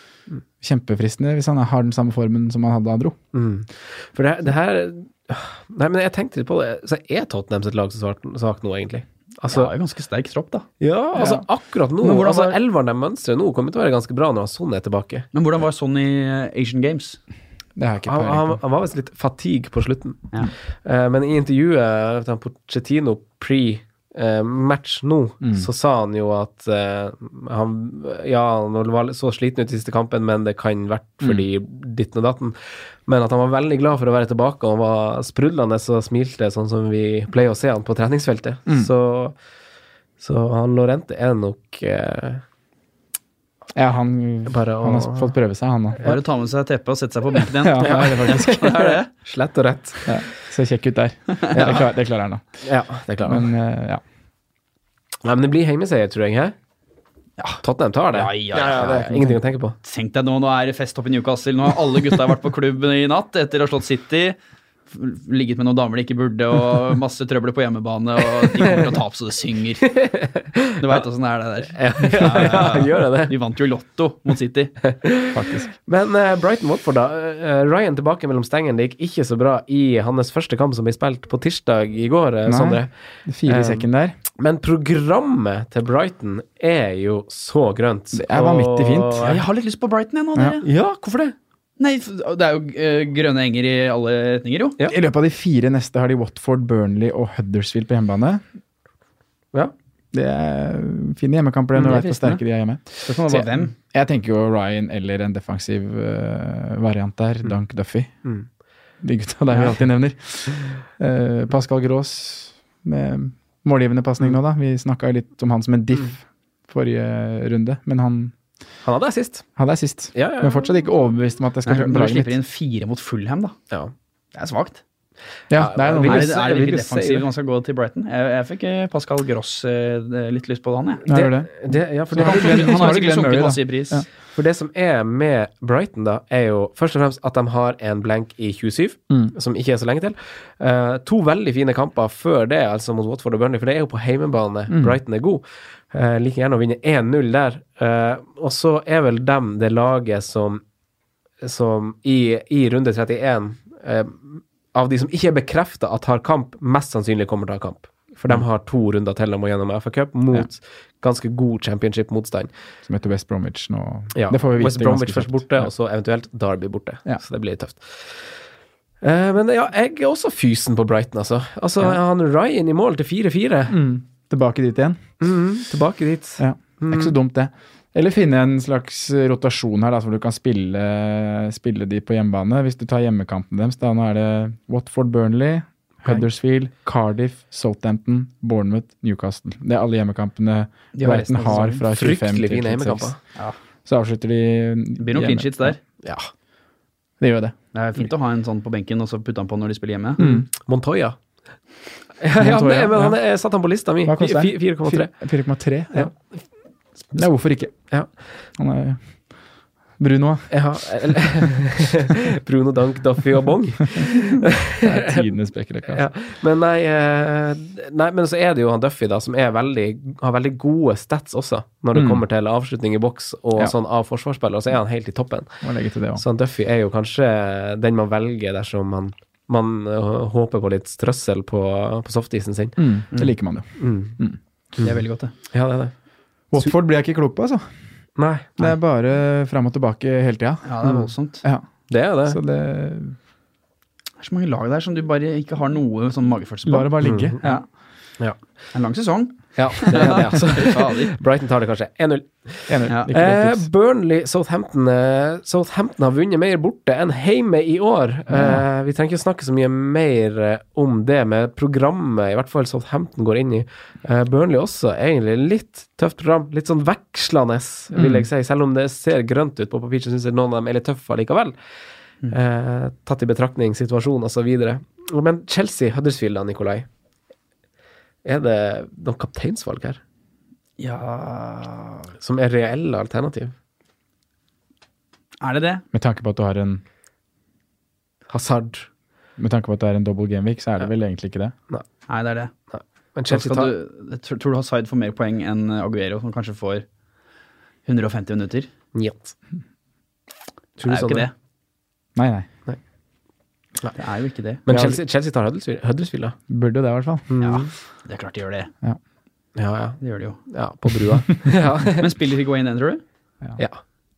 Speaker 4: kjempefristende hvis han har den samme formen som han hadde da han dro.
Speaker 3: Mm. For det, det her Nei, men jeg tenkte litt på det. Så er Tottenham sitt lag så svart- svakt nå, egentlig?
Speaker 5: Så
Speaker 3: Altså,
Speaker 5: det er jo ganske sterk tropp, da.
Speaker 3: ja, altså akkurat nå.
Speaker 5: Men hvordan
Speaker 3: altså,
Speaker 5: var-
Speaker 3: Elveren de mønstrer nå, kommer til å være ganske bra når Son er tilbake.
Speaker 5: Men hvordan var sånn i eh, Asian Games?
Speaker 4: Det har jeg ikke
Speaker 3: Han, han,
Speaker 4: peiling på.
Speaker 3: han var visst litt fatigue på slutten.
Speaker 5: Ja.
Speaker 3: Eh, men i intervjuet til han Pochettino pre-match nå, så sa han jo at eh, han Ja, han var så sliten ut i siste kampen, men det kan vært fordi ditten og datten. Men at han var veldig glad for å være tilbake, og han var sprudlende og smilte, sånn som vi pleier å se han på treningsfeltet. Så, så han Lorente er nok eh,
Speaker 4: Ja, han,
Speaker 3: Bare å-
Speaker 4: han har fått prøve seg, han òg.
Speaker 5: Bare ta med seg teppet og sette seg på benken igjen.
Speaker 4: Ja, det er det faktisk.
Speaker 5: Det er det.
Speaker 3: slett og rett.
Speaker 4: Ja, ser kjekk ut der. Det klarer, det klarer han, da.
Speaker 3: Ja, det klarer han.
Speaker 4: Men eh, ja.
Speaker 3: Nei, men det blir hjemmeseier, tror jeg. Hæ? Tottenham tar det.
Speaker 5: Ja, ja, ja, ja.
Speaker 3: Ingenting å tenke på.
Speaker 5: Tenk deg nå, nå er det fest oppe i Newcastle. Nå har alle gutta vært på klubben i natt etter å ha slått City. F- Ligget med noen damer de ikke burde, og masse trøbler på hjemmebane. Og de kommer til å tape så det synger. Du veit åssen det er, det der.
Speaker 3: Ja, gjør jeg det.
Speaker 5: Vi vant jo Lotto mot City.
Speaker 3: Men eh, Brighton Watford, da. Eh, Ryan tilbake mellom stengene. Det gikk ikke så bra i hans første kamp som ble spilt på tirsdag i går, eh,
Speaker 4: Nei.
Speaker 3: Sondre.
Speaker 4: Fire
Speaker 3: Eh,
Speaker 4: i sekken der.
Speaker 3: Men programmet til Brighton er jo så grønt.
Speaker 4: Det er vanvittig fint.
Speaker 5: Ja, jeg har litt lyst på Brighton, jeg nå.
Speaker 4: Ja.
Speaker 5: Dere.
Speaker 3: Ja, hvorfor det?
Speaker 5: Nei, f- det er jo eh, grønne enger i alle retninger, jo.
Speaker 3: Ja.
Speaker 4: I løpet av de fire neste har de Watford, Burnley og Huddersfield på hjemmebane.
Speaker 3: Ja.
Speaker 4: Det er fine hjemmekamper,
Speaker 5: Mm,
Speaker 4: når du
Speaker 5: det er
Speaker 4: vet hvor
Speaker 5: fristende.
Speaker 4: sterke de er hjemme.
Speaker 5: Spørsmålet var hvem.
Speaker 4: Jeg tenker jo Ryan eller en defensiv eh, variant der. Dunk Duffy.
Speaker 3: Mm.
Speaker 4: De gutta der vi alltid nevner. Eh, Pascal Grås med målgivende pasning nå, da. Vi snakka jo litt om han som en diff forrige runde, men han,
Speaker 3: Han hadde assist.
Speaker 4: han er sist.
Speaker 3: Ja, ja,
Speaker 4: Men fortsatt ikke overbevist om at jeg skal
Speaker 5: Når
Speaker 4: bruke
Speaker 5: du
Speaker 4: laget
Speaker 5: slipper
Speaker 4: mitt.
Speaker 5: inn fire mot Fulham, da.
Speaker 3: ja.
Speaker 5: Det er svakt.
Speaker 4: Ja, det er
Speaker 3: Vil
Speaker 5: Er
Speaker 4: noe.
Speaker 3: du
Speaker 5: det, er det
Speaker 3: vil
Speaker 5: virkelig
Speaker 3: du si
Speaker 5: defensivt
Speaker 3: det?
Speaker 5: man skal gå til Brighton? Jeg, jeg fikk eh, Pascal Gross eh, litt lyst på han, jeg.
Speaker 4: Ja, det er det.
Speaker 3: Det, ja, for
Speaker 4: Så
Speaker 3: det,
Speaker 4: har
Speaker 5: Han har
Speaker 4: du Glenn- han har jo
Speaker 5: sikkert
Speaker 4: Glenn Murray,
Speaker 5: sunket
Speaker 4: da.
Speaker 5: masse i pris.
Speaker 4: Ja.
Speaker 3: For det som er med Brighton, da, er jo først og fremst at de har en blank i 27, som ikke er så lenge til. Eh, to veldig fine kamper før det, altså mot Watford og Burnley, for det er jo på heimebane Brighton er god. Eh, like gjerne å vinne 1-0 der. Eh, og så er vel dem det laget som, som i, i runde 31 eh, av de som ikke er bekrefta at har kamp, mest sannsynlig kommer til å ha kamp. For de har to runder til de må gjennom FA Cup mot ganske god championship-motstand.
Speaker 4: Som heter West Bromwich nå.
Speaker 3: Ja,
Speaker 4: Det får vi vite
Speaker 3: West Bromwich
Speaker 4: ganske
Speaker 3: først
Speaker 4: kjapt.
Speaker 3: borte, altså.
Speaker 4: Ja.
Speaker 3: og så eventuelt Derby borte.
Speaker 4: Ja.
Speaker 3: Så det blir litt tøft. Eh, men ja, jeg er også fysen på Brighton, altså. Altså, Han Ryan i mål til 4-4.
Speaker 4: Mm. Tilbake dit igjen.
Speaker 3: Mhm, tilbake dit.
Speaker 4: Ja. Det er ikke
Speaker 3: Mm.
Speaker 4: så dumt, det. Eller finne en slags rotasjon her, da, hvor du kan spille, spille de på hjemmebane. Hvis du tar hjemmekampene deres, da nå er det Watford, Burnley, Huddersfield, Cardiff, Southampton, Bournemouth, Newcastle. Det er alle hjemmekampene
Speaker 5: De har resten
Speaker 4: Brighton
Speaker 5: av
Speaker 4: har fra 25
Speaker 3: Fryktelig
Speaker 4: til
Speaker 3: fine hjemmekamper.
Speaker 4: 26. Så avslutter de
Speaker 5: Det blir
Speaker 4: hjemme.
Speaker 5: noen clean sheets der.
Speaker 3: Ja.
Speaker 4: Det gjør det.
Speaker 5: Det er fint Mm. å ha en sånn på benken og så putte han på når de spiller hjemme.
Speaker 3: Mm. Montoya. ja, ja,
Speaker 4: Montoya,
Speaker 3: nei, men
Speaker 4: ja.
Speaker 3: han er, satt han på lista mi.
Speaker 4: Hva koster
Speaker 3: Fi- fi-
Speaker 4: den?
Speaker 3: 4,3.
Speaker 4: 4,3.
Speaker 3: Ja.
Speaker 4: Ja. Nei, hvorfor ikke?
Speaker 3: Ja.
Speaker 4: Han er Bruno, da.
Speaker 3: Ja, eller- Bruno Dank, Duffy og Bong.
Speaker 4: Det er tidenes bekkerekke.
Speaker 3: Ja.
Speaker 4: Altså.
Speaker 3: Men nei, eh, nei, men så er det jo han Duffy da, som er veldig, har veldig gode stats også, når det
Speaker 4: Mm.
Speaker 3: kommer til avslutning i boks og
Speaker 4: Ja.
Speaker 3: sånn av forsvarsspillere, så er han helt i toppen.
Speaker 4: Må legge til det også.
Speaker 3: Så han Duffy er jo kanskje den man velger dersom man, man eh, håper på litt strøssel på, på softisen sin.
Speaker 4: Mm. Det liker man jo.
Speaker 3: Mm.
Speaker 5: Det er veldig godt, det.
Speaker 3: Ja, det er det.
Speaker 4: Watford blir jeg ikke klok på, altså.
Speaker 3: Nei.
Speaker 4: Det er bare fram og tilbake hele tida.
Speaker 5: Ja, det er voldsomt.
Speaker 4: Ja,
Speaker 3: Det er det.
Speaker 4: så det
Speaker 5: Det er så mange lag der som du bare ikke har noe sånn magefølelse
Speaker 4: lar
Speaker 5: på.
Speaker 4: det bare ligge.
Speaker 5: Ja.
Speaker 3: Ja.
Speaker 5: En lang sesong.
Speaker 3: Ja, det er det, altså.
Speaker 5: Fader.
Speaker 3: Brighton tar det kanskje 1-0.
Speaker 4: Enig.
Speaker 5: Ja.
Speaker 4: Ikke
Speaker 3: Eh,
Speaker 4: lettest.
Speaker 3: Burnley, Southampton eh, Southampton har vunnet mer borte enn hjemme i år. Eh, vi trenger ikke snakke så mye mer eh, om det med programmet, i hvert fall Southampton går inn i. Eh, Burnley også, egentlig. Litt tøft program. Litt sånn vekslende, vil jeg si. Selv om det ser grønt ut på papir, så syns jeg noen av dem er litt tøffe likevel. Eh, tatt i betraktning situasjon og så videre. Men Chelsea, Huddersfield da, Nikolai. Er det noen kapteinsvalg her
Speaker 5: Ja
Speaker 3: som er reelle alternativ?
Speaker 5: Er det det?
Speaker 4: Med tanke på at du har en
Speaker 3: Hazard.
Speaker 4: med tanke på at det er en double gameweek, så er det vel egentlig ikke det.
Speaker 5: Nei, det er det.
Speaker 3: Men
Speaker 5: Da
Speaker 3: Chelsea
Speaker 5: skal
Speaker 3: tar
Speaker 5: du, jeg tror, tror du Hazard får mer poeng enn Aguero, som kanskje får 150 minutter?
Speaker 3: Njet. Tror du
Speaker 5: Det sånn er jo ikke det.
Speaker 4: Nei, nei.
Speaker 5: Det er jo ikke det.
Speaker 3: Men
Speaker 4: Ja,
Speaker 3: Chelsea, Chelsea tar Huddersfield, Huddersfield da. Mm.
Speaker 4: Burde det, i hvert fall.
Speaker 5: Ja, det er klart de gjør det.
Speaker 3: Ja, ja.
Speaker 5: Det gjør de jo.
Speaker 3: ja på brua. ja.
Speaker 5: Men spiller Higuain den, tror du?
Speaker 3: ja.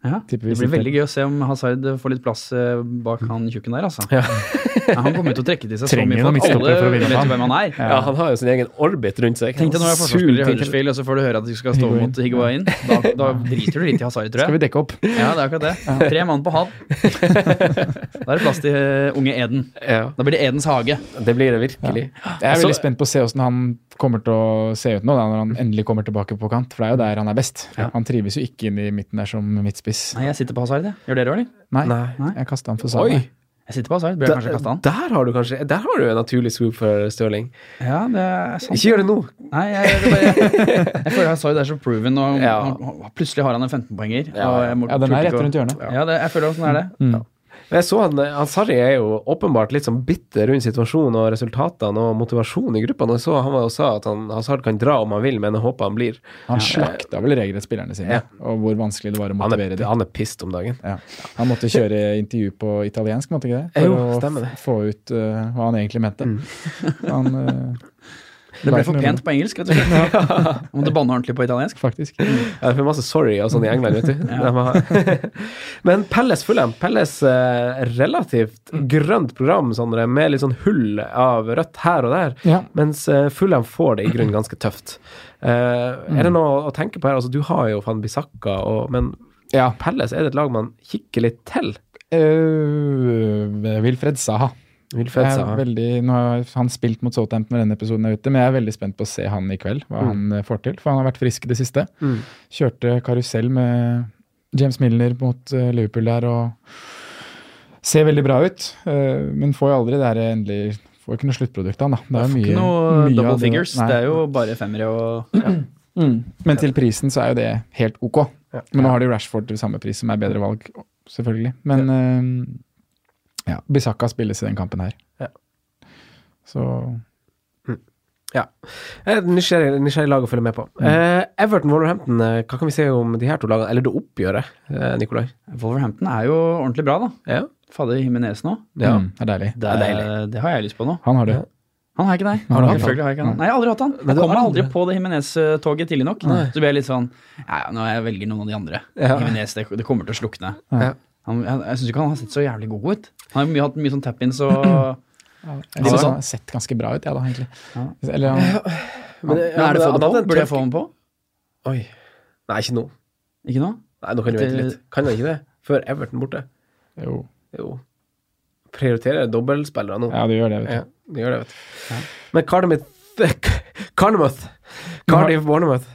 Speaker 5: Ja. Det
Speaker 4: Tipper vi
Speaker 5: blir
Speaker 4: sitter.
Speaker 5: veldig gøy å se om Hazard får litt plass eh, bak han tjukken der, altså.
Speaker 3: Ja.
Speaker 5: Ja, han kommer til å trekke til seg så
Speaker 4: Trenger
Speaker 5: mye
Speaker 4: noen
Speaker 5: folk.
Speaker 4: midtstoppere
Speaker 5: Alle
Speaker 4: for å vinne
Speaker 5: vet jo
Speaker 4: han.
Speaker 5: hvem han er.
Speaker 3: Ja, han har jo sin egen orbit rundt seg.
Speaker 5: Tenk deg når jeg er
Speaker 3: Sug
Speaker 5: forsvarsspiller i
Speaker 3: til-
Speaker 5: Huddersfield, og så får du høre at du skal stå
Speaker 4: Higuain.
Speaker 5: mot Higuain. Da, da driter du litt i Hazard, tror
Speaker 4: Skal
Speaker 5: jeg.
Speaker 4: vi dekke opp?
Speaker 5: Ja, det er akkurat det. Tre mann på han. Da er det plass til eh, unge Eden.
Speaker 3: Ja,
Speaker 5: Da blir det Edens hage.
Speaker 3: det blir det virkelig.
Speaker 4: Jeg er
Speaker 3: Så-
Speaker 4: veldig spent på å se hvordan han kommer til å se ut nå, da, når han endelig kommer tilbake på kant. For det er jo der han er best.
Speaker 3: Mm. Ja.
Speaker 4: Han trives jo ikke inn i midten der som midtspiss.
Speaker 5: Nei, jeg sitter på Hazard, jeg. Gjør dere òg, eller?
Speaker 4: Nei,
Speaker 3: Nei.
Speaker 4: jeg kasta han for Sala.
Speaker 3: Oi!
Speaker 5: Jeg sitter på Hazard. Burde jeg kanskje kaste
Speaker 3: Der,
Speaker 5: han?
Speaker 3: der har du kanskje Der har du en naturlig swoop for Stirling.
Speaker 5: Ja, det er sant.
Speaker 3: Ikke gjør det nå!
Speaker 5: Nei, jeg, jeg, bare, jeg føler Hazard er så proven, og
Speaker 3: Ja.
Speaker 5: han- han- plutselig har han en 15-poenger.
Speaker 3: Ja,
Speaker 5: og
Speaker 3: ja.
Speaker 5: jeg må-
Speaker 4: Ja, den er
Speaker 5: tror ikke
Speaker 4: rett
Speaker 5: å-
Speaker 4: rundt hjørnet.
Speaker 5: Ja, det, jeg føler sånn er det.
Speaker 3: Men Jeg så han, han Sarri er jo åpenbart litt sånn bitter rundt situasjonen og resultatene og motivasjonen i gruppa. Og jeg så han var og sa at han, Hazard kan dra om han vil, men jeg håper han blir.
Speaker 4: Han slakta vel regelrett spillerne sine, og hvor vanskelig det var å
Speaker 3: Han
Speaker 4: motivere
Speaker 3: er,
Speaker 4: dem.
Speaker 3: han er pissed om dagen.
Speaker 4: Ja. Han måtte kjøre intervju på italiensk, måtte ikke det? For
Speaker 3: Jo,
Speaker 4: å
Speaker 3: stemmer det. Mm.
Speaker 4: f- få ut eh, hva han egentlig mente. Han, eh,
Speaker 5: Det
Speaker 4: la
Speaker 5: ble
Speaker 4: ikke
Speaker 5: for
Speaker 4: noe-
Speaker 5: pent på engelsk, rett og slett. Jeg Måtte banne ordentlig på italiensk.
Speaker 4: Faktisk.
Speaker 3: Ja, det er masse sorry og sånn i England, vet du. De har- Men Pelles Fulham, Pelles eh, relativt
Speaker 5: Mm.
Speaker 3: grønt program, Sondre, med litt sånn hull av rødt her og der.
Speaker 4: Ja.
Speaker 3: Mens eh, Fulham får det i grunnen ganske tøft. Eh, er
Speaker 5: Mm.
Speaker 3: det noe å tenke på her? Altså, du har jo Van Bissaka, og, men
Speaker 4: ja.
Speaker 3: Pelles er det et lag man kikker litt til.
Speaker 4: Eh, Wilfred Saha.
Speaker 3: Wilfred
Speaker 4: Jeg
Speaker 3: sa.
Speaker 4: er veldig, nå har han spilt mot Southampton når denne episoden er ute, men jeg er veldig spent på å se han i kveld,
Speaker 5: Mm.
Speaker 4: hva han eh, får til. For han har vært frisk i det siste.
Speaker 3: Mm.
Speaker 4: Kjørte karusell med James Milner mot eh, Liverpool der og ser veldig bra ut. eh, Men får jo aldri det der endelig Får ikke noe sluttprodukt, han da. Det er jo
Speaker 5: Ikke
Speaker 4: mye,
Speaker 5: noe
Speaker 4: mye
Speaker 5: double
Speaker 4: av det-
Speaker 5: figures.
Speaker 4: Nei.
Speaker 5: Det er jo bare femmere og
Speaker 4: Mm. Men til prisen så er jo det helt ok. Men nå har de Rashford til samme pris, som er bedre valg, selvfølgelig. Men eh, ja, Bisakka spilles i den kampen her.
Speaker 3: Ja.
Speaker 4: Så
Speaker 3: Eh, Nysgjerrig, nysgjerrig lag å følge med på.
Speaker 5: Mm.
Speaker 3: Eh, Everton Wolverhampton, eh, hva kan vi si om de her to lagene? Eller det oppgjøret, eh, Nikolai?
Speaker 5: Wolverhampton er jo ordentlig bra, da.
Speaker 3: Ja.
Speaker 5: Fader Himinez nå.
Speaker 3: Ja.
Speaker 4: Mm, det er deilig.
Speaker 5: Det,
Speaker 3: er
Speaker 5: er, det har jeg lyst på nå.
Speaker 4: Han har det.
Speaker 5: Han har ikke deg.
Speaker 4: Har du han?
Speaker 5: Selvfølgelig har jeg ikke han. Nei, jeg har aldri hatt han.
Speaker 3: Men
Speaker 5: Jeg
Speaker 3: du
Speaker 5: kom meg
Speaker 3: har
Speaker 5: aldri på det Himinez-toget tidlig nok. Så ble jeg litt sånn Ja, ja, nå jeg velger noen av de andre.
Speaker 3: Ja.
Speaker 5: Jimenez, det, det kommer til å slukne.
Speaker 3: Ja.
Speaker 5: Han, jeg jeg syns ikke han har sett så jævlig god ut. Han har mye, hatt mye sånn tap-ins og
Speaker 4: Jeg
Speaker 5: Ja.
Speaker 4: synes han har sett ganske bra ut, jeg da, egentlig. Eller han,
Speaker 3: Men,
Speaker 5: Men er det få det på? Burde jeg få ham på?
Speaker 3: Oi. Nei, ikke nå.
Speaker 5: Ikke nå?
Speaker 3: Nei, nå kan du vente
Speaker 5: Det-
Speaker 3: litt. Kan jeg ikke det? Før Everton borte.
Speaker 4: jo,
Speaker 3: Jo. Prioriterer dobbeltspillere nå.
Speaker 4: ja, det gjør det, vet du.
Speaker 3: Ja, det gjør det, vet du. Men Cardiff Carnamouth. Cardiff Bournemouth.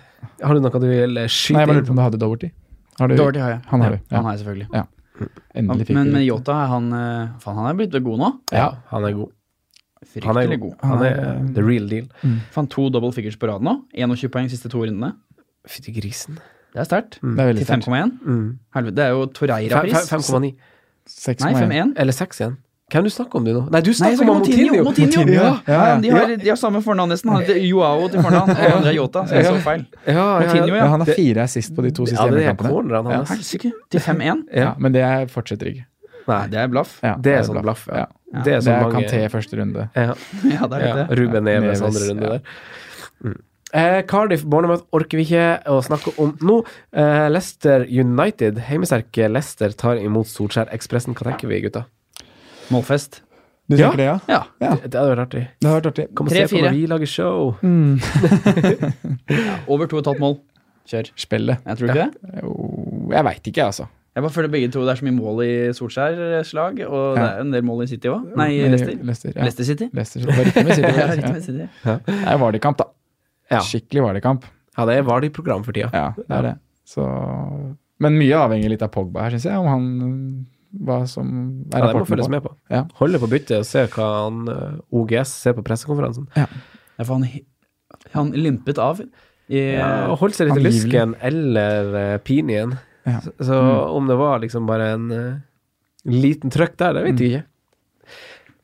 Speaker 3: Har du noe du vil eh,
Speaker 4: Nei,
Speaker 3: skyte
Speaker 4: jeg bare lurte
Speaker 3: inn?
Speaker 4: på om du hadde Doverty. Har du,
Speaker 5: Doherty har jeg.
Speaker 4: Han har du, ja.
Speaker 5: Han har jeg selvfølgelig.
Speaker 4: Endelig fikk
Speaker 5: Men,
Speaker 4: du
Speaker 5: men
Speaker 4: det.
Speaker 5: Yota, er han eh, Faen, han er blitt god nå.
Speaker 4: Ja,
Speaker 3: Han er god. Han er
Speaker 5: Fryktelig god.
Speaker 3: Han er eh, the real deal.
Speaker 5: Fant to double figures på rad nå. 21 poeng siste to rundene.
Speaker 3: Fytti grisen.
Speaker 5: Det er sterkt.
Speaker 4: det er veldig
Speaker 5: Til
Speaker 4: sterkt.
Speaker 5: 5,1.
Speaker 3: Mm.
Speaker 5: Helvete, det er jo
Speaker 3: Fem- fem-
Speaker 5: Torreira-pris.
Speaker 3: 5,9.
Speaker 5: Nei,
Speaker 4: 6,1.
Speaker 5: 5,1.
Speaker 3: Eller 6 igjen. Hvem du snakker om du nå? Nei, du
Speaker 5: Nei, jeg
Speaker 3: snakker
Speaker 5: snakker
Speaker 3: om Motinho!
Speaker 5: Motinho!
Speaker 4: Motinho,
Speaker 5: Ja,
Speaker 4: ja. Ja, ja.
Speaker 5: de, har, de har samme fornavn nesten. Han heter Joao til fornavn, og han andre er Yota. Så jeg så feil.
Speaker 3: Ja, ja,
Speaker 5: Motinho,
Speaker 3: ja.
Speaker 4: Ja, han har fire assist på de to siste
Speaker 3: ja, det er
Speaker 4: hjemmekampene.
Speaker 3: cornerne hans.
Speaker 5: Helsike. Til 5-1.
Speaker 4: Ja, men det er fortsatt trygg.
Speaker 5: Nei, det er blaff.
Speaker 4: Ja,
Speaker 3: Det er sånn blaff. Ja. Det er
Speaker 4: Det
Speaker 3: sånn
Speaker 4: er
Speaker 3: mange
Speaker 4: Kanté første runde.
Speaker 3: Ja.
Speaker 5: Ja, det er litt
Speaker 3: Ja,
Speaker 5: det.
Speaker 3: Ruben Neves
Speaker 4: Neves,
Speaker 3: andre runde
Speaker 4: ja.
Speaker 3: der. Mm. Eh, Cardiff Bornermouth orker vi ikke å snakke om nå. Eh, Leicester United, heimesterke Leicester, tar imot Solskjær-Ekspressen. Hva tenker vi, gutta?
Speaker 5: Målfest.
Speaker 4: Du
Speaker 3: Ja.
Speaker 4: tenker det, ja?
Speaker 5: Ja.
Speaker 4: Ja.
Speaker 3: Det hadde vært artig.
Speaker 4: Det har vært artig.
Speaker 3: Kom og se på
Speaker 5: Tre-fire.
Speaker 3: når vi lager show.
Speaker 4: Mm.
Speaker 5: Over 2,5 mål. Kjør.
Speaker 4: Spillet.
Speaker 5: Jeg tror ikke det.
Speaker 4: Jo, Jeg veit ikke, jeg, altså.
Speaker 5: Jeg bare føler begge to det er så mye mål i Solskjær-slag, og det
Speaker 4: Ja.
Speaker 5: er en del mål i City òg. Nei, i Leicester.
Speaker 4: Leicester. Ja.
Speaker 5: Leicester City.
Speaker 4: Leicester. Det var riktig med City.
Speaker 5: Ja, riktig
Speaker 4: Ja.
Speaker 5: med City.
Speaker 4: Det er Vardø-kamp, da.
Speaker 3: Ja.
Speaker 4: Skikkelig Vardø-kamp.
Speaker 3: ja, det er Vardi-program for tida.
Speaker 4: Ja, det er det. Så Men mye avhenger litt av Pogba her, syns jeg. Om han mm, Hva som er
Speaker 3: Ja, det må
Speaker 4: rapporten
Speaker 3: følges
Speaker 4: på.
Speaker 3: med på.
Speaker 4: Ja.
Speaker 3: Holde på byttet og se hva han eh, OGS ser på pressekonferansen.
Speaker 5: Ja, for han, han limpet av i
Speaker 3: Og holdt seg litt i
Speaker 4: Angivelig.
Speaker 3: lysken eller eh, pinien.
Speaker 4: Ja.
Speaker 3: Så, så om det var liksom bare en eh, liten trøkk der, det vet jeg ikke.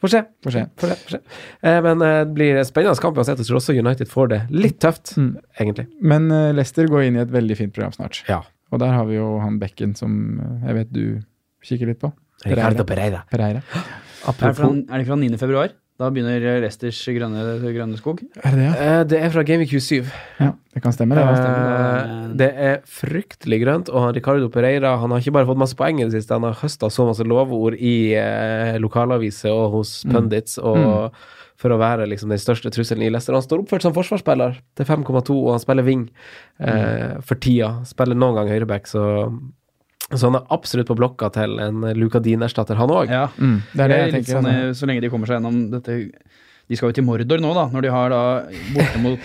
Speaker 3: Får se.
Speaker 4: Mm. Får se.
Speaker 3: Får se, får se. Eh, men eh, det blir en spennende kamp uansett. Jeg tror også United får det litt tøft,
Speaker 4: Mm.
Speaker 3: egentlig.
Speaker 4: Men eh, Leicester går inn i et veldig fint program snart.
Speaker 3: Ja.
Speaker 4: Og der har vi jo han Bekken som eh, jeg vet du kikker litt på. Pereira.
Speaker 3: Ricardo Pereira.
Speaker 4: Pereira.
Speaker 5: er, det fra,
Speaker 3: Apropos
Speaker 5: er det fra 9. februar? Da begynner Leicesters grønne, grønne skog.
Speaker 4: Er det det, ja?
Speaker 3: Eh, Det er fra Gaming Q7.
Speaker 4: ja? Det kan stemme, det.
Speaker 5: stemmer.
Speaker 3: Eh, Det er fryktelig grønt, og han Ricardo Pereira han har ikke bare fått masse poeng i det siste, han har høsta så masse lovord i eh, lokalaviser og hos pundits og for å være liksom den største trusselen i Leicester. Han står oppført som forsvarsspiller til 5,2, og han spiller wing eh, for tida. Spiller noen gang høyreback, så så han er absolutt på blokka til en Luca Dean-erstatter, han òg.
Speaker 5: Ja.
Speaker 4: Mm, det er det jeg
Speaker 5: litt
Speaker 4: tenker.
Speaker 5: sånn,
Speaker 4: altså.
Speaker 5: eh, så lenge de kommer seg gjennom dette De skal jo til Mordor nå, da. Når de har da borte mot,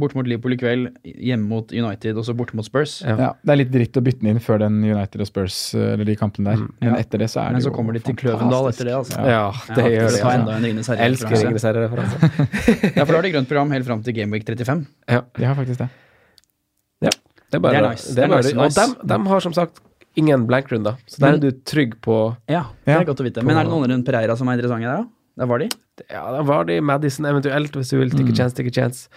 Speaker 5: borte mot Liverpool i kveld, hjemme mot United og så borte mot Spurs.
Speaker 3: Ja.
Speaker 4: Ja, det er litt dritt å bytte den inn før den United og Spurs, eh, eller de kampene der. Men
Speaker 5: Mm. Ja.
Speaker 4: etter det så er
Speaker 5: Men
Speaker 4: det
Speaker 5: så
Speaker 4: jo
Speaker 5: kommer de til
Speaker 4: fantastisk.
Speaker 5: Kløvendal etter det, altså.
Speaker 4: Ja.
Speaker 3: Ja, det
Speaker 5: Ja,
Speaker 3: gjør det.
Speaker 5: ta
Speaker 3: Altså.
Speaker 5: enda en Ringenes herre-
Speaker 3: Elsker
Speaker 5: referanse.
Speaker 3: Ringenes herre-referanse.
Speaker 5: Ja, for da har de grønt program helt fram til Gameweek 35.
Speaker 4: De har faktisk det.
Speaker 3: Det er bare,
Speaker 5: Det er nice.
Speaker 3: det er bare,
Speaker 5: Det er nice, Mm.
Speaker 3: Og dem, dem har som sagt ingen blank-runder, så der
Speaker 5: Men-
Speaker 3: er du trygg på
Speaker 5: Ja, det er
Speaker 4: Ja.
Speaker 5: godt å vite. Men er det noen rundt Pereira som er interessante der, da? Der var de.
Speaker 3: Ja, da var det i Madison eventuelt, hvis du vil.
Speaker 5: Mm.
Speaker 3: Take a chance, take a chance.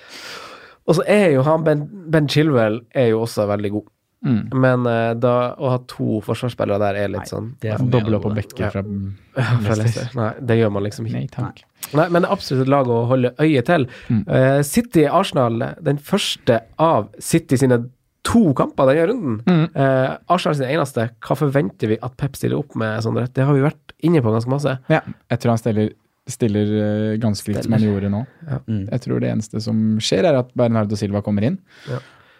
Speaker 3: Og så er jo han Ben, ben Chilwell er jo også veldig god.
Speaker 4: Mm.
Speaker 3: Men eh, da, å ha to forsvarsspillere der er litt sånn
Speaker 5: Det er for mye
Speaker 4: Dobla
Speaker 5: av
Speaker 4: på
Speaker 5: det gode.
Speaker 4: Bekker fra
Speaker 3: fra Leicester. Nei, det gjør man liksom ikke.
Speaker 4: Nei takk.
Speaker 3: Nei, men det er absolutt et lag å holde øye til.
Speaker 4: Mm.
Speaker 3: Eh, City Arsenal, den første av City sine to kamper denne runden.
Speaker 4: Mm.
Speaker 3: Eh, Arsenal sin eneste. Hva forventer vi at Pep stiller opp med, Sondre? Det har vi vært inne på ganske masse.
Speaker 4: Ja, jeg tror han stiller, stiller eh, ganske likt som han gjorde nå.
Speaker 5: Mm.
Speaker 4: Jeg tror det eneste som skjer, er at Bernardo Silva kommer inn.
Speaker 3: Ja.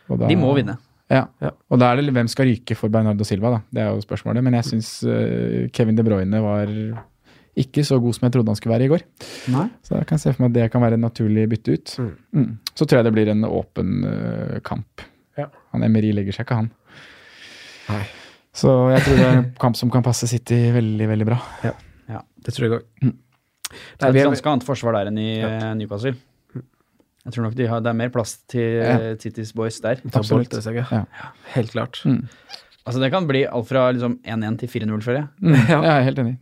Speaker 4: Og da-
Speaker 5: De må vinne.
Speaker 4: Ja.
Speaker 3: Ja.
Speaker 4: Og da er det hvem skal ryke for Bernardo Silva, da. Det er jo spørsmålet. Men jeg syns eh, Kevin De Bruyne var ikke så god som jeg trodde han skulle være i går.
Speaker 5: Nei.
Speaker 4: Så jeg kan se for meg at det kan være en naturlig bytte ut.
Speaker 3: Mm.
Speaker 4: Mm. Så tror jeg det blir en åpen eh, kamp.
Speaker 3: Ja.
Speaker 4: Han Emery legger seg ikke, han.
Speaker 3: Nei.
Speaker 4: Så jeg tror det er en kamp som kan passe City veldig, veldig bra.
Speaker 3: Det tror jeg òg.
Speaker 5: Det er et ganske annet forsvar der enn i eh, Newcastle. Jeg tror nok de har, det er mer plass til
Speaker 4: Ja.
Speaker 5: eh, City's boys der.
Speaker 3: Ta
Speaker 4: Absolutt.
Speaker 3: bolter seg, ja.
Speaker 4: Ja.
Speaker 3: Helt klart.
Speaker 4: Mm.
Speaker 5: Altså Det kan bli alt fra liksom 1-1 til 4-0, føler jeg.
Speaker 4: Mm. Jeg er helt enig.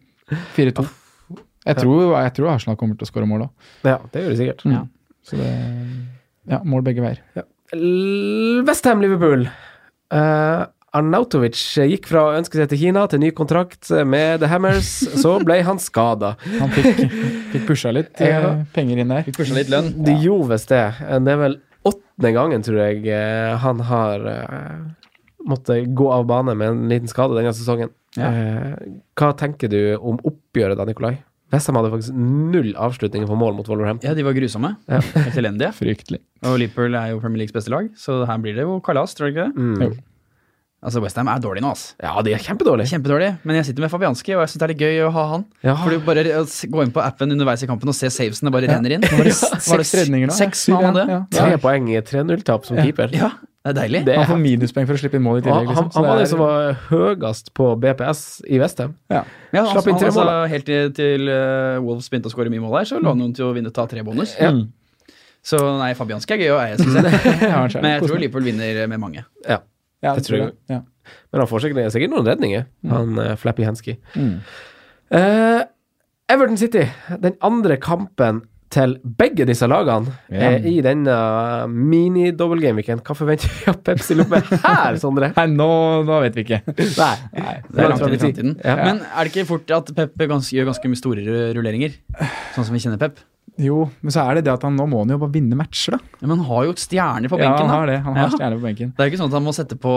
Speaker 4: 4-2. Jeg tror, jeg tror Arsenal kommer til å skåre mål òg.
Speaker 3: Ja, det gjør det sikkert.
Speaker 4: Mm.
Speaker 5: Ja.
Speaker 4: Så det Ja, mål begge veier.
Speaker 3: Westham Liverpool. Eh, Arnautovic gikk fra å ønske seg til Kina til ny kontrakt med The Hammers, så ble han skada.
Speaker 4: Han fikk, fikk pusha litt eh,
Speaker 3: Ja.
Speaker 4: penger inn der.
Speaker 5: Fikk pusha litt lønn.
Speaker 3: De gjorde visst det. Det er vel åttende gangen, tror jeg, eh, han har eh, måttet gå av bane med en liten skade denne sesongen.
Speaker 5: Ja.
Speaker 3: Eh, hva tenker du om oppgjøret da, Nikolai? Westham hadde faktisk null avslutninger på mål mot Wolverhampton.
Speaker 5: Ja, de var grusomme. Helt elendige.
Speaker 4: Fryktelig.
Speaker 5: Og Liverpool er jo Premier Leagues beste lag, så her blir det jo kalas, tror du ikke det?
Speaker 4: Jo.
Speaker 5: Altså, Westham er dårlig nå, ass.
Speaker 3: Mm. Ja, de er kjempedårlige.
Speaker 5: Kjempedårlig. Men jeg sitter med Fabianski, og jeg syns det er litt gøy å ha han.
Speaker 3: Ja.
Speaker 5: For du bare eh, s- gå inn på appen underveis i kampen og se savesene bare renner inn. Var det var det
Speaker 4: Seks redninger nå.
Speaker 5: Seks
Speaker 4: ja.
Speaker 5: han hadde.
Speaker 4: Ja.
Speaker 3: Tre poeng i 3-0-tap som keeper.
Speaker 5: Ja, det er deilig.
Speaker 3: Det
Speaker 4: Han
Speaker 3: er
Speaker 4: får minuspoeng for å slippe inn mål i
Speaker 3: Han, han,
Speaker 4: tillegg. Liksom. Så
Speaker 3: han var
Speaker 4: det
Speaker 3: den
Speaker 4: er-
Speaker 3: som var høyest på BPS i Vestheim.
Speaker 4: ja.
Speaker 5: Ja, han,
Speaker 3: Slapp inn tre
Speaker 5: han, altså,
Speaker 3: mål, da.
Speaker 5: Helt til, til eh, Wolves begynte å skåre mye mål her, så lå han jo til å vinne ta tre bonus.
Speaker 4: Mm.
Speaker 5: Så nei, Fabianski er gøy, og jeg syns det.
Speaker 4: Ja, han skjærer.
Speaker 5: Men jeg
Speaker 4: Kos
Speaker 5: tror
Speaker 4: meg.
Speaker 5: Liverpool vinner med mange.
Speaker 3: Ja.
Speaker 4: Ja,
Speaker 3: det tror jeg.
Speaker 4: Ja.
Speaker 3: Men han får sikkert, sikkert noen redninger, han eh, Flappy Hensky.
Speaker 4: Mm.
Speaker 3: Eh, Everton City, den andre kampen til begge disse lagene
Speaker 4: Ja.
Speaker 3: eh, i denne mini-double game-weeken. Hva forventer vi at Pepsi lopper her, Sondre?
Speaker 4: Nei, nå, nå vet vi ikke.
Speaker 3: Nei.
Speaker 5: Det er
Speaker 3: Langt
Speaker 5: langt inn i
Speaker 3: fram i tid.
Speaker 5: framtiden.
Speaker 3: Ja.
Speaker 5: Men er det ikke fort at Pep gans gjør ganske mye store rulleringer? Sånn som vi kjenner Pep.
Speaker 4: Jo, men så er det det at han nå må han jo bare vinne matcher, da.
Speaker 5: Ja, men han har jo et stjerner på
Speaker 4: ja,
Speaker 5: benken,
Speaker 4: han
Speaker 5: da.
Speaker 4: har det. Han har
Speaker 5: Ja.
Speaker 4: stjerne på benken.
Speaker 5: Det er jo ikke sånn at han må sette på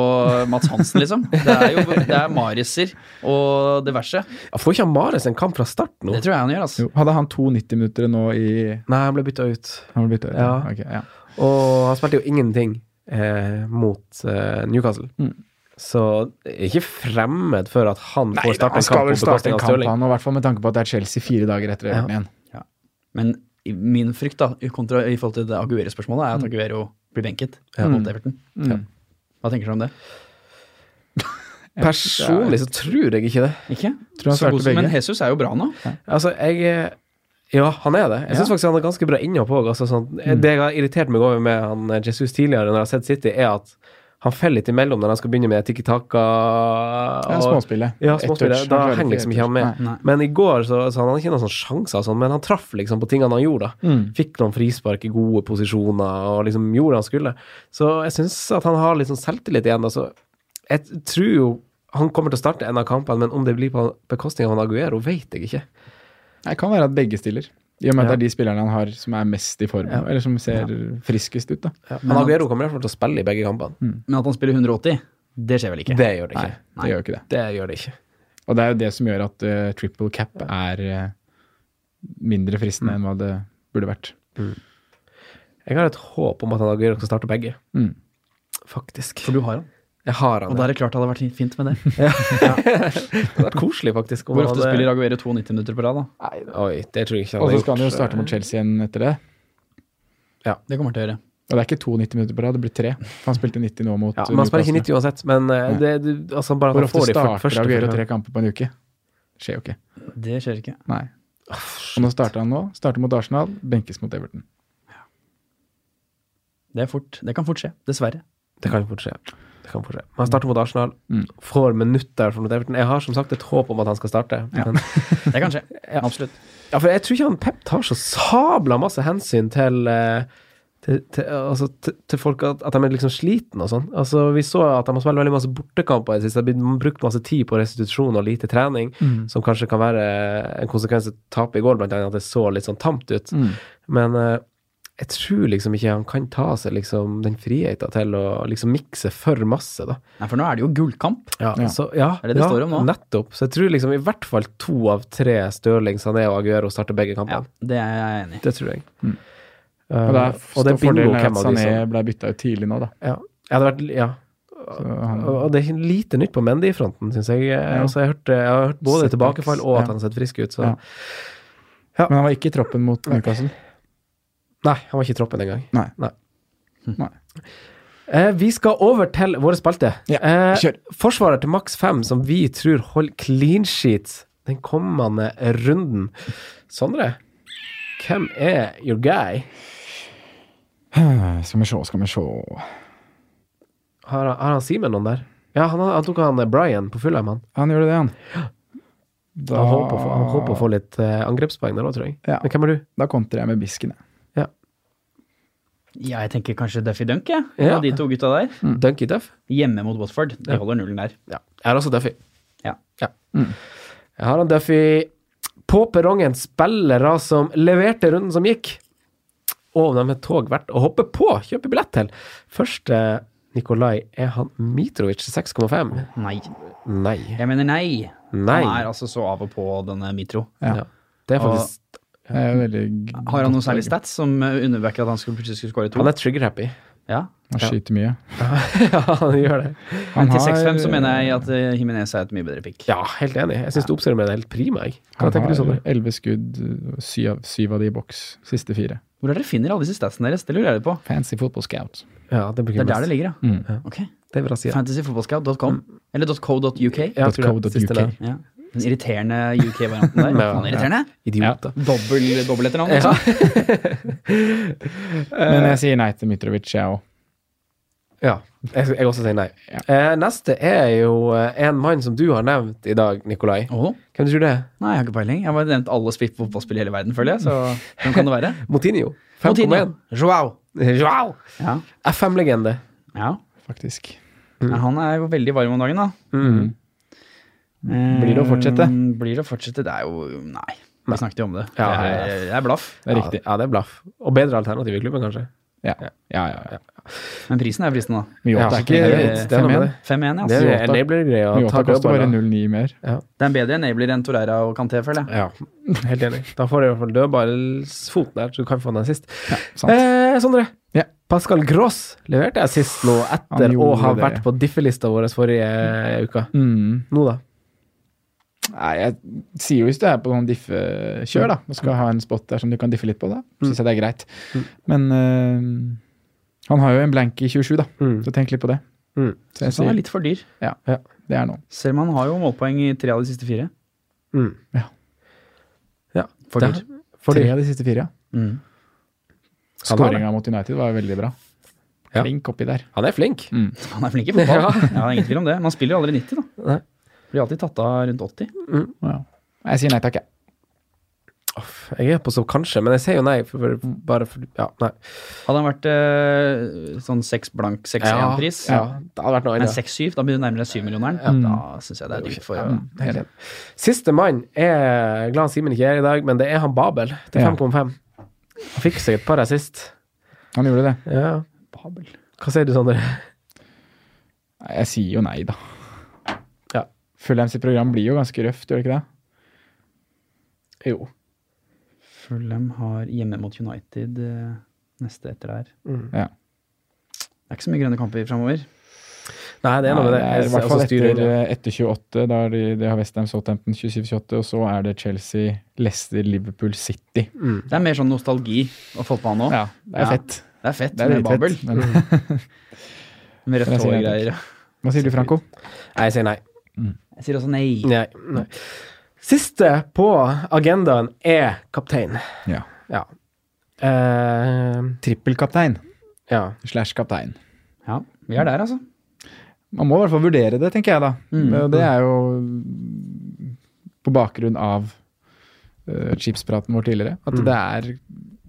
Speaker 5: Mats Hansen, liksom. Det er jo det er Mariser og det verste.
Speaker 3: Jeg får ikke han Mares en kamp fra start nå?
Speaker 5: Det tror jeg han gjør, altså.
Speaker 4: Jo, hadde han to 90-minuttere nå i
Speaker 3: Nei, han ble bytta ut.
Speaker 4: Han ble bytta ut?
Speaker 3: Ja.
Speaker 4: Ok, ja.
Speaker 3: Og han spilte jo ingenting eh, mot eh, Newcastle.
Speaker 4: Mm.
Speaker 3: Så det er ikke fremmed for at han
Speaker 4: Nei,
Speaker 3: får
Speaker 4: da,
Speaker 3: starte
Speaker 4: han
Speaker 3: en kamp
Speaker 4: skal
Speaker 3: på
Speaker 4: vel starte
Speaker 3: bekostning
Speaker 4: en
Speaker 3: av
Speaker 4: kamp,
Speaker 3: Stirling.
Speaker 4: han, og i hvert fall med tanke på at det er Chelsea fire dager etter Everton igjen.
Speaker 5: Men i min frykt, da, i, kontra, i forhold til det Aguero-spørsmålet, er at Aguero blir benket mot Everton.
Speaker 4: Mm.
Speaker 5: Hva tenker du om det?
Speaker 3: Personlig så tror jeg ikke det.
Speaker 5: Ikke?
Speaker 4: Tror han
Speaker 5: Så god
Speaker 4: starter
Speaker 5: som- Men
Speaker 4: begge.
Speaker 5: Jesus er jo bra nå.
Speaker 3: Altså, jeg eh, Ja, han er det. Jeg syns
Speaker 4: Ja. Mm.
Speaker 3: faktisk han er ganske bra innhopp òg. Altså, sånn, Det jeg har irritert meg over med han eh, Jesus tidligere, når jeg har sett City, er at han faller litt imellom når han skal begynne med tiki-taka.
Speaker 4: Ja,
Speaker 3: og-
Speaker 4: småspillet.
Speaker 3: Ja,
Speaker 4: Ett
Speaker 3: småspillet.
Speaker 4: touch,
Speaker 3: Da
Speaker 4: han klarer
Speaker 3: henger liksom ikke han med.
Speaker 4: ett touch.
Speaker 5: Nei.
Speaker 3: Men i går så, så han hadde ikke noen sånn sjanser, og sånn, men han traff liksom på tingene han gjorde. da.
Speaker 4: Mm.
Speaker 3: Fikk noen frispark i gode posisjoner og liksom gjorde det han skulle. Så jeg syns at han har litt sånn selvtillit igjen. Altså. Jeg tror jo han kommer til å starte en av kampene, men om det blir på bekostning av han Aguero, vet jeg ikke.
Speaker 4: Nei, Det kan være at begge stiller. I og med at
Speaker 3: Ja.
Speaker 4: det er de spillerne han har som er mest i form, eller som ser friskest ut. da.
Speaker 3: Men Aguero kommer i hvert fall til å spille i begge kampene.
Speaker 5: Men at han spiller 180, det skjer vel ikke?
Speaker 3: Det gjør det
Speaker 4: Nei,
Speaker 3: ikke.
Speaker 5: Nei.
Speaker 4: det gjør jo ikke det.
Speaker 3: Det gjør det ikke.
Speaker 4: Og det er jo det som gjør at eh, triple cap er eh, mindre
Speaker 3: Mm.
Speaker 4: fristende enn hva det burde vært.
Speaker 3: Jeg har et håp om at han Aguero skal starte begge,
Speaker 4: Mm.
Speaker 3: faktisk.
Speaker 5: For du har han.
Speaker 3: Jeg har
Speaker 5: Og
Speaker 3: han.
Speaker 5: da
Speaker 3: ja.
Speaker 5: er det klart det hadde vært fint med det.
Speaker 3: Det hadde vært koselig, faktisk. om
Speaker 5: Hvor
Speaker 3: han
Speaker 5: ofte
Speaker 3: hadde-
Speaker 5: spiller Aguero 92 minutter på rad, da?
Speaker 3: Oi, det tror jeg ikke han
Speaker 4: Og så
Speaker 3: hadde
Speaker 4: skal han jo
Speaker 3: gjort. eh,
Speaker 4: starte mot Chelsea igjen etter det.
Speaker 5: Det kommer han til å gjøre.
Speaker 4: Og det er ikke to 90 minutter på rad, det blir tre. For han spilte 90 nå mot
Speaker 3: Ja, men han spiller ikke
Speaker 4: Newcastle.
Speaker 3: 90 uansett, men eh, det, du- altså bare at
Speaker 4: Hvor
Speaker 3: han får
Speaker 4: ofte
Speaker 3: de fyr-
Speaker 4: starter
Speaker 3: første
Speaker 4: Aguero
Speaker 3: første-
Speaker 4: tre kamper på en uke? Skjer jo ikke.
Speaker 5: Det skjer ikke.
Speaker 4: Nei. Og nå starter han nå. Starter mot Arsenal, benkes mot Everton.
Speaker 5: Det, er fort. det kan fort skje. Dessverre.
Speaker 3: Det kan fort skje. Det kan fort skje. Men han starter mot Arsenal,
Speaker 4: Mm.
Speaker 3: får minutter for mot Everton. Jeg har som sagt et håp om at han skal starte. Men,
Speaker 5: Det kan skje. Absolutt.
Speaker 3: ja, for jeg tror ikke han Pep tar så sabla masse hensyn til eh, til, til, altså, til, til folk at, at de er liksom slitne og sånn. Altså, vi så at de har spilt veldig masse bortekamper i det siste. Det har blitt brukt masse tid på restitusjon og lite trening, som kanskje kan være en konsekvens av tapet i går, blant annet at det så litt sånn tamt ut. Men eh, jeg tror liksom ikke han kan ta seg liksom den friheta til å liksom mikse for masse, da.
Speaker 5: Nei, for nå er det jo gullkamp.
Speaker 3: Ja,
Speaker 4: Ja.
Speaker 3: Så, ja,
Speaker 5: Er det det
Speaker 3: ja,
Speaker 5: står om nå?
Speaker 3: Nettopp. Så jeg tror liksom i hvert fall to av tre Stirling, Sané og Aguero starter begge
Speaker 5: Ja,
Speaker 3: kampene.
Speaker 5: det er jeg enig i.
Speaker 3: Det tror jeg. Eh,
Speaker 4: Mm. Og det er,
Speaker 3: og det er bingo
Speaker 4: fordelen er
Speaker 3: hvem
Speaker 4: at
Speaker 3: av de
Speaker 4: Sané
Speaker 3: som
Speaker 4: ble bytta ut tidlig nå, da.
Speaker 3: ja. Jeg hadde vært, ja.
Speaker 4: Så han,
Speaker 3: Og og det er lite nytt på Mendy-fronten, syns jeg. Eh, Altså, jeg, har hørt, jeg har hørt både
Speaker 4: Setbacks,
Speaker 3: tilbakefall og
Speaker 4: ja.
Speaker 3: at han har sett frisk ut, så
Speaker 4: Ja. men han var ikke i troppen mot Newcastle.
Speaker 3: Nei, han var ikke i troppen engang.
Speaker 4: Nei. Hm.
Speaker 3: Nei.
Speaker 4: Nei.
Speaker 3: Eh, vi skal over til våre spalte.
Speaker 4: Ja, kjør.
Speaker 3: Eh, forsvarer til maks fem, som vi tror holder clean sheet den kommende runden. Sondre, hvem er your guy?
Speaker 4: Skal vi se, skal vi se
Speaker 3: Har, han- har han Simen noen der? Ja, han, han tok han eh, Brian på Fulheim, han.
Speaker 4: Han gjør det, han. Da,
Speaker 3: Han håper å få- han håper å få litt eh, angrepspoeng der òg, tror jeg.
Speaker 4: Ja.
Speaker 3: Men hvem er du?
Speaker 4: da kontrer jeg med bisken, jeg.
Speaker 5: Jeg tenker kanskje Duffy Dunk, jeg.
Speaker 3: Ja.
Speaker 5: Av de to gutta der.
Speaker 3: Dunky Duff?
Speaker 5: Hjemme mot Watford. De holder nullen der.
Speaker 3: Ja. Jeg har også Duffy.
Speaker 5: Ja. Mm.
Speaker 3: Jeg har han Duffy på perrongen. Spillere som leverte runden som gikk. Og om de er tog verdt å hoppe på, kjøpe billett til. Første Nikolai, er han Mitrovic 6,5?
Speaker 5: Nei.
Speaker 3: Nei.
Speaker 5: Jeg mener nei.
Speaker 3: Nei.
Speaker 5: Han er altså så av og på denne Mitro.
Speaker 4: Ja.
Speaker 3: Ja. Det er faktisk
Speaker 4: Jeg er veldig g-
Speaker 5: Har han noen
Speaker 4: godt
Speaker 5: særlig
Speaker 4: lag.
Speaker 5: stats som eh, underbacker at han skulle plutselig skulle skåre to?
Speaker 3: Han er trigger-happy.
Speaker 5: Ja.
Speaker 4: Han skyter mye.
Speaker 3: ja, han gjør det.
Speaker 4: Han
Speaker 5: Men til
Speaker 4: har-
Speaker 5: 6-5 så mener jeg at eh, Jimenez er et mye bedre pick.
Speaker 3: Ja, helt enig. Jeg syns du oppsummerer det helt prima. Jeg. Hva
Speaker 4: Han
Speaker 3: tenker du,
Speaker 4: har
Speaker 3: Sondre?
Speaker 4: elleve skudd, syv av, syv av de i boks. Siste fire.
Speaker 5: Hvor er dere finner alle disse statsene deres? Det lurer jeg litt på.
Speaker 4: Fancy football scout.
Speaker 3: Ja, det
Speaker 5: Det
Speaker 3: blir
Speaker 5: er der det
Speaker 3: mest.
Speaker 5: ligger, ja.
Speaker 4: Mm.
Speaker 5: Ok.
Speaker 3: Det er bra side.
Speaker 5: Fantasyfotballscout.com. Eller .co.uk.
Speaker 3: Mm. Ja, jeg tror det er
Speaker 4: .co.uk.
Speaker 3: siste der.
Speaker 5: Ja. Den irriterende UK-varianten der.
Speaker 3: Ja.
Speaker 5: Faen, irriterende.
Speaker 3: Idioter.
Speaker 5: Dobbel, dobbel etternavn, altså.
Speaker 4: Men jeg sier nei til Mitrovic, jeg òg.
Speaker 3: Ja. Jeg, jeg også sier nei.
Speaker 4: Ja.
Speaker 3: Eh, neste er jo eh, en mann som du har nevnt i dag, Nikolai.
Speaker 5: Åh.
Speaker 3: Hvem tror du det er?
Speaker 5: Nei, jeg har ikke peiling. Jeg har bare nevnt alle spilt fotballspill i hele verden, føler jeg. Så hvem kan det være?
Speaker 3: Motinho.
Speaker 5: Coutinho.
Speaker 3: 5,1.
Speaker 5: Joao.
Speaker 3: Wow!
Speaker 5: Ja.
Speaker 3: FM-legende.
Speaker 5: ja.
Speaker 4: faktisk.
Speaker 5: Men han er jo veldig varm om dagen, da. Eh,
Speaker 3: Mm.
Speaker 5: Blir
Speaker 4: det å fortsette?
Speaker 5: Blir det å fortsette? Det er jo Nei.
Speaker 3: Nei.
Speaker 5: Vi snakket jo om det.
Speaker 3: Ja,
Speaker 5: det,
Speaker 3: ja, ja.
Speaker 5: er, det er blaff.
Speaker 4: Det er riktig.
Speaker 3: Ja, det er blaff. Og bedre alternativ i klubben, kanskje.
Speaker 4: Ja, ja, ja. ja.
Speaker 5: Men prisen er prisen, da.
Speaker 4: Mjåta
Speaker 3: Ja,
Speaker 4: er ikke Altså,
Speaker 3: det er- det er noe med
Speaker 4: 5-1.
Speaker 3: det.
Speaker 5: 5-1,
Speaker 3: Det
Speaker 5: ja.
Speaker 3: er
Speaker 4: Jota-
Speaker 3: enabler-greia.
Speaker 4: Mjåta koster bare 0,9 mer.
Speaker 5: Det er en bedre enabler enn Torreira og Kanté, føler jeg.
Speaker 3: Ja, helt enig. Da får du i hvert fall dødballsfot der, så du kan få den sist.
Speaker 4: sant.
Speaker 3: Eh, Sondre.
Speaker 4: Ja.
Speaker 3: Pascal Gross leverte assist nå etter
Speaker 4: Han gjorde
Speaker 3: å ha
Speaker 4: det.
Speaker 3: vært på diffelista vår forrige uke.
Speaker 4: Mm.
Speaker 3: Nå, da.
Speaker 4: Nei, jeg sier jo hvis du er på sånn diffekjør, da, og skal ha en spot der som du kan diffe litt på, da syns jeg det er greit. Men eh, han har jo en blank i 27, da,
Speaker 3: Mm.
Speaker 4: så tenk litt på det.
Speaker 3: Mm.
Speaker 4: Så jeg
Speaker 5: Så han
Speaker 4: sier
Speaker 5: er litt for dyr.
Speaker 4: det er noe.
Speaker 5: Selv om han har jo målpoeng i tre av de siste fire.
Speaker 3: Mm.
Speaker 4: Ja.
Speaker 3: Ja,
Speaker 5: For
Speaker 3: det-
Speaker 5: dyr.
Speaker 3: Fordi,
Speaker 4: Tre av de siste fire, ja.
Speaker 5: Mm.
Speaker 4: Skåringa mot United var veldig bra.
Speaker 3: Ja.
Speaker 4: Flink oppi der.
Speaker 3: han er flink.
Speaker 5: Han er flink i fotball. Ja. det er ingen tvil om det. Man spiller jo aldri 90, da.
Speaker 3: Nei.
Speaker 5: Blir alltid tatt av rundt 80.
Speaker 4: Ja. Jeg sier nei takk, jeg.
Speaker 3: Uff, Jeg er på så kanskje, men jeg sier jo nei. For, for, bare for, ja, nei.
Speaker 5: Hadde han vært eh, sånn 6 blank 6-1-pris,
Speaker 3: Ja, det hadde vært noe
Speaker 5: men
Speaker 3: annet.
Speaker 5: 6-7, da blir du nærmere 7-millionæren. Da syns jeg det er dyrt for å
Speaker 4: Helt enig.
Speaker 3: Siste mann er glad Simen ikke er i dag, men det er han Babel til
Speaker 4: Ja.
Speaker 3: 5,5. Han fikk seg et par assist.
Speaker 4: Han gjorde det.
Speaker 3: Ja. Hva sier du, Sondre?
Speaker 4: Nei, Jeg sier jo nei, da.
Speaker 3: Ja.
Speaker 4: Fulham sitt program blir jo ganske røft, gjør det ikke det?
Speaker 3: Jo.
Speaker 5: Fulham har hjemme mot United eh, neste etter der.
Speaker 3: Mm.
Speaker 4: Ja.
Speaker 5: Det er ikke så mye grønne kamper framover.
Speaker 3: Nei, det er noe med det.
Speaker 4: Nei, det er I hvert fall
Speaker 3: Også styrer-
Speaker 4: etter, eh, etter 28. Da er de, de har Westham Southampton 27-28, og så er det Chelsea, Leicester, Liverpool, City.
Speaker 5: Det er mer sånn nostalgi å få på han nå.
Speaker 4: Ja, det er
Speaker 5: Ja.
Speaker 4: fett.
Speaker 5: Det er fett
Speaker 4: Det er
Speaker 5: med Babel,
Speaker 4: dritfett. Men
Speaker 5: med rødt
Speaker 4: Jeg
Speaker 5: hår
Speaker 4: sier
Speaker 5: og
Speaker 4: det.
Speaker 5: greier.
Speaker 4: hva sier du, Franco?
Speaker 3: Nei, jeg sier nei.
Speaker 5: Jeg sier også nei.
Speaker 3: nei. Nei. Siste på agendaen er kaptein.
Speaker 4: Ja.
Speaker 3: Ja. Eh,
Speaker 4: Trippelkaptein
Speaker 3: ja.
Speaker 4: slash kaptein.
Speaker 5: Ja, vi er der, altså.
Speaker 4: Man må i hvert fall vurdere det, tenker jeg da.
Speaker 5: Mm.
Speaker 4: Og Det er jo på bakgrunn av eh, chipspraten vår tidligere. At
Speaker 3: Mm.
Speaker 4: det er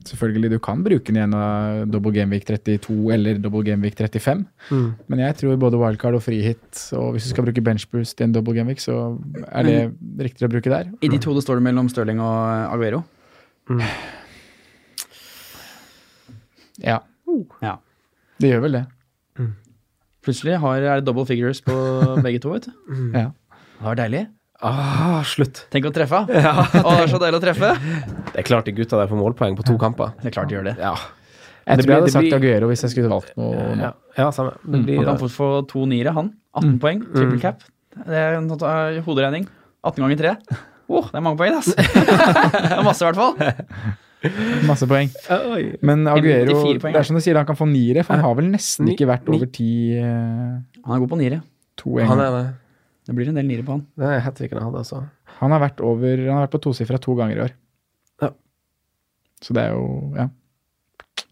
Speaker 4: Selvfølgelig, du kan bruke den igjen av Double Game Week 32 eller Double Game Week 35.
Speaker 3: Mm.
Speaker 4: Men jeg tror både wildcard og frihit, og hvis du skal bruke benchboost i en double game week, så er det riktigere å bruke der.
Speaker 5: I de to det står det mellom Stirling og eh, Aguero.
Speaker 4: Ja,
Speaker 5: Ja.
Speaker 4: det gjør vel det.
Speaker 5: Plutselig har, er det double figures på begge to, vet du.
Speaker 4: Ja.
Speaker 5: Det var deilig.
Speaker 3: Ah, slutt.
Speaker 5: Tenk å treffe. Ja. Å, det er så deilig å treffe.
Speaker 3: Det er klart de gutta der får målpoeng på to kamper.
Speaker 5: Det er klart de gjør det.
Speaker 3: Ja.
Speaker 4: Jeg
Speaker 3: Det
Speaker 4: tror jeg
Speaker 3: blir-
Speaker 4: hadde sagt
Speaker 3: det blir-
Speaker 4: Aguero hvis jeg skulle valgt noe nå.
Speaker 3: Ja, Mm. ja samme. Det blir
Speaker 5: Han kan fort få to niere, han. 18 poeng, triple cap. Det er en sånn, eh, hoderegning. 18 ganger 3. Åh, det er mange poeng, ass. det er masse, i hvert fall.
Speaker 4: Masse poeng.
Speaker 3: Oi.
Speaker 4: Men Aguero,
Speaker 5: 94 poeng.
Speaker 4: det er som du sier, han kan få niere, for han har vel nesten
Speaker 3: Ni-
Speaker 4: ikke vært
Speaker 3: ni-
Speaker 4: over ti eh,
Speaker 5: Han er god på niere.
Speaker 4: to en
Speaker 3: Han
Speaker 4: gang.
Speaker 3: er det.
Speaker 5: Det blir en del niere på han.
Speaker 3: Det er hat-tricken han hadde, altså.
Speaker 4: Han har vært over, han har vært på tosifra to ganger i år.
Speaker 3: Ja.
Speaker 4: Så det er jo Ja.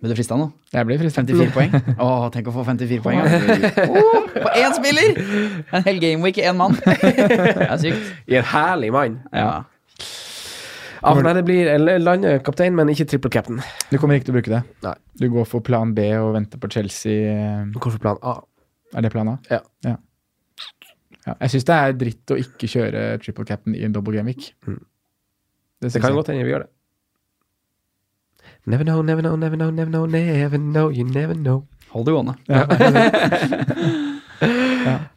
Speaker 5: Vil du friste han nå?
Speaker 4: Jeg blir fristet.
Speaker 5: 54 poeng. Åh, tenk å få 54 poeng. ja. Åh, på én spiller! En hel gameweek i én mann. Det er sykt.
Speaker 3: I en herlig mann.
Speaker 5: Ja.
Speaker 3: Ja, for nei, det blir jeg lander kaptein, men ikke triple captain.
Speaker 4: Du kommer ikke til å bruke det.
Speaker 3: Nei.
Speaker 4: Du går for plan B og venter på Chelsea. eh,
Speaker 3: Hvorfor plan A?
Speaker 4: Er det planen?
Speaker 3: Ja.
Speaker 4: ja. Ja, Jeg syns det er dritt å ikke kjøre triple cap'n i en double game week. Det,
Speaker 3: Mm. Det
Speaker 4: synes
Speaker 3: kan
Speaker 4: jeg.
Speaker 3: godt hende vi gjør det. Never know, never know, never know, never know, never know, you never know.
Speaker 5: Hold det gående.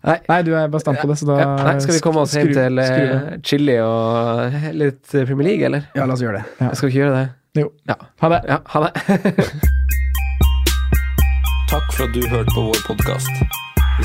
Speaker 3: Nei.
Speaker 4: Nei, du er bastant på det, så da
Speaker 3: Ja, nei, skal vi komme oss hjem
Speaker 4: skru-
Speaker 3: til eh,
Speaker 4: skru det.
Speaker 3: chili og eh, litt eh, Premier League, eller?
Speaker 5: Ja, la oss gjøre det.
Speaker 4: Ja.
Speaker 3: Jeg skal vi ikke gjøre det.
Speaker 4: Jo.
Speaker 3: Ja.
Speaker 4: Ha det.
Speaker 3: Ja, ha det.
Speaker 6: Takk for at du hørte på vår podkast. Vi